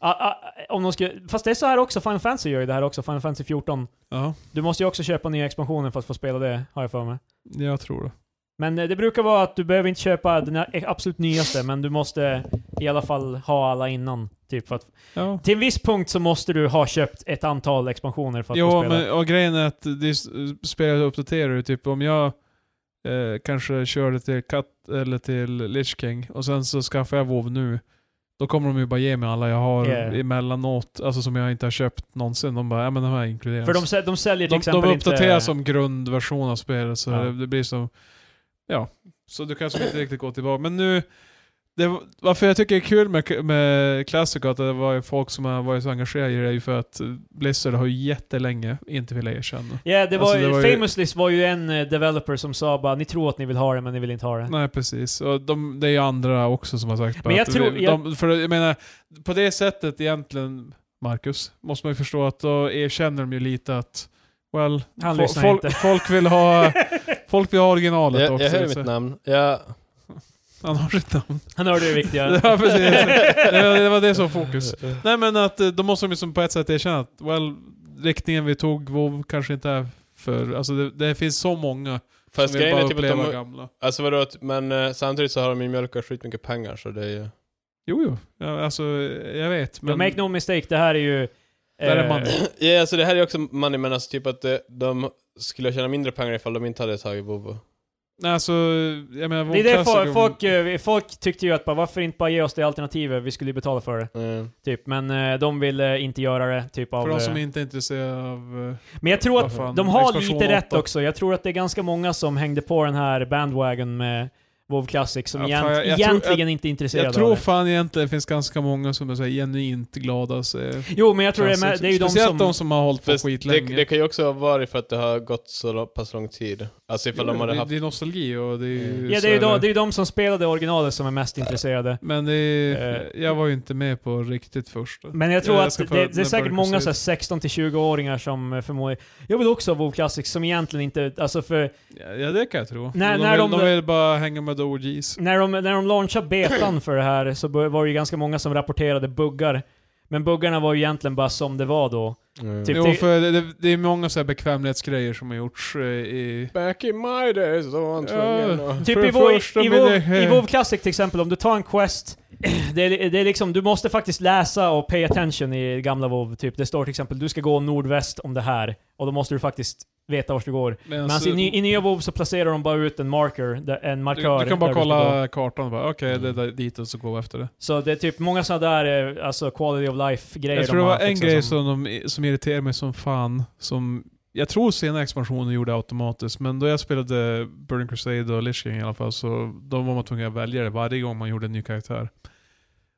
Speaker 2: a, a, om de skulle, fast det är så här också, Final Fantasy gör ju det här också, Final Fantasy 14.
Speaker 3: Ja,
Speaker 2: Du måste ju också köpa nya expansioner för att få spela det, har jag för mig.
Speaker 3: jag tror det.
Speaker 2: Men eh, det brukar vara att du behöver inte köpa den här e-, absolut nyaste, men du måste i alla fall ha alla innan. Typ för att,
Speaker 3: Ja.
Speaker 2: till en viss punkt så måste du ha köpt ett antal expansioner för att få
Speaker 3: Jo,
Speaker 2: spela.
Speaker 3: men, och grejen är att det är s- spelet uppdaterar ju. Typ om jag eh, kanske körde till Cut eller till Lich King och sen så skaffar jag WoW nu. Då kommer de ju bara ge mig alla jag har
Speaker 2: Yeah. emellanåt,
Speaker 3: emellanåt, alltså som jag inte har köpt någonsin. De bara, ja men de här inkluderas.
Speaker 2: För de, säl- de säljer till
Speaker 3: de,
Speaker 2: exempel
Speaker 3: de uppdaterar
Speaker 2: inte...
Speaker 3: som grundversion av spelet, så
Speaker 2: Ja.
Speaker 3: det, det blir som... Ja, så du kanske inte riktigt går tillbaka. Men nu... Det, var- varför jag tycker det är kul med, med Classic och att det var ju folk som har varit så engagerade i det är ju för att Blizzard har ju jättelänge inte velat erkänna.
Speaker 2: Ja, det var,
Speaker 3: Alltså, det var ju-
Speaker 2: Famously var ju en eh, developer som sa bara ni tror att ni vill ha det, men ni vill inte ha det.
Speaker 3: Nej precis, och de, det är ju andra också som har sagt bara
Speaker 2: Men jag
Speaker 3: att
Speaker 2: tror-
Speaker 3: de,
Speaker 2: jag-
Speaker 3: för jag menar, på det sättet egentligen, Marcus, måste man ju förstå att då erkänner de ju lite att Well,
Speaker 2: Han
Speaker 3: fo-
Speaker 2: lyssnar
Speaker 3: folk,
Speaker 2: inte.
Speaker 3: folk vill ha folk vill ha originalet
Speaker 1: Jag,
Speaker 3: också.
Speaker 1: jag hör
Speaker 3: så-
Speaker 1: mitt namn. Jag,
Speaker 3: Han har sitt namn.
Speaker 2: Han hörde det viktiga.
Speaker 3: Ja, precis. Det var- det var det som var fokus. Nej men att eh, då måste de ju som på ett sätt erkänna att well, riktningen vi tog WoW kanske inte är för... Alltså det, det finns så många
Speaker 1: fast
Speaker 3: som vill
Speaker 1: grejen
Speaker 3: bara
Speaker 1: är typ att
Speaker 3: uppleva
Speaker 1: de,
Speaker 3: gamla.
Speaker 1: alltså vadå, att- men eh, samtidigt så har de ju mjölkat skitmycket pengar så det är ju...
Speaker 3: Jo, jo. Ja, alltså, jag vet. Men...
Speaker 2: Make no mistake, det här är ju...
Speaker 3: Där är
Speaker 2: eh,
Speaker 3: man.
Speaker 1: Ja, alltså det här är också money men alltså typ att eh, de skulle tjäna mindre pengar ifall de inte hade tagit Bobo.
Speaker 3: Nej, alltså, jag menar, vår
Speaker 2: Det är det
Speaker 3: klassiker-
Speaker 2: folk, folk, eh, folk tyckte ju att bara, varför inte bara ge oss det alternativet, vi skulle ju betala för det.
Speaker 1: Mm.
Speaker 2: Typ. Men eh, de ville inte göra det, typ av...
Speaker 3: För de som
Speaker 2: eh,
Speaker 3: inte är intresserade av... eh,
Speaker 2: Men jag tror
Speaker 3: Vad fan,
Speaker 2: att de har
Speaker 3: expansion
Speaker 2: lite rätt
Speaker 3: åtta.
Speaker 2: också. Jag tror att det är ganska många som hängde på den här bandwagon med WoW Classic som
Speaker 3: Ja,
Speaker 2: egent,
Speaker 3: fan, jag- jag tror-
Speaker 2: egentligen inte är intresserade
Speaker 3: Jag tror
Speaker 2: av det.
Speaker 3: fan egentligen det finns ganska många som är så här genuint glada. Så, eh,
Speaker 2: Jo, men jag tror det är, med, det är ju de
Speaker 3: Speciellt
Speaker 2: som...
Speaker 3: de som har hållit på
Speaker 1: Fast det,
Speaker 3: skitlänge.
Speaker 1: det kan ju också vara för att det har gått så lo- pass lång tid. Alltså ifall de
Speaker 3: Jo,
Speaker 1: hade
Speaker 3: det,
Speaker 1: haft...
Speaker 3: det är nostalgi och det är ju...
Speaker 2: ja,
Speaker 3: så
Speaker 2: det är ju
Speaker 3: här-
Speaker 2: de, det är ju de som spelade originalet som är mest intresserade.
Speaker 3: Men det är, jag var ju inte med på riktigt först.
Speaker 2: Eh. Men jag tror
Speaker 3: Jag
Speaker 2: att
Speaker 3: ska
Speaker 2: det,
Speaker 3: få-
Speaker 2: det är
Speaker 3: när
Speaker 2: säkert
Speaker 3: burken
Speaker 2: många
Speaker 3: ser
Speaker 2: så här 16-20-åringar som eh, förmodligen... Jag vill också ha WoW Classic som egentligen inte... Alltså för...
Speaker 3: Ja, det kan jag tro.
Speaker 2: När-
Speaker 3: de,
Speaker 2: när
Speaker 3: vill,
Speaker 2: de-
Speaker 3: de... vill bara hänga med the OGs.
Speaker 2: När de, när de launchade betan för det här så bör- var det ju ganska många som rapporterade buggar. Men buggarna var ju egentligen bara som det var då.
Speaker 1: Mm.
Speaker 2: Typ
Speaker 3: Jo,
Speaker 2: det-
Speaker 3: för det, det, det är många så här bekvämlighetsgrejer som har gjorts eh, i...
Speaker 1: Back in my days, då var han tvungen
Speaker 3: Ja.
Speaker 1: att...
Speaker 2: Typ
Speaker 3: För
Speaker 2: i
Speaker 3: det
Speaker 2: WoW,
Speaker 3: första
Speaker 2: i,
Speaker 3: vill
Speaker 2: WoW,
Speaker 3: jag-
Speaker 2: i WoW Classic till exempel, om du tar en quest, det är, det är liksom, du måste faktiskt läsa och pay attention i gamla WoW typ. Det står till exempel du ska gå nordväst om det här, och då måste du faktiskt veta vart du går. Men alltså, i, ny- i nya WoW så placerar de bara ut en marker, där- en markör.
Speaker 3: du, du kan bara
Speaker 2: där ska gå. Mm.
Speaker 3: kolla kartan och bara okej, det är där- dit och så gå efter det.
Speaker 2: Så det är typ många sådana där eh, alltså quality of life-grejer
Speaker 3: Jag tror det
Speaker 2: de
Speaker 3: var
Speaker 2: har
Speaker 3: en
Speaker 2: fixat
Speaker 3: grej
Speaker 2: som-
Speaker 3: som, de, som irriterade mig som fan, som jag tror sena expansioner gjorde automatiskt, men då jag spelade Burning Crusade och Lich King i alla fall, så då var man tvungen att välja det varje gång man gjorde en ny karaktär.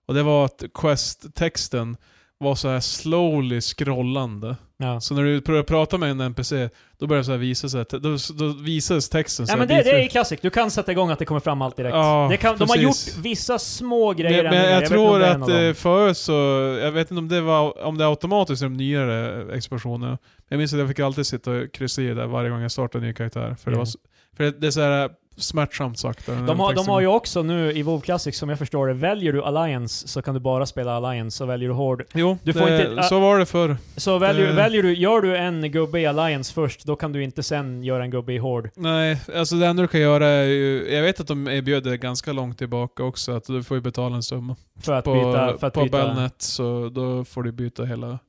Speaker 3: Och det var att quest-texten var så här slowly scrollande.
Speaker 2: Ja.
Speaker 3: Så när du pr- pratar med en NPC, då börjar det så här visa sig, att- då, då visas texten så
Speaker 2: Ja
Speaker 3: här
Speaker 2: men det,
Speaker 3: bit
Speaker 2: det
Speaker 3: för-
Speaker 2: är klassic, du kan sätta igång att det kommer fram allt direkt.
Speaker 3: Alltså, Ja,
Speaker 2: det kan, de har
Speaker 3: precis.
Speaker 2: gjort vissa små grejer
Speaker 3: Men,
Speaker 2: ändringar.
Speaker 3: men jag,
Speaker 2: vet inte om
Speaker 3: tror
Speaker 2: det är en av
Speaker 3: att
Speaker 2: dem.
Speaker 3: eh, förut så, jag vet inte om det var om det är automatiskt i de nyare expansionerna. Jag minns att jag fick alltid sitta och kryssa i där varje gång jag startade en ny karaktär. För,
Speaker 2: Mm.
Speaker 3: det, var, s- för det, det är så här eh, smärtsamt sagt.
Speaker 2: De har, de har ju också nu i WoW Classic, som jag förstår det, väljer du Alliance så kan du bara spela Alliance, och väljer du Horde.
Speaker 3: Jo,
Speaker 2: du får
Speaker 3: det,
Speaker 2: inte-
Speaker 3: så var det förr.
Speaker 2: Så väljer,
Speaker 3: Eh.
Speaker 2: väljer du, gör du en gubbe i Alliance först, då kan du inte sen göra en gubbe i Horde.
Speaker 3: Nej, alltså det enda du kan göra är ju... Jag vet att de erbjöd det ganska långt tillbaka också, att du får ju betala en summa.
Speaker 2: För att
Speaker 3: På,
Speaker 2: byta... För att
Speaker 3: på
Speaker 2: byta.
Speaker 3: Belnet, så då får du byta hela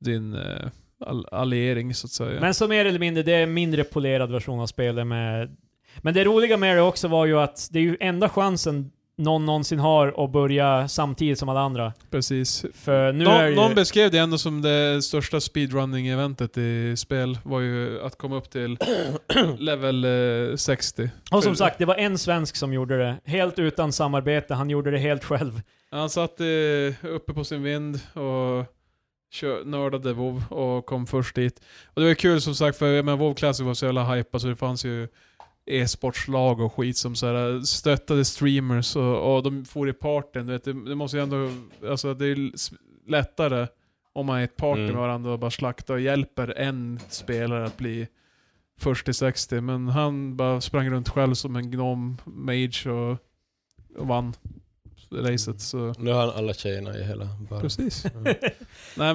Speaker 3: din eh, all, alliering så att säga.
Speaker 2: Men som mer eller mindre, det är en mindre polerad version av spelet med... Men det roliga med det också var ju att det är ju enda chansen någon någonsin har att börja samtidigt som alla andra.
Speaker 3: Precis.
Speaker 2: För Eh, nu
Speaker 3: Nå-
Speaker 2: är ju...
Speaker 3: Någon beskrev det ändå som det största speedrunning-eventet i spel, var ju att komma upp till level eh, 60.
Speaker 2: Och som sagt, det var en svensk som gjorde det. Helt utan samarbete, han gjorde det helt själv.
Speaker 3: Han satt eh, uppe på sin vind och kö- nördade WoW och kom först dit. Och det var ju kul som sagt, för jag menar, WoW Classic var så jävla hypat så det fanns ju e-sportslag och skit som så här eh, stöttade streamers och, och de for i parten. Du vet, det, det måste ju ändå, alltså det är ju s- lättare om man är ett party
Speaker 1: Mm.
Speaker 3: med varandra och bara slaktar och hjälper en spelare att bli först till 60. Men han bara sprang runt själv som en gnom mage och, och vann racet. Så.
Speaker 1: Nu har han alla tjejerna i hela världen.
Speaker 3: Precis.
Speaker 1: Mm.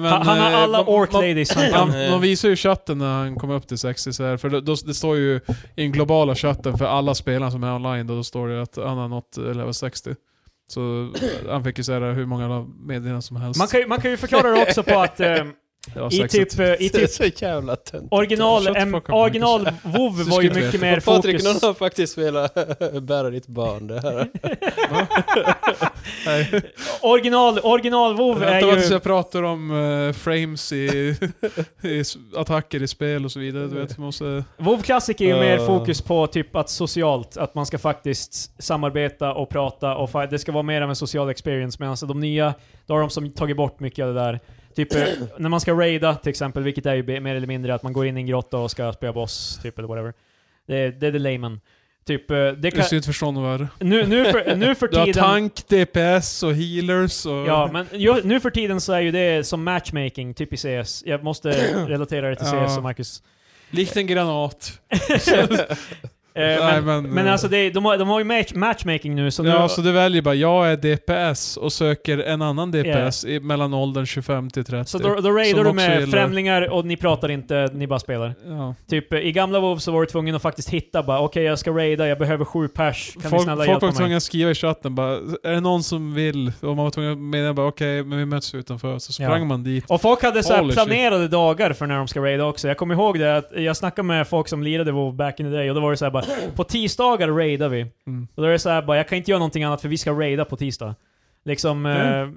Speaker 3: Nej, men,
Speaker 2: han, han har
Speaker 3: eh,
Speaker 2: alla
Speaker 3: de-
Speaker 2: orc
Speaker 3: de-
Speaker 2: ladies han
Speaker 3: Han,
Speaker 2: kan.
Speaker 3: de visar ju chatten när han kommer upp till 60 så här, för då, då, det står ju i den globala chatten för alla spelare som är online, då, då står det att han har nått eh, level 60. Så eh, han fick ju säga hur många meddelanden som helst.
Speaker 2: Man kan, ju- man kan ju förklara det också på att eh,
Speaker 3: det var
Speaker 2: i
Speaker 3: sexigt.
Speaker 2: typ, eh, i
Speaker 1: Det är
Speaker 2: typ
Speaker 1: så jävla töntigt.
Speaker 2: original,
Speaker 3: Shut the
Speaker 2: em,
Speaker 3: fuck up,
Speaker 2: original WoW var ju
Speaker 3: skulle
Speaker 2: mycket
Speaker 3: veta.
Speaker 2: mer
Speaker 1: Patrik, någon
Speaker 2: fokus.
Speaker 1: har faktiskt velat bära ditt barn. Det här.
Speaker 3: Nej.
Speaker 2: Original, original WoW är
Speaker 3: Vänta bara tills
Speaker 2: ju...
Speaker 3: jag pratar om eh, frames i, i s- attacker i spel och så vidare. Du vet, man måste...
Speaker 2: WoW Classic är ju mer
Speaker 1: Eh.
Speaker 2: fokus på typ att socialt, att man ska faktiskt samarbeta och prata och fight. det ska vara mer av en social experience. Men alltså de nya, då har de som tagit bort mycket av det där. Typ eh, när man ska raida till exempel, vilket är ju be- mer eller mindre att man går in i en grotta och ska spela boss, typ eller whatever. Det, det är the layman. Typ, eh, det
Speaker 3: Du
Speaker 2: kan,
Speaker 3: ska ju inte förstå något värre.
Speaker 2: nu, nu, för, nu för
Speaker 3: Du har
Speaker 2: tiden...
Speaker 3: tank, DPS och healers och...
Speaker 2: Ja, men ju, nu för tiden så är ju det som matchmaking, typ i CS. Jag måste relatera det till
Speaker 3: Ja.
Speaker 2: CS och Marcus.
Speaker 3: Likt en granat.
Speaker 2: Eh,
Speaker 3: Nej,
Speaker 2: men,
Speaker 3: men-
Speaker 2: men alltså, det, de, har, de har ju match, matchmaking nu, så
Speaker 3: ja,
Speaker 2: nu,
Speaker 3: så alltså,
Speaker 2: så,
Speaker 3: du väljer bara, jag är DPS och söker en annan DPS i, mellan åldern 25 till 30.
Speaker 2: då, då raidar
Speaker 3: Som
Speaker 2: du
Speaker 3: också
Speaker 2: med
Speaker 3: gillar-
Speaker 2: främlingar och ni pratar inte, ni bara spelar.
Speaker 3: ja.
Speaker 2: Typ eh, i gamla WoW så var du tvungen att faktiskt hitta bara, okej jag ska raida, jag behöver sju pers, kan ni
Speaker 3: Folk,
Speaker 2: snälla
Speaker 3: folk var
Speaker 2: hjälpa mig?
Speaker 3: tvungna att skriva i chatten bara, är det någon som vill? Och man var tvungen att mena bara, okej, men vi möts utanför. Så sprang
Speaker 2: Ja.
Speaker 3: man dit.
Speaker 2: Och folk hade så här
Speaker 3: Holy shit.
Speaker 2: planerade dagar för när de ska raida också. Jag kommer ihåg det, att jag snackade med folk som lirade WoW back in the day och då var det så här bara, på tisdagar raidar vi.
Speaker 3: Mm.
Speaker 2: Och då är det så här bara, jag kan inte göra någonting annat för vi ska raida på tisdag. Liksom, eh,
Speaker 3: Eh,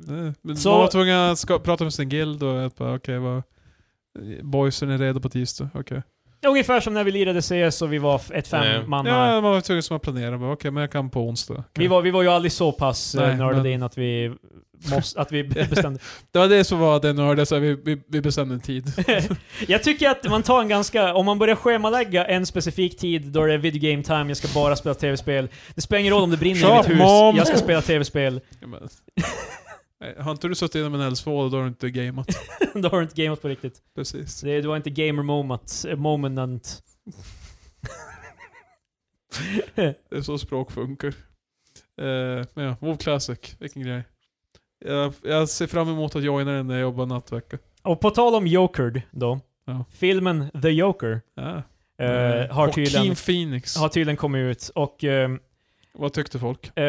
Speaker 3: men
Speaker 2: så-
Speaker 3: Man var tvungen att ska, prata med sin guild och att bara, okej, vad... Boysen är redo på tisdag, okej.
Speaker 2: ungefär som när vi lirade CS och vi var f- ett
Speaker 1: Nej.
Speaker 2: femmanna.
Speaker 3: Ja, man var tvungen som att planera, bara, okej, men jag kan på onsdag. Okej.
Speaker 2: Ah, Vi, var, vi var ju aldrig så pass eh,
Speaker 3: Nej,
Speaker 2: nördade
Speaker 3: men-
Speaker 2: in att vi, måste, att vi bestämde.
Speaker 3: Det var det som var det nördiga, så vi, vi, vi bestämde en tid.
Speaker 2: Jag tycker att man tar en ganska, om man börjar schemalägga en specifik tid då det är video game time, jag ska bara spela tv-spel. Det spelar ingen roll om det brinner i
Speaker 3: Shut
Speaker 2: mitt hus,
Speaker 3: mom.
Speaker 2: jag ska spela tv-spel.
Speaker 3: Ja, men- Nej, Har inte du suttit inom en eldsvåda, då har du inte gameat.
Speaker 2: Då har du inte gameat på riktigt.
Speaker 3: Precis.
Speaker 2: Det, det var inte gamer moment, eh, moment.
Speaker 3: Det är så språk funkar. Eh, men ja, WoW Classic, vilken grej. Jag, jag ser fram emot att joina den när jag jobbar nattvecka.
Speaker 2: Och på tal om Jokerd då.
Speaker 3: Ja.
Speaker 2: Filmen The Joker
Speaker 3: Ja.
Speaker 2: eh,
Speaker 3: Eh,
Speaker 2: har,
Speaker 3: Joaquin
Speaker 2: tydligen,
Speaker 3: Phoenix.
Speaker 2: har tydligen kommit ut och ehm,
Speaker 3: Vad tyckte folk?
Speaker 2: eh, det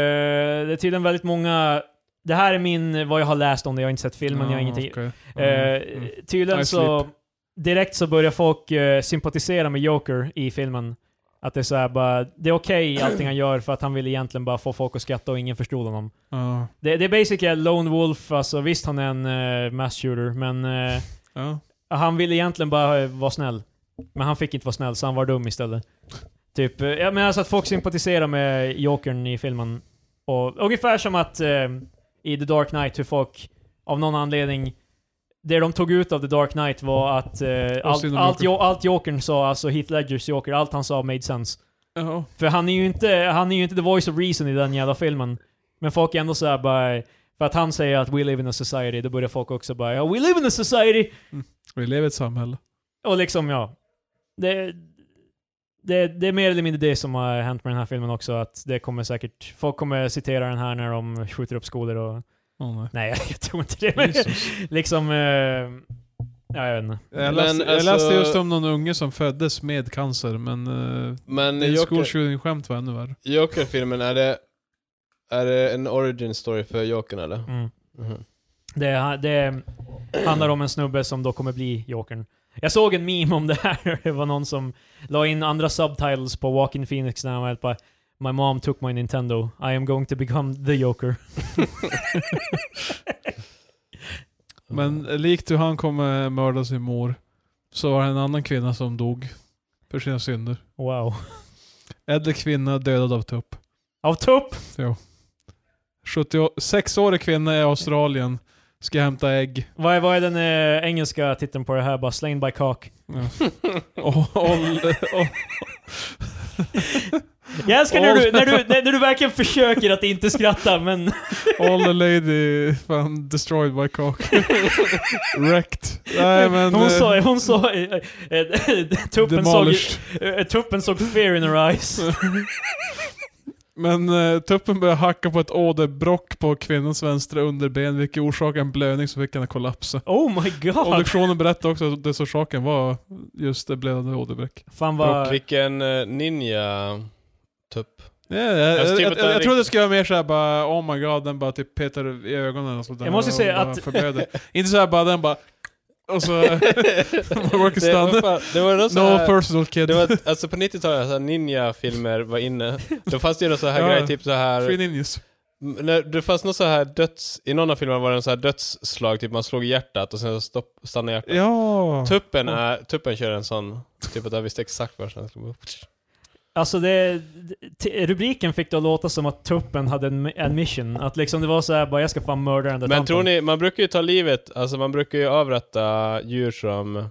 Speaker 2: är tydligen väldigt många det här är min, vad jag har läst om det, jag har inte sett filmen, jag har
Speaker 3: Ja,
Speaker 2: ingenting,
Speaker 3: Ah, okej.
Speaker 2: Eh,
Speaker 3: Mm, mm.
Speaker 2: Tydligen
Speaker 3: I
Speaker 2: så,
Speaker 3: sleep.
Speaker 2: direkt så börjar folk eh, sympatisera med Joker i filmen. Att det är så här bara, det är okej allting han gör för att han vill egentligen bara få folk att skratta och ingen förstod honom.
Speaker 3: Ja.
Speaker 2: Det, det är basically Lone Wolf, alltså visst han är en eh, mass shooter, men eh,
Speaker 3: Ja.
Speaker 2: han vill egentligen bara eh, vara snäll. Men han fick inte vara snäll, så han var dum istället. Typ, eh, ja men alltså att folk sympatiserar med Jokern i filmen. Och ungefär som att eh, i The Dark Knight, hur folk av någon anledning... Det de tog ut av The Dark Knight var att eh, allt,
Speaker 3: synd om
Speaker 2: allt,
Speaker 3: Joker.
Speaker 2: jo, allt Jokern sa, alltså Heath Ledgers Joker, allt han sa made sense.
Speaker 3: Ja.
Speaker 2: För han är ju inte, han är ju inte the voice of reason i den jävla filmen. Men folk är ändå såhär bara... För att han säger att we live in a society, då börjar folk också bara ja, we live in a society!
Speaker 3: Vi lever i ett samhälle.
Speaker 2: Och liksom, ja. Det, det, det är mer eller mindre det som har hänt med den här filmen också, att det kommer säkert... Folk kommer citera den här när de skjuter upp skolor och...
Speaker 3: Åh, nej.
Speaker 2: Nej, jag tror inte det. Men liksom... Eh, ja, jag vet inte.
Speaker 3: Jag,
Speaker 1: Men
Speaker 3: läste, jag
Speaker 1: alltså-
Speaker 3: läste just om någon unge som föddes med cancer, men uh,
Speaker 1: Men Joker-
Speaker 3: skolshooting-skämt var ännu värre.
Speaker 1: Joker-filmen, är det, är det en origin story för Jokern eller?
Speaker 2: Mm.
Speaker 1: Mhm.
Speaker 2: Det, det handlar om en snubbe som då kommer bli Jokern. Jag såg en meme om det här, det var någon som la in andra subtitles på Walking Phoenix när han var helt bara My mom took my Nintendo, I am going to become the Joker.
Speaker 3: Men likt hur han kommer mörda sin mor, så var det en annan kvinna som dog för sina synder.
Speaker 2: Wow.
Speaker 3: Äldre kvinna dödad av tupp.
Speaker 2: Av tupp!
Speaker 3: 76-årig kvinna i Australien ska hämta ägg.
Speaker 2: Vad är, vad är den eh, engelska titeln på det här? Bara slain by cock.
Speaker 3: Ja. Och, och, och,
Speaker 2: Jag älskar när du, när, du, när du verkligen försöker att inte skratta, men...
Speaker 3: all the lady fan destroyed by cock. Wrecked. Nej men...
Speaker 2: hon
Speaker 3: eh,
Speaker 2: sa... Hon sa eh, eh, tuppen, såg,
Speaker 3: demolished.
Speaker 2: eh, tuppen såg fear in her eyes.
Speaker 3: Men eh, tuppen började hacka på ett åderbrock på kvinnans vänstra underben vilket orsakade en blödning som fick henne att kollapsa.
Speaker 2: Oh my god!
Speaker 3: Obduktionen berättade också att desorsaken var just det blödande åderbräck.
Speaker 2: Fan vad...
Speaker 1: Och vilken eh, ninja... Tupp.
Speaker 3: Ja, Jag,
Speaker 1: skriver
Speaker 3: jag, jag,
Speaker 1: Alltså, typ att
Speaker 3: jag,
Speaker 1: det är
Speaker 3: jag trodde det
Speaker 1: riktigt.
Speaker 3: skulle vara mer såhär bara oh my god, den bara typ petar i ögonen och sådär.
Speaker 2: Jag måste
Speaker 3: och
Speaker 2: säga
Speaker 3: bara
Speaker 2: att-
Speaker 3: Förblöder. Inte såhär bara den bara... Och så... Work is
Speaker 1: Det, vad
Speaker 3: done.
Speaker 1: fan, det var någon sån
Speaker 3: No
Speaker 1: här,
Speaker 3: personal kid.
Speaker 1: det var, alltså på 90-talet, så här ninja-filmer var inne. Då fanns det ju någon sån här
Speaker 3: Ja.
Speaker 1: grej, typ så här
Speaker 3: Three ninjas.
Speaker 1: M- när- Det fanns någon så här döds... I någon av filmerna var det en så här dödsslag, typ man slog i hjärtat och sen så stopp, stannade hjärtat.
Speaker 3: Ja.
Speaker 1: Tuppen, är, tuppen kör en sån, typ att jag visste exakt var den skulle gå.
Speaker 2: Alltså det... t- Rubriken fick det att låta som att tuppen hade en, en mission. Att liksom det var så här, bara jag ska fan mörda den där
Speaker 1: Men
Speaker 2: tanten."
Speaker 1: tror ni, man brukar ju ta livet, alltså man brukar ju avrätta djur som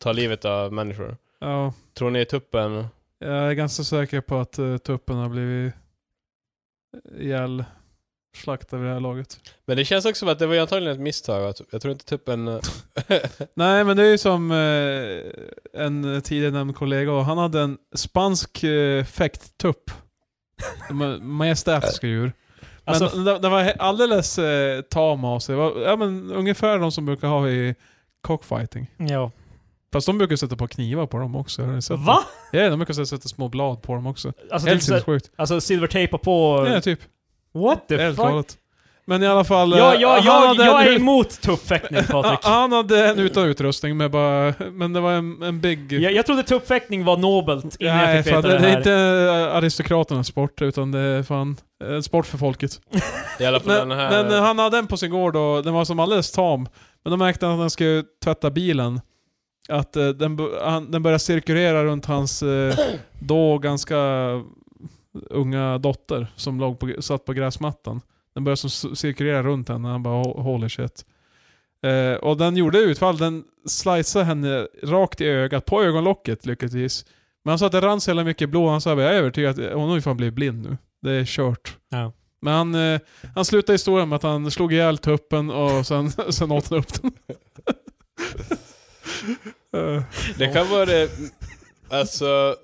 Speaker 1: tar livet av människor.
Speaker 3: ja.
Speaker 1: Tror ni tuppen...
Speaker 3: Jag är ganska säker på att eh, tuppen har blivit ihjäl slaktad vid det här laget.
Speaker 1: Men det känns också som att det var ju antagligen ett misstag. att- Jag tror inte tuppen... eh,
Speaker 3: Nej, men det är ju som eh, en tidigare nämnd kollega, och han hade en spansk eh, fäkttupp. Ma- Majestätiska djur. Men
Speaker 2: Alltså,
Speaker 3: den, den var he- alldeles eh, tam av sig. Det Var, ja, men, ungefär de som brukar ha i cockfighting.
Speaker 2: ja.
Speaker 3: Fast de brukar sätta på knivar på dem också. Har ni sett
Speaker 2: Va?
Speaker 3: det? Ja, de brukar sätta små blad på dem också.
Speaker 2: Alltså, typ,
Speaker 3: Helt
Speaker 2: så-
Speaker 3: sinnessjukt.
Speaker 2: alltså silvertejpa på...
Speaker 3: Ja, typ.
Speaker 2: What the
Speaker 3: Helt
Speaker 2: fuck?
Speaker 3: galet. Men i alla fall... eh,
Speaker 2: Ja, ja,
Speaker 3: han
Speaker 2: jag,
Speaker 3: hade
Speaker 2: jag
Speaker 3: en
Speaker 2: är
Speaker 3: ut-
Speaker 2: emot tuppfäktning Patrik.
Speaker 3: Ah, Han hade en utan utrustning med bara... Men det var en, en big...
Speaker 2: Jag, jag trodde tuppfäktning var nobelt innan
Speaker 3: Nej,
Speaker 2: jag fick
Speaker 3: fan,
Speaker 2: veta
Speaker 3: det,
Speaker 2: det,
Speaker 3: det är
Speaker 2: här.
Speaker 3: inte eh, aristokraternas sport, utan det är fan en sport för folket.
Speaker 1: I alla fall
Speaker 3: Men,
Speaker 1: den här...
Speaker 3: men eh, han hade den på sin gård och den var som alldeles tam. Men då märkte han att han skulle tvätta bilen. Att eh, den, bo- han, den började cirkulera runt hans eh, då ganska unga dotter som låg på, satt på gräsmattan. Den började som s- cirkulera runt henne och han bara "Ho- holy shit. Eh, och den gjorde utfall, den sliceade henne rakt i ögat, på ögonlocket lyckligtvis. Men han sa att det rann så jävla mycket blod, han sa jag är övertygad att hon har ju fan blivit blind nu. Det är kört.
Speaker 2: Ja.
Speaker 3: Men han, eh, han slutade historien med att han slog ihjäl tuppen och sen, sen åt han upp den. Eh,
Speaker 1: Det kan vara det... Alltså...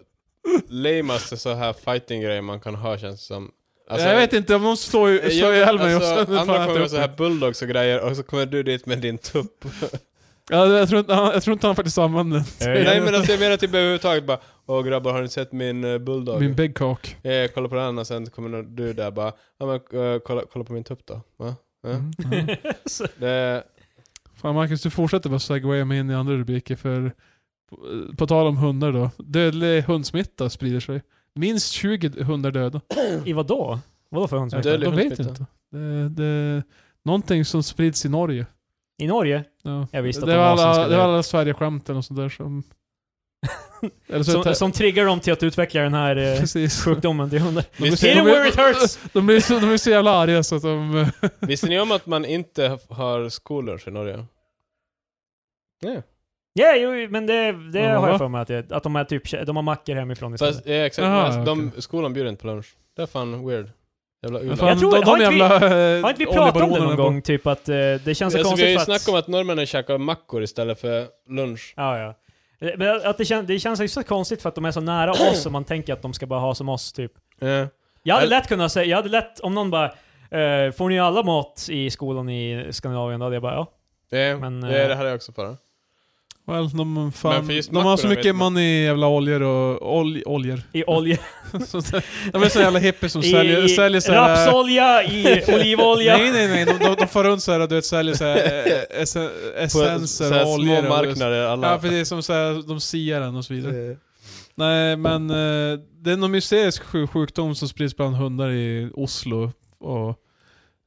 Speaker 1: Lamaste så här fighting-grejer man kan ha känns det som. Alltså,
Speaker 3: jag vet inte, om någon slår ju-
Speaker 1: eh,
Speaker 3: slår
Speaker 1: jag-
Speaker 3: ihjäl mig och
Speaker 1: alltså,
Speaker 3: sen fan
Speaker 1: Andra
Speaker 3: äter
Speaker 1: kommer med
Speaker 3: upp
Speaker 1: så
Speaker 3: den.
Speaker 1: här bulldogs och grejer och så kommer du dit med din tupp.
Speaker 3: Ja, jag, tror inte, han- jag tror inte han faktiskt använde den.
Speaker 2: Eh,
Speaker 1: Nej men alltså jag menar typ överhuvudtaget bara Åh grabbar har ni sett min eh, bulldog?
Speaker 3: Min big cock.
Speaker 1: Ja, jag kollar på den och sen kommer du där bara Ja men eh, kolla, kolla på min tupp då. Va? Ja.
Speaker 3: Mm. ja.
Speaker 2: Så-
Speaker 1: Det,
Speaker 3: Fan Marcus, du fortsätter bara segwaya mig in i andra rubriker för på- på tal om hundar då. Dödlig hundsmitta sprider sig. Minst 20 hundar döda.
Speaker 2: I vad då? Vadå för hundsmitta?
Speaker 1: Dödlig
Speaker 3: De vet
Speaker 1: hundsmitta.
Speaker 3: inte. Det, det, någonting som sprids i Norge.
Speaker 2: I Norge?
Speaker 3: Ja.
Speaker 2: Jag visste att
Speaker 3: det,
Speaker 2: de
Speaker 3: var
Speaker 2: var som
Speaker 3: alla,
Speaker 2: skulle-
Speaker 3: det var alla Sverige-skämten och sånt där som... Eller så,
Speaker 2: Som, som triggar dem till att utveckla den här eh,
Speaker 3: precis.
Speaker 2: sjukdomen till hundar.
Speaker 1: visste,
Speaker 2: Hit
Speaker 1: ni,
Speaker 2: him where it hurts!
Speaker 3: De blir, så, de blir så jävla arga så att de... eh,
Speaker 1: visste ni om att man inte har skolor i Norge? Nej.
Speaker 2: Ja, jo, men det, det
Speaker 3: Ja,
Speaker 2: har
Speaker 3: va?
Speaker 2: jag för mig att, det, att de är typ, de har mackor hemifrån istället.
Speaker 1: Fast, ja, exakt,
Speaker 3: Aha,
Speaker 1: alltså, de, skolan bjuder inte på lunch. Det är fan weird. Jävla uland.
Speaker 3: Fan,
Speaker 2: tror-
Speaker 3: de,
Speaker 2: har
Speaker 3: de
Speaker 2: inte vi-
Speaker 3: jävla... eh,
Speaker 2: Har inte vi pratat om det någon gång? Typ att eh, det känns så
Speaker 1: Alltså, vi har
Speaker 2: konstigt
Speaker 1: ju
Speaker 2: för att...
Speaker 1: snackat om att norrmännen käkar mackor istället för lunch.
Speaker 2: Ja, ja. Eh, Men att det, kän, det känns ju så konstigt för att de är så nära oss och man tänker att de ska bara ha som oss, typ.
Speaker 1: Ja.
Speaker 2: Jag hade
Speaker 1: Eller-
Speaker 2: lätt kunnat säga, jag hade lätt, om någon bara eh, Får ni alla mat i skolan i Skandinavien? Då hade jag bara ja.
Speaker 1: Ja,
Speaker 2: Men,
Speaker 1: ja,
Speaker 2: eh,
Speaker 1: det hade jag också förra.
Speaker 3: Well, de, fan,
Speaker 1: Men för just
Speaker 3: de har
Speaker 1: mackorna
Speaker 3: så
Speaker 1: vet
Speaker 3: mycket
Speaker 1: man.
Speaker 3: money i jävla oljor och... Olj, oljor.
Speaker 2: I olja.
Speaker 3: Sånt där. De är så jävla hippies som
Speaker 2: I,
Speaker 3: säljer,
Speaker 2: i
Speaker 3: säljer så här,
Speaker 2: rapsolja, i olivolja.
Speaker 3: Nej, nej, nej. De, de, de far runt såhär, du vet, säljer såhär eh, ess-
Speaker 1: så
Speaker 3: essenser
Speaker 1: här
Speaker 3: och oljor.
Speaker 1: små
Speaker 3: och-
Speaker 1: marknader. Alla,
Speaker 3: Ja, för det är som såhär, de siar den och så vidare.
Speaker 1: Eh,
Speaker 3: Nej, men eh, det är någon mysterisk sju- sjukdom som sprids bland hundar i Oslo. Och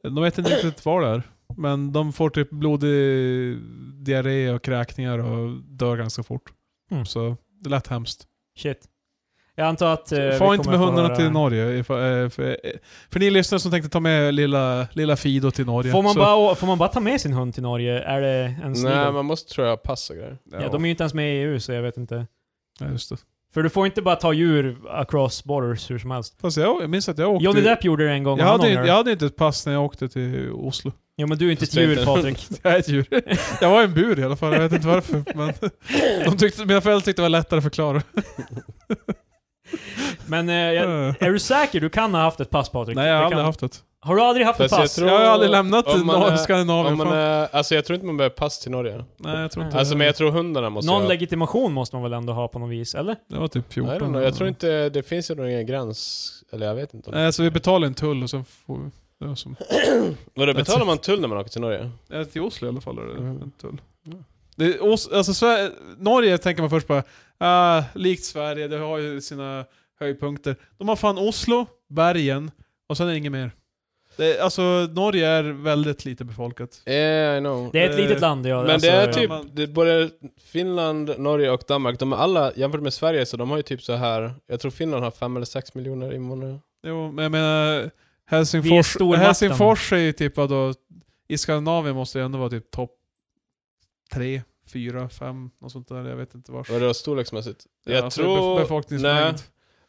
Speaker 3: de vet inte riktigt vad det är. Men de får typ blodig diarré och kräkningar och dör ganska fort.
Speaker 2: Mm.
Speaker 3: Så det lät hemskt.
Speaker 2: Shit. Jag antar att... eh, vi
Speaker 3: Far inte
Speaker 2: kommer
Speaker 3: med
Speaker 2: få
Speaker 3: hundarna
Speaker 2: höra-
Speaker 3: till Norge. If, eh, för, eh, för ni lyssnare som tänkte ta med lilla, lilla Fido till Norge.
Speaker 2: Får man,
Speaker 3: så-
Speaker 2: bara, får man bara ta med sin hund till Norge? Är det en
Speaker 1: Nej,
Speaker 2: snigel?
Speaker 1: man måste tror jag ha pass och grejer.
Speaker 2: Ja, de är ju inte ens med i EU, så jag vet inte.
Speaker 3: Ja, just det.
Speaker 2: För du får inte bara ta djur across borders hur som helst.
Speaker 3: Fast jag, jag minns att jag åkte...
Speaker 2: Johnny Depp gjorde det en gång
Speaker 3: jag,
Speaker 2: och han
Speaker 3: hade, inte-
Speaker 2: ångrar
Speaker 3: jag
Speaker 2: det.
Speaker 3: hade inte ett pass när jag åkte till Oslo.
Speaker 2: Ja men du är inte ett
Speaker 1: Förstår
Speaker 2: djur
Speaker 1: inte.
Speaker 2: Patrik.
Speaker 3: Jag är ett djur. Jag var i en bur i alla fall, jag vet inte varför. Men de tyckte, mina föräldrar tyckte det var lättare att förklara.
Speaker 2: Men eh, jag, är du säker? Du kan ha haft ett pass Patrik.
Speaker 3: Nej, jag har
Speaker 2: Det
Speaker 3: aldrig
Speaker 2: kan-
Speaker 3: haft det.
Speaker 2: Har du aldrig haft ett
Speaker 1: Fast jag
Speaker 2: pass?
Speaker 1: tror-
Speaker 3: Jag har aldrig lämnat
Speaker 1: om man
Speaker 3: norr-
Speaker 1: är-
Speaker 3: Skandinavien.
Speaker 1: Om man
Speaker 3: fan.
Speaker 1: är, alltså jag tror inte man behöver pass till Norge.
Speaker 3: Nej, jag tror inte
Speaker 1: Alltså men jag tror hundarna måste
Speaker 2: Någon
Speaker 1: ha.
Speaker 2: legitimation måste man väl ändå ha på något vis, eller?
Speaker 3: Det var typ
Speaker 1: I
Speaker 3: 14.
Speaker 1: don't know, jag tror inte, det finns ju nog ingen gräns. Eller jag vet inte. Om.
Speaker 3: Nej, så vi betalar en tull och sen får vi... Det var som,
Speaker 1: Vadå,
Speaker 3: Alltså-
Speaker 1: betalar man tull när man åker till Norge?
Speaker 3: ja, till Oslo i alla fall är det
Speaker 1: Mm.
Speaker 3: en tull. Det är, Os- alltså, Sverige, Norge tänker man först bara, ah, likt Sverige, det har ju sina höjdpunkter. De har fan Oslo, bergen och sen är det inget mer. Det, är- alltså Norge är väldigt lite befolkat.
Speaker 1: Yeah, I know.
Speaker 2: Det är ett
Speaker 3: Eh,
Speaker 2: litet land. Ja,
Speaker 1: men
Speaker 2: alltså,
Speaker 1: det är
Speaker 2: ja.
Speaker 1: typ,
Speaker 3: man-
Speaker 1: det, både Finland, Norge och Danmark, de är alla, jämfört med Sverige, så de har ju typ så här. jag tror Finland har fem eller sex miljoner invånare.
Speaker 3: Jo, men jag menar
Speaker 2: Vi är
Speaker 3: Helsingfors,
Speaker 2: stormakten.
Speaker 3: Helsingfors är ju typ vadå, i Skandinavien måste det ändå vara typ topp tre, fyra, fem något sånt där. Jag vet inte vars.
Speaker 1: Vadå storleksmässigt?
Speaker 3: Ja,
Speaker 1: jag
Speaker 3: alltså, bef-
Speaker 1: tror...
Speaker 3: befolkningsmängd.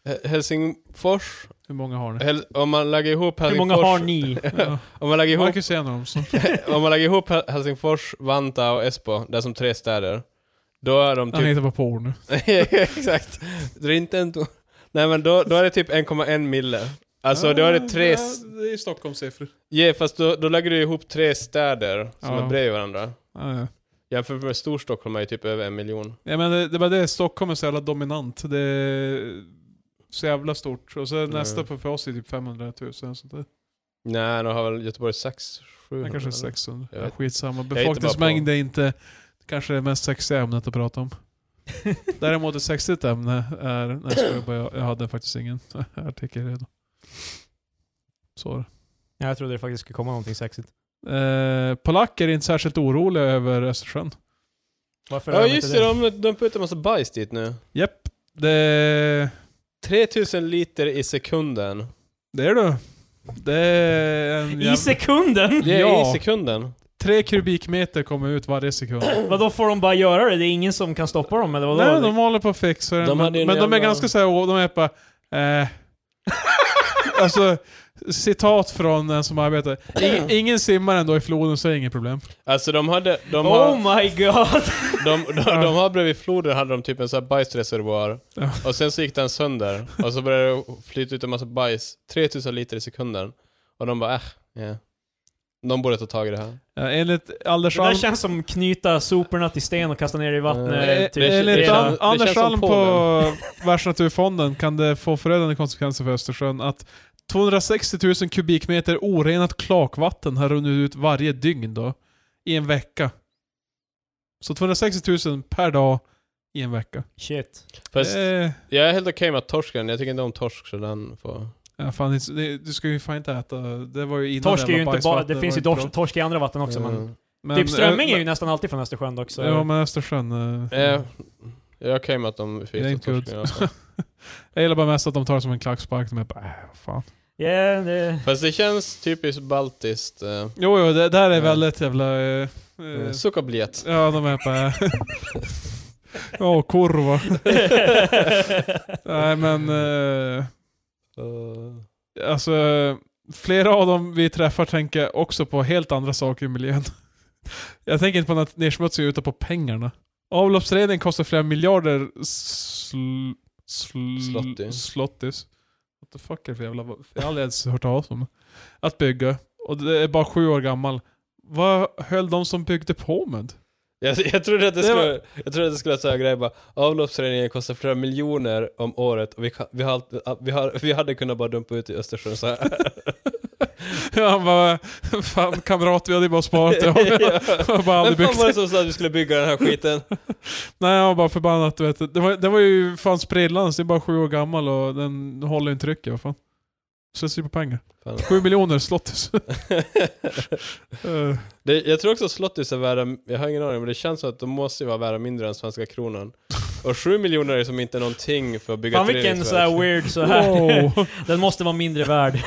Speaker 1: nej. He- Helsingfors,
Speaker 3: Hur många har ni?
Speaker 1: Hel om man lägger ihop
Speaker 2: Hur
Speaker 1: Helsingfors...
Speaker 2: många har ni?
Speaker 3: Ja.
Speaker 1: Om man lägger ihop,
Speaker 3: Marcus är en av dem.
Speaker 1: Typ-
Speaker 3: så-
Speaker 1: om man lägger ihop Hel- Helsingfors, Vanta och Espoo, det är som tre städer. Då är de
Speaker 3: Han
Speaker 1: typ...
Speaker 3: hittar bara på ord nu.
Speaker 1: Exakt. Det är inte en... to- Nej men då, då är det typ 1,1 mille. Alltså då är det tre...
Speaker 3: Ja,
Speaker 1: s-
Speaker 3: Det är Stockholmssiffror.
Speaker 1: Ja, fast då, då lägger du ihop tre städer som
Speaker 3: Ja.
Speaker 1: är bredvid varandra.
Speaker 3: Ja, ja.
Speaker 1: Jämfört med Storstockholm är ju typ över en miljon.
Speaker 3: Ja, men det, det är bara det, Stockholm är så jävla dominant. Det är så jävla stort. Och sen nästa på för oss är typ 500 000. Sånt där.
Speaker 1: Nej, nu har väl Göteborg 6 700
Speaker 3: Det kanske är 600.
Speaker 1: Jag
Speaker 3: Ja,
Speaker 1: vet.
Speaker 3: skitsamma.
Speaker 1: bara på-
Speaker 3: Befolkningsmängd är inte kanske det mest sexiga ämnet att prata om. Däremot ett sexigt ämne är... Nej, jag skojar bara. jag, jag hade faktiskt ingen artikel redo. Så är det.
Speaker 2: Ja, jag trodde det faktiskt skulle komma någonting sexigt.
Speaker 3: Eh, polacker är inte särskilt oroliga över Östersjön.
Speaker 2: Varför är
Speaker 1: Ja
Speaker 2: de
Speaker 1: just
Speaker 2: inte
Speaker 1: det, de, de putar massa bajs dit nu.
Speaker 3: Japp. Det...
Speaker 1: 3000 liter i sekunden.
Speaker 3: Det är du. Det är en
Speaker 2: I sekunden?
Speaker 1: Det är
Speaker 3: Ja.
Speaker 1: i sekunden.
Speaker 3: Tre kubikmeter kommer ut varje sekund.
Speaker 2: Vadå får de bara göra det? Det är ingen som kan stoppa dem eller vadå?
Speaker 3: Nej, de håller på att fixa det.
Speaker 1: De
Speaker 3: men
Speaker 1: hade ju
Speaker 3: men
Speaker 1: en
Speaker 3: de är
Speaker 1: jävla-
Speaker 3: ganska såhär, och de är bara... Eh, alltså, citat från den som arbetar. Ingen, ingen simmar ändå i floden så är det inget problem.
Speaker 1: Alltså de hade, de har,
Speaker 2: Oh my god!
Speaker 1: de, de, de har bredvid floden hade de typ en sån här bajsreservoar.
Speaker 3: Ja.
Speaker 1: Och sen så gick den sönder. Och så började det flyta ut en massa bajs. 3000 liter i sekunden. Och de bara äh, ja. De borde ta tag i det här.
Speaker 3: Ja, enligt Anders
Speaker 2: Det där
Speaker 3: Alm...
Speaker 2: känns som knyta soporna till sten och kasta ner i
Speaker 1: Eh,
Speaker 2: vattnet. typ.
Speaker 1: det- det-
Speaker 3: Enligt
Speaker 1: det-
Speaker 3: An-
Speaker 1: det känns
Speaker 3: Anders
Speaker 1: som
Speaker 3: Alm på
Speaker 1: Polen.
Speaker 3: Världsnaturfonden kan det få förödande konsekvenser för Östersjön att 260 000 kubikmeter orenat klakvatten har runnit ut varje dygn då, i en vecka. Så 260 000 per dag i en vecka.
Speaker 2: Shit.
Speaker 1: Fast
Speaker 3: Eh,
Speaker 1: jag är helt okej med torsken. Jag tycker inte om torsk så den får...
Speaker 3: ja, fan, det- det, du ska ju fan inte äta, det var ju innan
Speaker 2: Torsk är
Speaker 3: jävla
Speaker 2: ju inte bara...
Speaker 3: bajsvatten,
Speaker 2: Det finns
Speaker 3: var
Speaker 2: ju
Speaker 3: inte
Speaker 2: torsk,
Speaker 3: bra.
Speaker 2: torsk i andra vatten också men...
Speaker 1: Mm.
Speaker 3: Men,
Speaker 2: Typ strömming
Speaker 3: eh,
Speaker 2: är ju nästan alltid från Östersjön dock så...
Speaker 3: Ja men Östersjön. eh,
Speaker 1: Eh, jag är okej med att de
Speaker 3: Det är
Speaker 1: fick
Speaker 3: inte
Speaker 1: torsken. i alla fall.
Speaker 3: Jag gillar bara mest att de tar det som en klackspark, de är bara äh, vad fan.
Speaker 2: Ja, det...
Speaker 1: Fast det känns typiskt baltiskt. Eh,
Speaker 3: Jo jo, det, det här är
Speaker 1: Ja.
Speaker 3: väldigt jävla... eh, eh,
Speaker 1: Sukkabliet.
Speaker 3: Ja, de är på... Ja, korva. Nej men, eh, alltså flera av dem vi träffar tänker också på helt andra saker i miljön. Jag tänker inte på något nedsmutsning utan på pengarna. Avloppsrening kostar flera miljarder sl, sl,
Speaker 1: Slotti.
Speaker 3: slottis. What the fuck är det för jävla... Jag har aldrig ens hört talas om det. Att bygga. Och det är bara sju år gammal. Vad höll de som byggde på med?
Speaker 1: Jag, jag trodde att det
Speaker 3: Det
Speaker 1: skulle, jag trodde att det skulle säga grejer bara avloppsreningen kostar flera miljoner om året och vi, kan, vi, har, allt- vi, har, vi hade kunnat bara dumpa ut i Östersjön så här.
Speaker 3: Ja, han bara, fan kamrat vi hade ju bara sparat det. Jag har bara
Speaker 1: Vem fan
Speaker 3: aldrig byggt
Speaker 1: var det
Speaker 3: det.
Speaker 1: som sa att vi skulle bygga den här skiten?
Speaker 3: Nej jag var bara förbannat du vet. Det var, det var ju fan sprillans, det är bara sju år gammal och den håller inte trycket vad fan. Slösar ju på pengar.
Speaker 1: Fan.
Speaker 3: Sju miljoner slottis. Eh,
Speaker 1: det, jag tror också slottis är värda, jag har ingen aning men det känns som att de måste ju vara värda mindre än svenska kronan. Och sju miljoner är som inte någonting för att bygga
Speaker 2: Fan
Speaker 1: ett
Speaker 2: vilken
Speaker 1: reningsverk.
Speaker 2: så här weird så här.
Speaker 3: wow. Eh,
Speaker 2: Den måste vara mindre värd.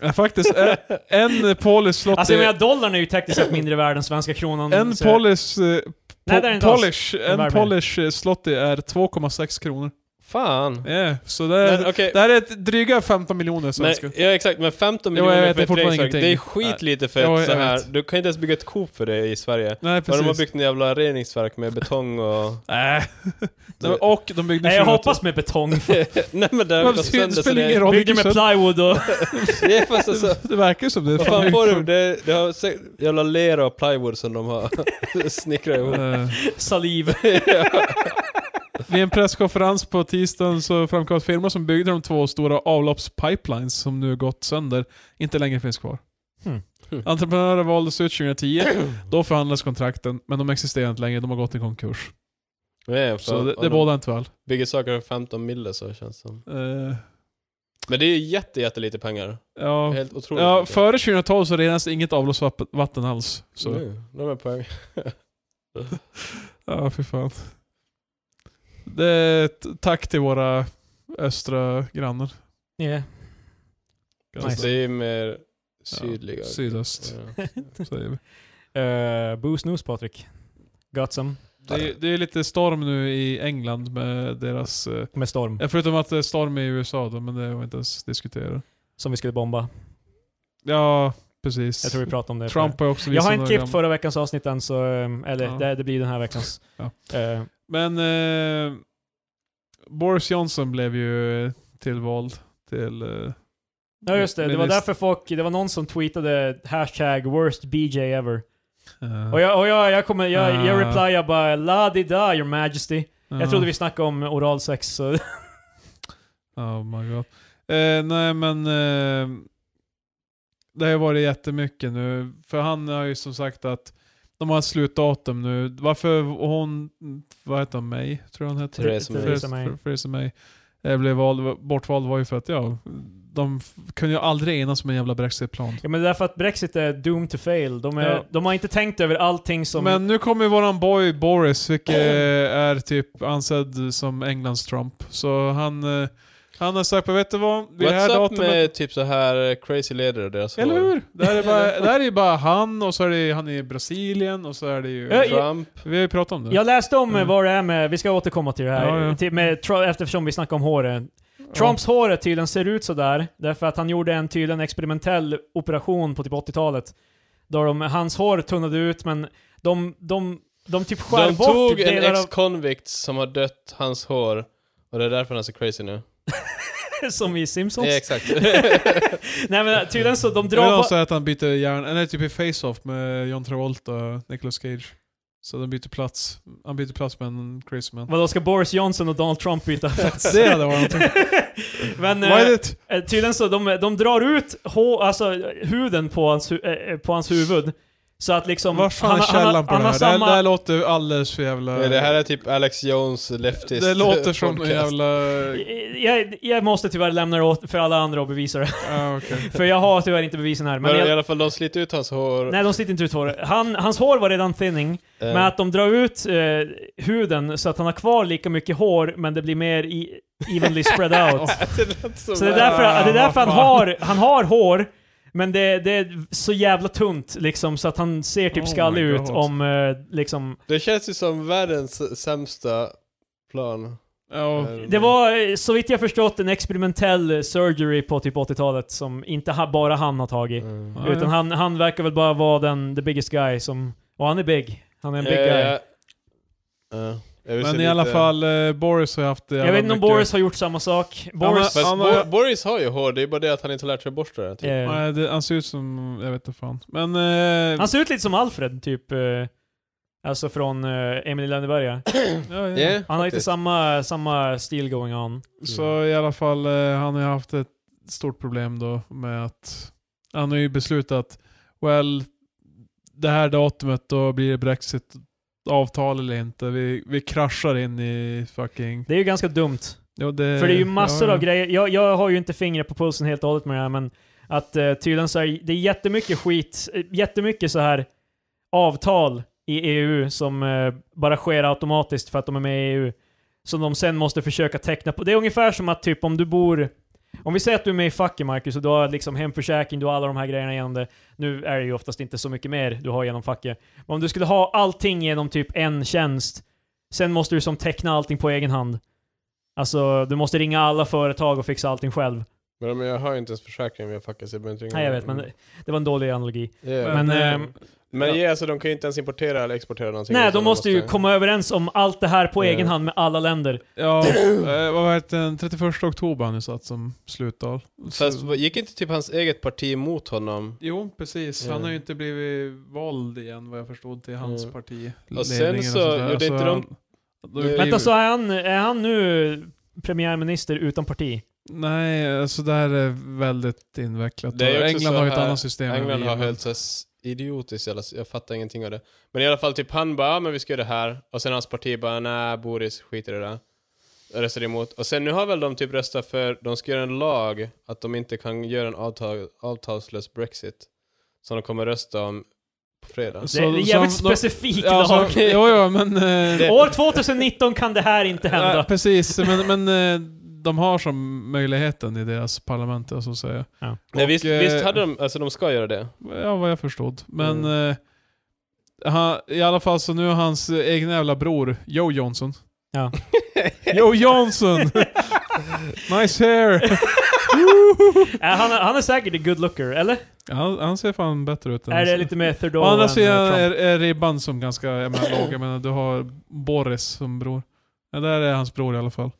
Speaker 3: Ja, Faktiskt, eh, en polish slottis...
Speaker 2: Alltså jag menar dollarn är ju tekniskt sett mindre värd än svenska kronan.
Speaker 3: en
Speaker 2: så-
Speaker 3: polish... eh,
Speaker 2: Nej, det är
Speaker 3: Po-
Speaker 2: inte alls.
Speaker 3: polish,
Speaker 2: är
Speaker 3: en
Speaker 2: värd
Speaker 3: polish eh, slotty är 2,6 kronor.
Speaker 1: Fan.
Speaker 3: Ja, så Eh, det
Speaker 1: Men
Speaker 3: är,
Speaker 1: okej,
Speaker 3: det här är ett dryga 15 miljoner
Speaker 1: Men,
Speaker 3: svenska.
Speaker 1: ja exakt, men 15
Speaker 3: Jo, jag
Speaker 1: miljoner för
Speaker 3: vet, det är
Speaker 1: ett
Speaker 3: fortfarande
Speaker 1: reningsverk, det är
Speaker 3: ingenting.
Speaker 1: skitlite för
Speaker 3: Jo,
Speaker 1: ett
Speaker 3: jag
Speaker 1: så här.
Speaker 3: vet.
Speaker 1: du kan inte ens bygga ett Coop för det i Sverige.
Speaker 3: Nej
Speaker 1: Och
Speaker 3: precis.
Speaker 1: de har byggt en jävla reningsverk med betong och...
Speaker 3: Nej. Och de byggde
Speaker 2: Nej jag
Speaker 3: 20
Speaker 2: hoppas med betong.
Speaker 1: Nej men det har
Speaker 3: Men
Speaker 1: gått
Speaker 3: det
Speaker 1: sönder
Speaker 3: spelar ingen roll.
Speaker 2: Bygger med plywood och...
Speaker 1: Det är fast alltså,
Speaker 3: Det verkar ju som det.
Speaker 1: vad fan får du? Det, det har säkert jävla lera och plywood som de har snickrat ihop.
Speaker 3: Eh,
Speaker 2: saliv.
Speaker 3: Vid en presskonferens på tisdagen så framkom att firman som byggde de två stora avloppspipelines som nu gått sönder inte längre finns kvar.
Speaker 2: Hmm.
Speaker 3: Entreprenörer valdes ut 2010, då förhandlades kontrakten, men de existerar inte längre, de har gått i konkurs.
Speaker 1: Nej,
Speaker 3: Så det,
Speaker 1: om
Speaker 3: det
Speaker 1: de
Speaker 3: bådar inte väl.
Speaker 1: Bygger saker för 15 mille så känns det som.
Speaker 3: Eh,
Speaker 1: Men det är ju jätte, jättelite pengar.
Speaker 3: ja,
Speaker 1: Helt otroligt
Speaker 3: ja,
Speaker 1: lite.
Speaker 3: före 2012 så renas inget avloppsvatten alls. Så.
Speaker 1: Nu, de är poäng.
Speaker 3: Ja, fy fan. Det är ett tack till våra östra grannar.
Speaker 2: Yeah.
Speaker 3: Ganska.
Speaker 1: Det är ju mer sydliga.
Speaker 3: Sydöst,
Speaker 1: Ja.
Speaker 3: säger vi.
Speaker 2: Eh, Uh, booze news Patrik. Got some.
Speaker 3: det, är- det är lite storm nu i England med deras... eh,
Speaker 2: Med storm.
Speaker 3: ja, Förutom att det är storm i USA då, men det har vi inte ens diskuterat.
Speaker 2: Som vi skulle bomba.
Speaker 3: Ja, precis.
Speaker 2: Jag tror vi pratade om det.
Speaker 3: Trump har också
Speaker 2: jag har
Speaker 3: visat
Speaker 2: inte
Speaker 3: några
Speaker 2: klippt
Speaker 3: gam-
Speaker 2: förra veckans avsnitt än, så, ehm, eller
Speaker 3: Ja.
Speaker 2: det, det blir den här veckans.
Speaker 3: Ja.
Speaker 2: Eh,
Speaker 3: Men eh, Boris Johnson blev ju eh, tillvald till... Eh,
Speaker 2: ja just det, det var
Speaker 3: minist-
Speaker 2: därför folk, det var någon som tweetade hashtag worst BJ ever.
Speaker 3: eh,
Speaker 2: Och jag, och jag, jag kommer, jag, jag
Speaker 3: Ah.
Speaker 2: replyar bara la di da your majesty.
Speaker 3: ja.
Speaker 2: Jag trodde vi snackade om oralsex, så
Speaker 3: Oh my god. Eh, nej men... Eh, det har ju varit jättemycket nu. För han har ju som sagt att de har ett slutdatum nu. Varför hon... Vad heter hon? May? Tror jag hon heter.
Speaker 1: Theresa May.
Speaker 2: Theresa May.
Speaker 3: Ther- Theresa May. eh, Blev vald, bortvald var ju för att ja, de f- kunde ju aldrig enas om en jävla brexitplan.
Speaker 2: Ja men det är därför att Brexit är doomed to fail. De, är,
Speaker 3: Ja.
Speaker 2: de har inte tänkt över allting som...
Speaker 3: Men nu kommer ju våran boy Boris, vilket eh, är typ ansedd som Englands Trump. Så han, eh, han har sagt, vet du vad? Vid det här
Speaker 1: What's up
Speaker 3: datumet-
Speaker 1: med typ så här crazy ledare och deras
Speaker 3: Eller
Speaker 1: roll?
Speaker 3: hur? Det här är bara, det här är ju bara han, och så är det, han är i Brasilien, och så är det ju...
Speaker 2: Ja, ja.
Speaker 1: Trump.
Speaker 3: Vi har ju pratat om det.
Speaker 2: Jag läste om
Speaker 3: Mm.
Speaker 2: vad det är med, vi ska återkomma till det här,
Speaker 3: Ja, ja.
Speaker 2: Till, med, Tru- eftersom vi snackade om håret. Trumps hår är tydligen ser ut sådär, därför att han gjorde en tydligen experimentell operation på typ 80-talet. Då de, hans hår tunnade ut, men de, de, de typ skär
Speaker 1: De
Speaker 2: bort
Speaker 1: tog en
Speaker 2: delar av...
Speaker 1: ex-convict som har dött hans hår, och det är därför han är så crazy nu.
Speaker 2: Som i Simpsons.
Speaker 1: Ja, exakt.
Speaker 2: Nej men tydligen så, de
Speaker 3: Jag vill
Speaker 2: drar...
Speaker 3: också att han byter hjärn, eller typ i Face-Off med John Travolta och Nicolas Cage. Så de byter plats. Han byter plats med en crazy man.
Speaker 2: Vadå, ska Boris Johnson och Donald Trump byta plats?
Speaker 3: Det hade varit någonting.
Speaker 2: men,
Speaker 3: Vad är
Speaker 2: eh,
Speaker 3: det?
Speaker 2: Eh, Tydligen så, de, de drar ut hå, alltså, eh, huden på hans, hu- eh, eh, på hans huvud. Så att liksom...
Speaker 3: Vad fan är källan på det
Speaker 2: han har
Speaker 3: här? Det här? Det
Speaker 2: samma,
Speaker 3: här låter ju alldeles för jävla...
Speaker 1: det här är typ Alex Jones leftist
Speaker 3: Det låter som en
Speaker 1: podcast.
Speaker 3: jävla...
Speaker 2: Eh, jag, jag måste tyvärr lämna det åt för alla andra att bevisa det.
Speaker 3: Ja, okej.
Speaker 2: för jag har tyvärr inte bevisen här.
Speaker 1: Men,
Speaker 2: Men
Speaker 1: i
Speaker 2: jag,
Speaker 1: alla fall, de sliter ut hans hår.
Speaker 2: nej, de sliter inte ut håret. Han, hans hår var redan thinning,
Speaker 1: eh,
Speaker 2: men att de drar ut eh, huden så att han har kvar lika mycket hår, men det blir mer i, evenly spread out.
Speaker 1: det lät
Speaker 2: Så det är därför,
Speaker 3: Ah,
Speaker 2: det är därför han,
Speaker 3: vad fan.
Speaker 2: har, han har hår, men det, det är så jävla tunt liksom så att han ser typ
Speaker 3: Oh
Speaker 2: skallig
Speaker 3: my
Speaker 2: ut
Speaker 3: God.
Speaker 2: om eh, liksom...
Speaker 1: Det känns ju som världens sämsta plan.
Speaker 3: Ja.
Speaker 1: Eh,
Speaker 2: Det var eh, så vitt jag förstått en experimentell surgery på typ 80-talet som inte ha, bara han har tagit.
Speaker 1: Mm.
Speaker 3: Ja,
Speaker 2: Utan
Speaker 3: ja.
Speaker 2: han, han verkar väl bara vara den, the biggest guy som... Och han är big. Han är en big
Speaker 1: Eh,
Speaker 2: guy.
Speaker 1: eh, jag vill
Speaker 3: Men
Speaker 1: se
Speaker 3: i alla
Speaker 1: lite-
Speaker 3: fall, eh, Boris har ju haft det
Speaker 2: Jag
Speaker 3: jävla
Speaker 2: vet inte om
Speaker 3: mycket-
Speaker 2: Boris har gjort samma sak. Boris...
Speaker 1: Fast
Speaker 3: Han
Speaker 1: Bo-
Speaker 3: har-
Speaker 1: Boris har ju hår, det är bara det att han inte har lärt sig borsta det. Typ.
Speaker 2: eh,
Speaker 3: Nej, det, han ser ut som... Jag vet inte fan. Men... Eh,
Speaker 2: han ser ut lite som Alfred, typ. Eh, alltså från eh, Emil i Lönneberga.
Speaker 3: ja, ja.
Speaker 1: Yeah,
Speaker 2: Han har lite
Speaker 1: faktiskt.
Speaker 2: samma, samma stil going on.
Speaker 3: Så i alla fall, eh, han har ju haft ett stort problem då med att... Han har ju beslutat, well, det här datumet då blir det Brexit avtal eller inte. Vi, vi kraschar in i fucking...
Speaker 2: Det är ju ganska dumt.
Speaker 3: Ja, det,
Speaker 2: För det är ju massor
Speaker 3: Eh, ja, ja.
Speaker 2: av grejer. Jag, jag har ju inte fingret på pulsen helt och hållet med det här, men att eh, tydligen så är det är jättemycket skit, eh, jättemycket så här avtal i EU som eh, bara sker automatiskt för att de är med i EU. Som de sen måste försöka teckna på. Det är ungefär som att typ om du bor... Om vi säger att du är med i facket Marcus och du har liksom hemförsäkring, du har alla de här grejerna genom det. Nu är det ju oftast inte så mycket mer du har genom facket. Men om du skulle ha allting genom typ en tjänst, sen måste du som teckna allting på egen hand. Alltså, du måste ringa alla företag och fixa allting själv.
Speaker 1: Men men jag har ju inte ens försäkring via facket så jag behöver inte ringa
Speaker 2: Nej, jag
Speaker 1: dem.
Speaker 2: vet, men det var en dålig analogi.
Speaker 1: Yeah.
Speaker 2: Men,
Speaker 1: Men,
Speaker 2: ehm,
Speaker 3: eh,
Speaker 1: men
Speaker 3: ja.
Speaker 1: ja. alltså, de kan ju inte ens importera eller exportera någonting.
Speaker 2: Nej,
Speaker 1: utan
Speaker 2: de måste ju komma överens om allt det här på
Speaker 1: Ja.
Speaker 2: egen hand med alla länder.
Speaker 3: Ja, eh, vad heter den? 31 oktober han ju satt som slutdag. Så-
Speaker 1: Fast vad- gick inte typ hans eget parti emot honom?
Speaker 3: Jo, precis.
Speaker 1: Mm.
Speaker 3: Han har ju inte blivit vald igen vad jag förstod till hans
Speaker 1: Mm.
Speaker 3: parti.
Speaker 1: Och sen
Speaker 3: ledningen
Speaker 1: så
Speaker 3: sådär.
Speaker 1: gjorde inte de-
Speaker 3: han-
Speaker 1: Vänta,
Speaker 3: då blev-
Speaker 2: Vänta, så är han, är han nu premiärminister utan parti?
Speaker 3: Nej, alltså det här är väldigt invecklat.
Speaker 1: Det är ju också
Speaker 3: England
Speaker 1: så
Speaker 3: har ju ett
Speaker 1: här-
Speaker 3: annat system. än
Speaker 1: England
Speaker 3: vi,
Speaker 1: har
Speaker 3: men-
Speaker 1: höll sig s- idiotiskt, jävla- jag fattar ingenting av det. Men i alla fall, typ han bara, ja, men vi ska göra det här. Och sen hans parti bara, nej, Boris, skit i det där. Och Röstade emot. Och sen nu har väl de typ röstat för, de ska göra en lag att de inte kan göra en avtal, avtalslös Brexit. Som de kommer rösta om på fredag.
Speaker 3: Så-
Speaker 2: Det är en jävligt
Speaker 3: så-
Speaker 2: specifik
Speaker 3: Ja,
Speaker 2: lag.
Speaker 3: så, jo, jo, men... eh,
Speaker 1: Det-
Speaker 2: År 2019 kan det här inte
Speaker 3: ja,
Speaker 2: hända.
Speaker 3: precis, men, men eh, de har som möjligheten i deras parlament, jag så att säga.
Speaker 1: Nej,
Speaker 3: Och,
Speaker 1: visst,
Speaker 3: eh,
Speaker 1: visst hade de, alltså de ska göra det.
Speaker 3: Ja, vad jag förstod. Men eh, han, I alla fall så nu har hans eh, egna jävla bror, Joe Johnson.
Speaker 2: Ja.
Speaker 3: Joe Johnson! nice hair!
Speaker 2: Äh, han, är- han är säkert en good looker, eller?
Speaker 3: Han, han ser alltså, fan bättre ut än
Speaker 2: är det
Speaker 3: så.
Speaker 2: lite mer Trudeau
Speaker 3: Å andra
Speaker 2: än,
Speaker 3: sidan
Speaker 2: eh,
Speaker 3: är,
Speaker 2: Trump?
Speaker 3: är ribban som ganska jag menar, låg. Jag menar, du har Boris som bror. Ja, där är hans bror i alla fall.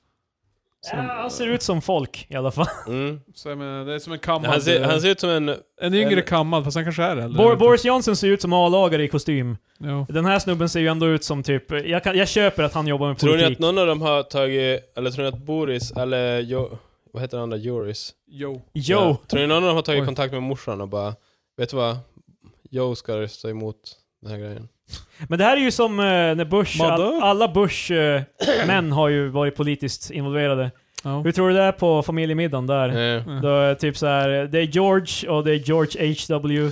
Speaker 2: Ja, han ser ut som folk i alla fall.
Speaker 1: Mm.
Speaker 3: Så jag menar, det är som en kammad...
Speaker 1: Han, ser, han ser ut som en...
Speaker 3: en yngre
Speaker 1: eller-
Speaker 3: kammad, fast han kanske är äldre.
Speaker 2: Bor Boris Johnson ser ut som A-lagare i kostym.
Speaker 3: Jo.
Speaker 2: Den här snubben ser ju ändå ut som typ... Jag, kan, jag köper att han jobbar med
Speaker 1: Tror ni
Speaker 2: politik.
Speaker 1: att någon av dem har tagit... Eller tror ni att Boris eller... Jo, vad heter den andra? Joris?
Speaker 3: Jo.
Speaker 2: Yo!
Speaker 1: Ja. Tror ni någon av dem har tagit
Speaker 3: Oj.
Speaker 1: kontakt med morsan och bara... Vet du vad? Joe ska rösta emot den här grejen.
Speaker 2: Men det här är ju som eh, när Bush...
Speaker 3: Mother?
Speaker 2: All, alla Bush-män har ju varit politiskt involverade.
Speaker 3: Ja.
Speaker 2: Hur tror du det är på familjemiddagen där?
Speaker 1: Eh,
Speaker 2: Då är det typ så här, det är George och det är George H.W.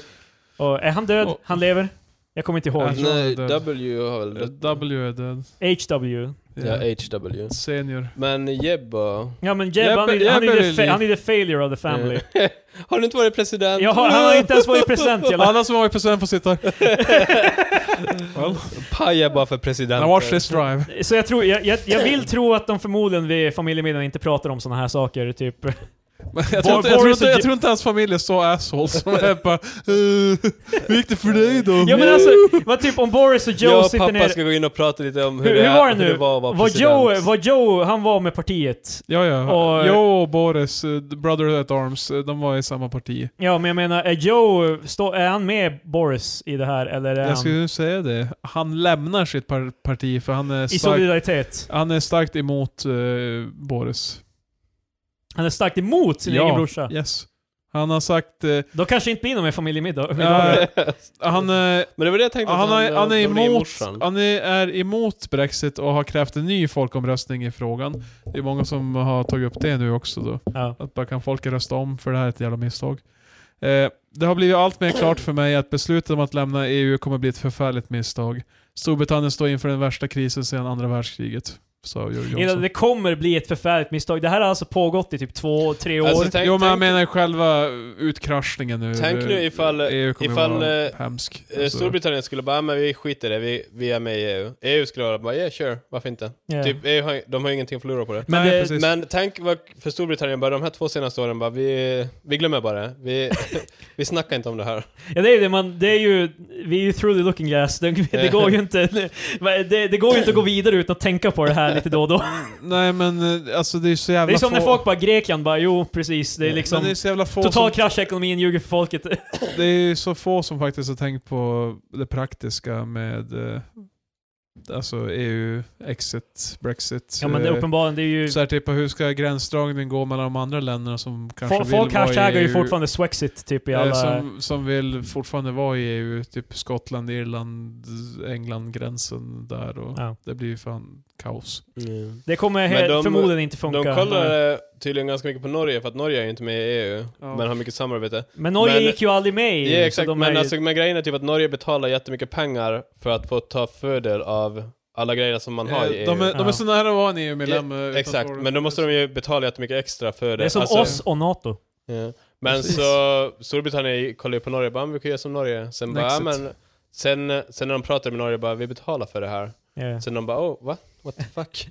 Speaker 2: Och är han död?
Speaker 3: Och-
Speaker 2: Han lever? Jag kommer inte ihåg.
Speaker 3: Äh.
Speaker 1: nej,
Speaker 3: död.
Speaker 1: W har väl
Speaker 3: Eh,
Speaker 1: dött.
Speaker 3: W är död.
Speaker 2: H.W.
Speaker 1: Ja, HW.
Speaker 3: Senior.
Speaker 1: Men Jeb och...
Speaker 2: Ja men Jeb,
Speaker 3: Jeb-
Speaker 2: han, är,
Speaker 3: Jeb
Speaker 2: han, är
Speaker 3: är
Speaker 2: the fa-
Speaker 3: liv.
Speaker 2: han är the failure of the family.
Speaker 1: Eh, har du inte varit president?
Speaker 2: Ja, han har inte ens varit president jävla...
Speaker 3: Alla som har varit president får sitta här. well,
Speaker 1: Paja bara för presidenten.
Speaker 3: now watch this drive.
Speaker 2: Så jag, tror, jag, jag, jag vill tro att de förmodligen vid familjemiddagen inte pratar om sådana här saker,
Speaker 1: Oh,
Speaker 2: typ.
Speaker 3: Jag tror, inte, jag, tror
Speaker 2: Boris
Speaker 3: inte,
Speaker 2: och
Speaker 3: jag
Speaker 2: Je-
Speaker 3: tror inte hans familj är så assholes. som är bara, "Eh, Hur gick det för dig då?
Speaker 2: Ja men alltså, vad typ om Boris och Joe
Speaker 1: jag och
Speaker 2: sitter
Speaker 1: pappa
Speaker 2: ner...
Speaker 1: ska gå in och prata lite om hur,
Speaker 2: Hur,
Speaker 1: det,
Speaker 2: hur
Speaker 1: är-
Speaker 2: var det
Speaker 1: hur
Speaker 2: nu?
Speaker 1: det var att vara
Speaker 2: Vad
Speaker 1: president.
Speaker 2: Joe, vad Joe, han var med partiet.
Speaker 3: Ja, ja.
Speaker 2: Och-
Speaker 3: Joe och Boris, eh, Brother at Arms, eh, de var i samma parti.
Speaker 2: Ja men jag menar, är Joe, stå, är han med Boris i det här eller är
Speaker 3: Jag skulle
Speaker 2: han
Speaker 3: ju säga det. Han lämnar sitt par parti för han är
Speaker 2: i
Speaker 3: starkt,
Speaker 2: solidaritet?
Speaker 3: han är starkt emot eh, Boris.
Speaker 2: Han är starkt emot sin egen brorsa.
Speaker 3: Yes. Han har sagt... eh,
Speaker 2: Då kanske inte blir någon mer familjemiddag.
Speaker 3: Ja. han, eh,
Speaker 1: Men det var det jag tänkte
Speaker 3: han,
Speaker 1: att
Speaker 3: har, han, är
Speaker 1: de blir
Speaker 3: emot,
Speaker 1: morsan.
Speaker 3: han är, är emot Brexit och har krävt en ny folkomröstning i frågan. Det är många som har tagit upp det nu också då.
Speaker 2: Ja.
Speaker 3: Att bara kan folk rösta om för det här är ett jävla misstag. Eh, det har blivit allt mer klart för mig att beslutet om att lämna EU kommer bli ett förfärligt misstag. Storbritannien står inför den värsta krisen sedan andra världskriget. Sa Jörgen
Speaker 2: Innan
Speaker 3: Johnson.
Speaker 2: Det kommer bli ett förfärligt misstag. Det här har alltså pågått i typ två, tre år.
Speaker 1: Alltså, tänk,
Speaker 3: Jo men jag
Speaker 1: tänk,
Speaker 3: menar själva utkraschningen nu.
Speaker 1: tänk nu ifall,
Speaker 3: EU kommer
Speaker 1: ifall
Speaker 3: vara
Speaker 1: eh,
Speaker 3: hemsk. alltså.
Speaker 1: eh, Storbritannien skulle bara, "Ah, men vi skiter i det, vi, vi är med i E EU. EU skulle bara, ja yeah, sure, varför inte?
Speaker 2: Ja.
Speaker 1: Typ, EU har, de har ju ingenting att förlora på det.
Speaker 2: men
Speaker 3: Nej,
Speaker 2: det-
Speaker 3: precis.
Speaker 1: Men tänk vad för Storbritannien bara, de här två senaste åren bara, vi, vi glömmer bara det. Vi, vi snackar inte om det här.
Speaker 2: Ja, det är ju det, man, det är ju, vi är ju through the looking glass. Det, det går ju inte, det, det går ju inte att gå vidare utan att tänka på det här lite då och då.
Speaker 3: Nej men eh, alltså det är så jävla
Speaker 2: Det är som
Speaker 3: få...
Speaker 2: när folk bara, Grekland bara, jo precis, det är liksom
Speaker 3: men det är så jävla få
Speaker 2: total
Speaker 3: som,
Speaker 2: krasch i ekonomin, ljuger för folket.
Speaker 3: Det är ju så få som faktiskt har tänkt på det praktiska med eh, alltså EU, exit, brexit.
Speaker 2: Ja men det är
Speaker 3: eh,
Speaker 2: uppenbarligen, det är ju...
Speaker 3: Så här, typ, hur ska gränsdragningen gå mellan de andra länderna som kanske
Speaker 2: Folk,
Speaker 3: vill
Speaker 2: folk
Speaker 3: vara i E
Speaker 2: hashtaggar ju
Speaker 3: EU,
Speaker 2: fortfarande Swexit typ i
Speaker 3: eh,
Speaker 2: alla...
Speaker 3: Som, som vill fortfarande vara i EU, typ Skottland, Irland, England, gränsen där och
Speaker 2: Ja.
Speaker 3: det blir ju fan kaos.
Speaker 2: Det kommer
Speaker 1: Men
Speaker 2: he-
Speaker 1: de-
Speaker 2: förmodligen inte funka.
Speaker 1: De kollar eh, tydligen ganska mycket på Norge, för att Norge är ju inte med i EU,
Speaker 3: Ja.
Speaker 1: men har mycket samarbete.
Speaker 2: Men Norge
Speaker 1: Men-
Speaker 2: gick ju aldrig med i
Speaker 1: Ja,
Speaker 2: EU,
Speaker 1: exakt.
Speaker 2: E så de är
Speaker 1: men,
Speaker 2: ju...
Speaker 1: alltså, men grejen är typ att Norge betalar jättemycket pengar för att få ta fördel av alla grejer som man har
Speaker 3: Eh,
Speaker 1: i EU.
Speaker 3: de, är, de är
Speaker 2: Ja.
Speaker 3: så nära att vara en EU-medlem. eh, utan
Speaker 1: Exakt,
Speaker 3: tårar.
Speaker 1: men då måste de ju betala jättemycket extra för det.
Speaker 2: det är som
Speaker 1: Alltså,
Speaker 2: oss och NATO.
Speaker 1: ja. Men
Speaker 3: Precis.
Speaker 1: så Storbritannien kollar ju på Norge bara, "Ah, men vi kan göra som Norge. Sen bara, "Ah,
Speaker 3: Exit.
Speaker 1: men sen, sen när de pratar med Norge bara, vi betalar för det här.
Speaker 2: Ja.
Speaker 1: Sen de bara, oh, what? What the fuck?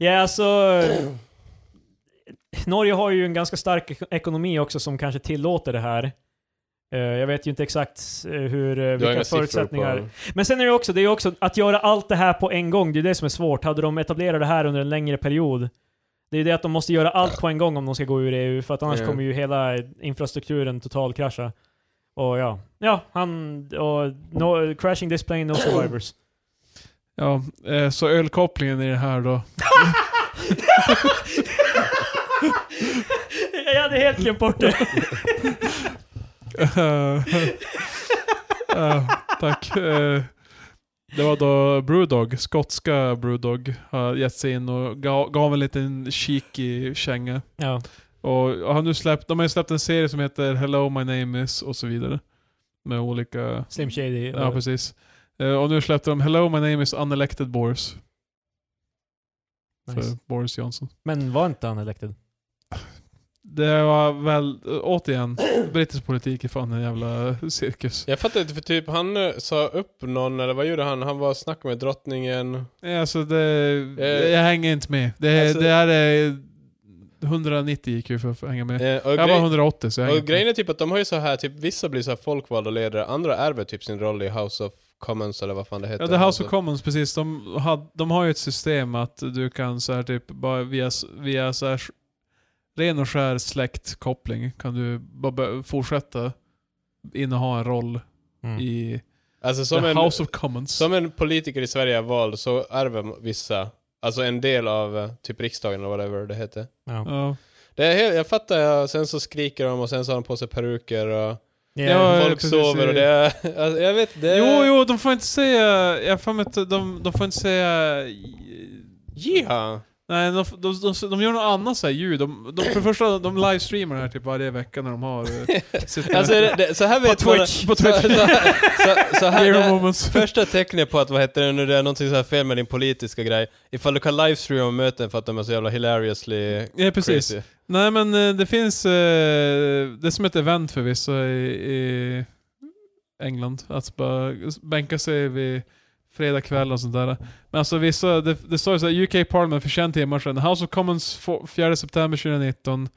Speaker 2: Ja, alltså... Norge har ju en ganska stark ek- ekonomi också som kanske tillåter det här. Eh, jag vet ju inte exakt eh, hur, eh,
Speaker 1: Du har inga
Speaker 2: vilka
Speaker 1: siffror
Speaker 2: förutsättningar...
Speaker 1: på...
Speaker 2: Men sen är det också, det är också att göra allt det här på en gång, det är det som är svårt. Hade de etablerat det här under en längre period, det är det att de måste göra allt på en gång om de ska gå ur EU, för att annars
Speaker 1: Ja.
Speaker 2: kommer ju hela infrastrukturen totalkrascha. Och ja, ja, han... Och no, crashing this plane, no survivors.
Speaker 3: Ja, eh, så ölkopplingen i det här då.
Speaker 2: jag hade helt glömt bort det.
Speaker 3: Eh, eh, tack. Eh, det var då Brewdog, skotska Brewdog, har gett sig in och gav, gav en liten cheeky känga.
Speaker 2: Ja.
Speaker 3: Och har nu släppt, de har ju släppt en serie som heter Hello My Name Is och så vidare. Med olika...
Speaker 2: Slim Shady.
Speaker 3: Ja, precis. Eh, och nu släppte de Hello My Name Is Unelected Boris.
Speaker 2: Nice.
Speaker 3: För Boris Johnson.
Speaker 2: Men var inte han elected?
Speaker 3: Det var väl, eh, återigen, brittisk politik är fan en jävla cirkus.
Speaker 1: Jag fattar inte, för typ han eh, sa upp någon, eller vad gjorde han? Han var och snackade med drottningen.
Speaker 3: Ja, Alltså det, jag hänger inte med. Det,
Speaker 1: Eh, Alltså-
Speaker 3: det här är eh, 190 IQ för att hänga med.
Speaker 1: Eh, och
Speaker 3: Jag var
Speaker 1: grej-
Speaker 3: 180 så jag hänger
Speaker 1: Och
Speaker 3: inte
Speaker 1: grejen
Speaker 3: med.
Speaker 1: är typ att de har ju så här, typ vissa blir så här folkvalda ledare, andra ärver typ sin roll i House of Commons eller vad fan det heter. Alltså,
Speaker 3: Ja, The House of Commons, precis. De, had, de har ju ett system att du kan så här typ bara via, s- via så här, s- ren och skär släktkoppling kan du bara bör- fortsätta inneha en roll
Speaker 2: Mm.
Speaker 3: i
Speaker 1: Alltså Mm. som
Speaker 3: The
Speaker 1: en,
Speaker 3: House of Commons.
Speaker 1: som en politiker i Sverige är vald så ärver vissa, alltså en del av eh, typ riksdagen eller whatever det heter.
Speaker 3: ja.
Speaker 1: Det är helt, jag fattar, ja, sen så skriker de och sen så har de på sig peruker och
Speaker 3: Ja,
Speaker 1: folk
Speaker 3: precis,
Speaker 1: sover och det är, alltså, jag vet, det är...
Speaker 3: Jo, jo, de får inte säga... Jag har för mig att de, de får inte säga...
Speaker 1: Jiha!
Speaker 3: Nej, de, de, de, de gör något annat så här ljud. De, de, för det första, de livestreamar det här typ varje vecka när de har... eh, sitt-
Speaker 1: Alltså det, det, så här vet
Speaker 3: Twitch, på
Speaker 1: man... Så,
Speaker 3: Twitch.
Speaker 1: så, så, så här,
Speaker 3: Hero moments.
Speaker 1: Första tecknet på att, vad heter det nu, det är någonting så här fel med din politiska grej. Ifall du kan livestreama möten för att de är så jävla hilariously
Speaker 3: Ja, precis.
Speaker 1: crazy.
Speaker 3: Nej men eh, det finns... eh, Det är som ett event för vissa i, i England. Att bara bänka sig vid fredag kväll och sånt där. Men alltså vissa... Det, det står ju såhär UK Parliament för 21 timmar sedan. House of Commons fo- 4 september 2019.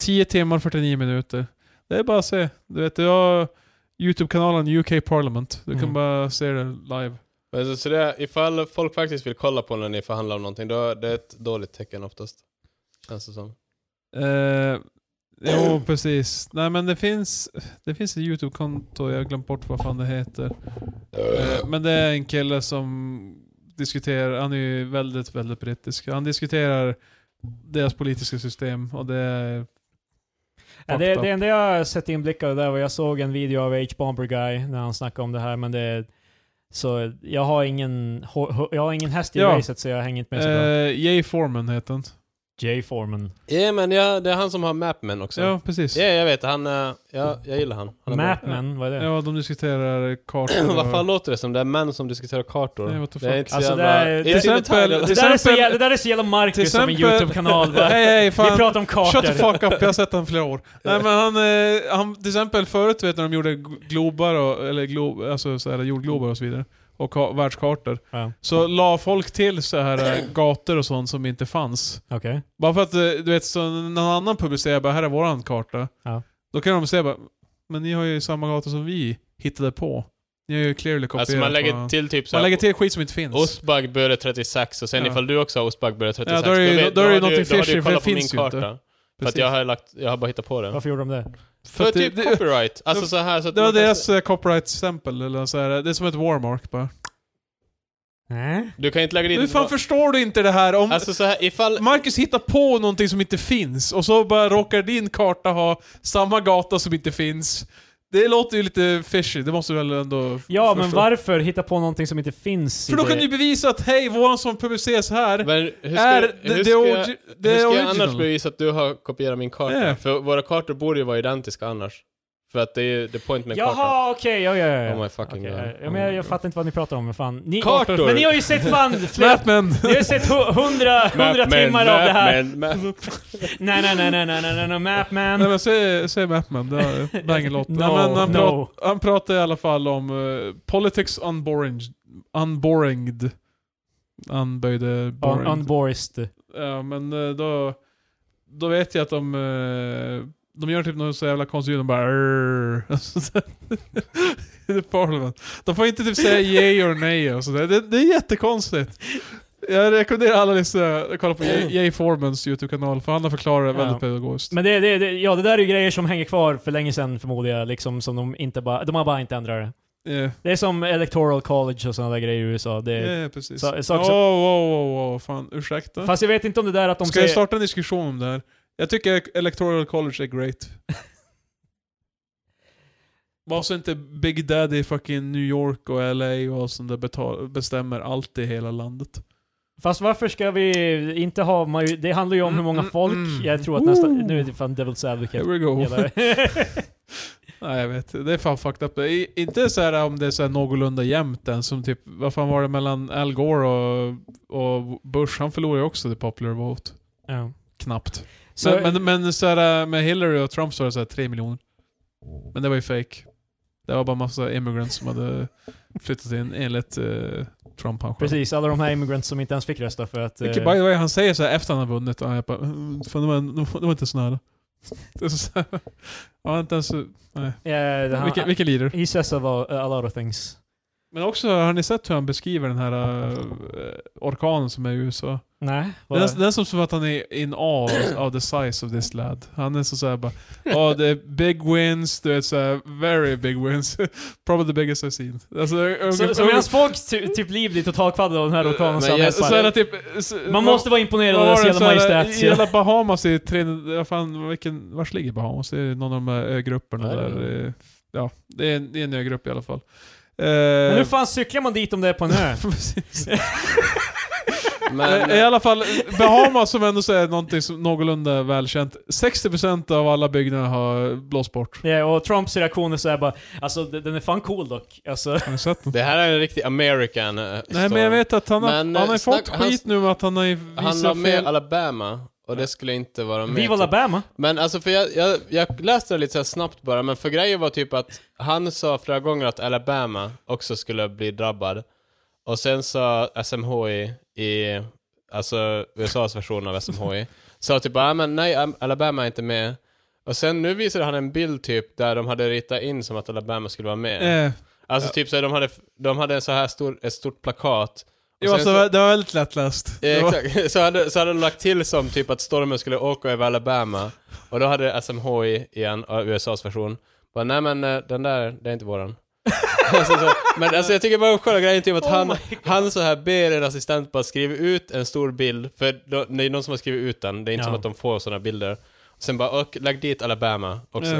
Speaker 3: 10 timmar 49 minuter. Det är bara att se. Du vet, jag har YouTube-kanalen UK Parliament. Du kan
Speaker 1: Mm.
Speaker 3: bara se det live.
Speaker 1: Men så, så det, är- ifall folk faktiskt vill kolla på när ni förhandlar om någonting, då är det ett dåligt tecken oftast. Känns det som.
Speaker 3: Eh, jo, precis. Nej men det finns, det finns ett YouTube-konto, jag har glömt bort vad fan det heter. Eh, men det är en kille som diskuterar, han är ju väldigt, väldigt brittisk. Han diskuterar deras politiska system och det är...
Speaker 2: Ja, det, det enda jag sett inblickar där var jag såg en video av H. Bomber Guy när han snackade om det här, men det... Så jag har ingen, ho- ho- jag har ingen häst i
Speaker 3: Ja.
Speaker 2: racet så jag hänger inte med så bra.
Speaker 3: Eh, Jay Foreman heter han.
Speaker 2: Jay Foreman.
Speaker 1: Ja men ja, det är han som har Mapman också. Ja,
Speaker 3: Ja, precis.
Speaker 1: jag vet. Han, eh, ja, jag gillar han. han är bra.
Speaker 2: Mapman, vad är det?
Speaker 3: Ja, de diskuterar kartor och-
Speaker 1: Vad fan låter det som? Det är män som diskuterar kartor.
Speaker 3: Nej, what the
Speaker 1: det är typ
Speaker 3: fuck.
Speaker 1: inte så
Speaker 2: Alltså, det
Speaker 1: jävla...
Speaker 2: är-
Speaker 1: Inte
Speaker 2: till
Speaker 1: i detalj,
Speaker 3: exempel-
Speaker 1: eller?
Speaker 2: Alltså, Det
Speaker 3: till
Speaker 2: där, är så
Speaker 3: exempel-
Speaker 2: jävla, det där är så jävla
Speaker 3: till
Speaker 2: Marcus som en
Speaker 3: exempel-
Speaker 2: YouTube-kanal. va?
Speaker 3: Hej, hej, fan.
Speaker 2: Vi pratar om kartor.
Speaker 3: Shut the fuck up, jag har sett den flera år. Nej men han, eh, han till exempel förut vet när de gjorde gl- globar, och, eller glo, alltså så här, jordglobar och så vidare. Och ka- världskartor.
Speaker 2: Ja,
Speaker 3: Så la folk till så här eh, gator och sånt som inte fanns.
Speaker 2: okej.
Speaker 3: Bara för att eh, du vet, så när någon annan publicerar bara här är våran karta.
Speaker 2: Ja.
Speaker 3: Då kan de säga bara, men ni har ju samma gator som vi hittade på. Ni har ju clearly kopierat.
Speaker 1: Alltså man lägger
Speaker 3: på-
Speaker 1: till typ så
Speaker 3: man
Speaker 1: här-
Speaker 3: lägger till skit som inte finns.
Speaker 1: Ostbaggböle 36 och sen
Speaker 3: Ja.
Speaker 1: ifall du också har ostbaggböle 36
Speaker 3: Ja, då är det ju-
Speaker 1: vet-
Speaker 3: då är det ju
Speaker 1: har du-
Speaker 3: någonting
Speaker 1: då har du
Speaker 3: fishy, för
Speaker 1: kollat
Speaker 3: det
Speaker 1: på min
Speaker 3: finns ju inte.
Speaker 1: karta. För att
Speaker 3: Precis.
Speaker 1: jag har, lagt, jag har bara hittat på det.
Speaker 2: Varför gjorde de det?
Speaker 1: För
Speaker 3: att det-
Speaker 1: typ
Speaker 3: det-
Speaker 1: copyright. Alltså så här så att
Speaker 3: Det var
Speaker 1: man kan-
Speaker 3: deras eh, copyright-stämpel, eller så här, det är som ett warmark bara.
Speaker 2: Nej.
Speaker 1: Du kan inte lägga dit...
Speaker 3: Hur fan förstår du inte det här? Om
Speaker 1: Alltså så här, ifall...
Speaker 3: Marcus hittar på någonting som inte finns, och så bara råkar din karta ha samma gata som inte finns. Det låter ju lite fishy, det måste du väl ändå
Speaker 2: Ja,
Speaker 3: förstå.
Speaker 2: men varför hitta på någonting som inte finns i
Speaker 3: För då
Speaker 2: det?
Speaker 3: kan du bevisa att hej, våran som publiceras här
Speaker 1: Men hur ska,
Speaker 3: är
Speaker 1: hur
Speaker 3: the,
Speaker 1: ska,
Speaker 3: the,
Speaker 1: jag-
Speaker 3: orgi-
Speaker 1: hur
Speaker 3: the
Speaker 1: ska jag annars
Speaker 3: original.
Speaker 1: bevisa att du har kopierat min karta?
Speaker 3: Ja.
Speaker 1: För våra kartor borde ju vara identiska annars. För att det är ju the point med en karta.
Speaker 2: Jaha, okej, ja, ja, ja.
Speaker 1: Oh my fucking
Speaker 2: Okej,
Speaker 1: god.
Speaker 2: ja, men jag, jag fattar inte vad ni pratar om, men fan. Ni,
Speaker 1: Kartor!
Speaker 2: Men ni har ju sett fan flera...
Speaker 3: Snapman!
Speaker 2: Ni har ju sett hu- hundra, hundra
Speaker 1: Mapman,
Speaker 2: timmar av det här.
Speaker 1: Mapman, Mapman.
Speaker 2: Nej, nej, nej, nej, nej, nej, nej, nej, Mapman.
Speaker 3: Nej men säg, säg Mapman, det är- banger låt.
Speaker 2: No,
Speaker 3: Nej, men han,
Speaker 2: no.
Speaker 3: prat, han pratar i alla fall om eh, politics unboringed, unboringed, unböjde,
Speaker 2: On,
Speaker 3: boringed.
Speaker 2: on Borist.
Speaker 3: Ja, men eh, då, då vet jag att de, eh, de gör typ något så jävla konstigt ljud, de bara "Arr." Alltså, så- Det är Parliament. De får inte typ säga yay or nej och sådär. Det, det är jättekonstigt. Jag rekommenderar alla lyssnare att kolla på Jay Jay Formans YouTube-kanal, för han har förklarat det väldigt
Speaker 2: Ja.
Speaker 3: pedagogiskt.
Speaker 2: Men det, det, det, ja, det där är ju grejer som hänger kvar för länge sedan förmodar jag, liksom som de inte bara, de har bara inte ändrat det.
Speaker 3: Eh,
Speaker 2: Det är som Electoral College och sådana där grejer i USA. Det,
Speaker 3: Ja, precis.
Speaker 2: så-
Speaker 3: Så,
Speaker 2: så-
Speaker 3: oh, oh, oh, oh, fan, ursäkta.
Speaker 2: Fast jag vet inte om det där att de
Speaker 3: Ska jag
Speaker 2: säger...
Speaker 3: starta en diskussion om det här? Jag tycker Electoral College är great. Var så inte Big Daddy i fucking New York och LA och sånt där betal- bestämmer allt i hela landet.
Speaker 2: Fast varför ska vi inte ha major... Det handlar ju om hur många
Speaker 3: Mm,
Speaker 2: folk.
Speaker 3: mm, mm.
Speaker 2: Jag tror att nästan...
Speaker 3: Ooh.
Speaker 2: Nu är det fan Devil's Advocate.
Speaker 3: Here we go.
Speaker 2: Hela-
Speaker 3: Nej jag vet, det är fan fucked up. Det är inte så här om det är så här någorlunda jämnt än som typ, vad fan var det mellan Al Gore och, och Bush? Han förlorade ju också the popular vote.
Speaker 2: ja.
Speaker 3: Knappt.
Speaker 2: Så,
Speaker 3: men, men, men så här, äh, med Hillary och Trump så var det så här 3 miljoner. Men det var ju fake. Det var bara massa immigrants som hade flyttat in enligt eh, Trump han själv.
Speaker 2: precis, alla de här immigrants som inte ens fick rösta för att... eh,
Speaker 3: Vilket Eh, by the way, han säger så här efter han har vunnit och jag bara "Mm, Fan, det var, det var- det var inte så nära. Det är så här, han var inte ens... Nej.
Speaker 2: yeah,
Speaker 3: Vilken, vilken lider.
Speaker 2: He says a lot, a lot of things.
Speaker 3: Men också, har ni sett hur han beskriver den här eh, orkanen som är i USA?
Speaker 2: Nej,
Speaker 3: Det är, det är som att han är in awe of the size of this lad. Han är så såhär bara, oh the big wins, du vet såhär, very big wins. Probably the biggest I've seen. Alltså,
Speaker 2: Så, så medan folk ty, typ liv blir totalkvaddade av den här orkanen så
Speaker 1: Men
Speaker 2: han
Speaker 1: jag-
Speaker 2: häpar.
Speaker 3: så här, typ, så,
Speaker 2: Man måste vara imponerad av
Speaker 3: vad var
Speaker 2: deras
Speaker 3: det,
Speaker 2: jävla
Speaker 3: så här,
Speaker 2: majestät.
Speaker 3: I
Speaker 2: ja.
Speaker 3: hela Bahamas i Trinidad, vad fan, vilken, vars ligger Bahamas? Det är någon av de här ögrupperna
Speaker 1: Nej,
Speaker 3: där. eh, Ja, det är en, det är en ögrupp i alla fall.
Speaker 2: Men hur
Speaker 3: Eh,
Speaker 2: fan cyklar man dit om det är på en ö?
Speaker 3: precis.
Speaker 1: Men,
Speaker 3: Eh, I alla fall, Bahamas som ändå säger någonting som någorlunda välkänt. 60% av alla byggnader har blåst bort.
Speaker 2: Ja, och Trumps reaktion är såhär bara, alltså d- den är fan cool dock. Alltså,
Speaker 3: Har ni sett den?
Speaker 1: det här är en riktig American eh,
Speaker 3: Nej
Speaker 1: story.
Speaker 3: men jag vet att han har,
Speaker 1: Men, eh,
Speaker 3: han har ju
Speaker 1: snack-
Speaker 3: fått
Speaker 1: han-
Speaker 3: skit nu med att han har ju
Speaker 1: Han la
Speaker 3: visat
Speaker 1: med
Speaker 3: fel...
Speaker 1: Alabama, och det skulle inte vara med.
Speaker 2: Viva Alabama!
Speaker 1: Men alltså för jag, jag, jag läste det lite så här snabbt bara, men för grejen var typ att han sa flera gånger att Alabama också skulle bli drabbad. Och sen sa SMHI i, alltså USAs version av SMHI, sa typ ah, men nej, Am- Alabama är inte med. Och sen nu visade han en bild typ där de hade ritat in som att Alabama skulle vara med.
Speaker 3: Eh,
Speaker 1: alltså typ så här, de hade, de hade en så här stor, ett stort plakat. Och
Speaker 3: jo,
Speaker 1: sen
Speaker 3: alltså,
Speaker 1: så-
Speaker 3: det var väldigt lättläst.
Speaker 1: Eh,
Speaker 3: Det var-
Speaker 1: Exakt, så hade, så hade de lagt till som typ att stormen skulle åka över Alabama, och då hade SMHI igen, av USAs version, bara nej men eh, den där, det är inte våran. alltså, så, men alltså jag tycker bara själva grejen typ att
Speaker 2: Oh
Speaker 1: han,
Speaker 2: my
Speaker 1: han så här ber en assistent bara skriva ut en stor bild, för då, det är någon som har skrivit ut den, det är inte
Speaker 2: Ja.
Speaker 1: som att de får sådana bilder. Sen bara, och lägg dit Alabama också.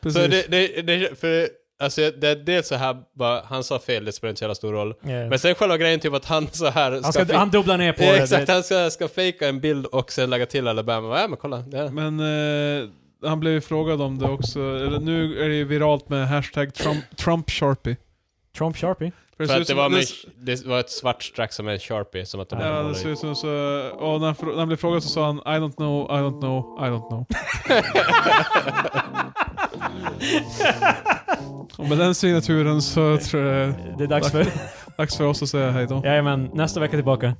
Speaker 3: Precis.
Speaker 1: så det, det, det, för, alltså det är dels så här bara, han sa fel, det spelar inte så jävla stor roll.
Speaker 2: Ja.
Speaker 1: Men sen själva grejen typ att han så här
Speaker 2: han, ska,
Speaker 1: fi-
Speaker 2: han dubblar ner på
Speaker 1: Ja,
Speaker 2: det.
Speaker 1: exakt,
Speaker 2: det.
Speaker 1: han ska, ska fejka en bild och sen lägga till Alabama. Ja men kolla. Det är.
Speaker 3: Men eh, han blev ju frågad om det också. Eller, nu är det ju viralt med hashtag Trump, Trump Sharpie.
Speaker 2: Trump Sharpie.
Speaker 3: det ser
Speaker 1: För
Speaker 3: ut
Speaker 1: att det
Speaker 3: som-
Speaker 1: var, med,
Speaker 3: det-
Speaker 1: det var ett svart streck som är sharpie, som att de
Speaker 3: Ja,
Speaker 1: hade
Speaker 3: det
Speaker 1: målat
Speaker 3: ser
Speaker 1: ut.
Speaker 3: ut som så... Och när han, frå- när han blev frågad så sa han I don't know, I don't know, I don't know. och med den signaturen så tror jag det är
Speaker 2: Det är dags för...
Speaker 3: dags för oss att säga hejdå.
Speaker 2: Jajamän, nästa vecka tillbaka.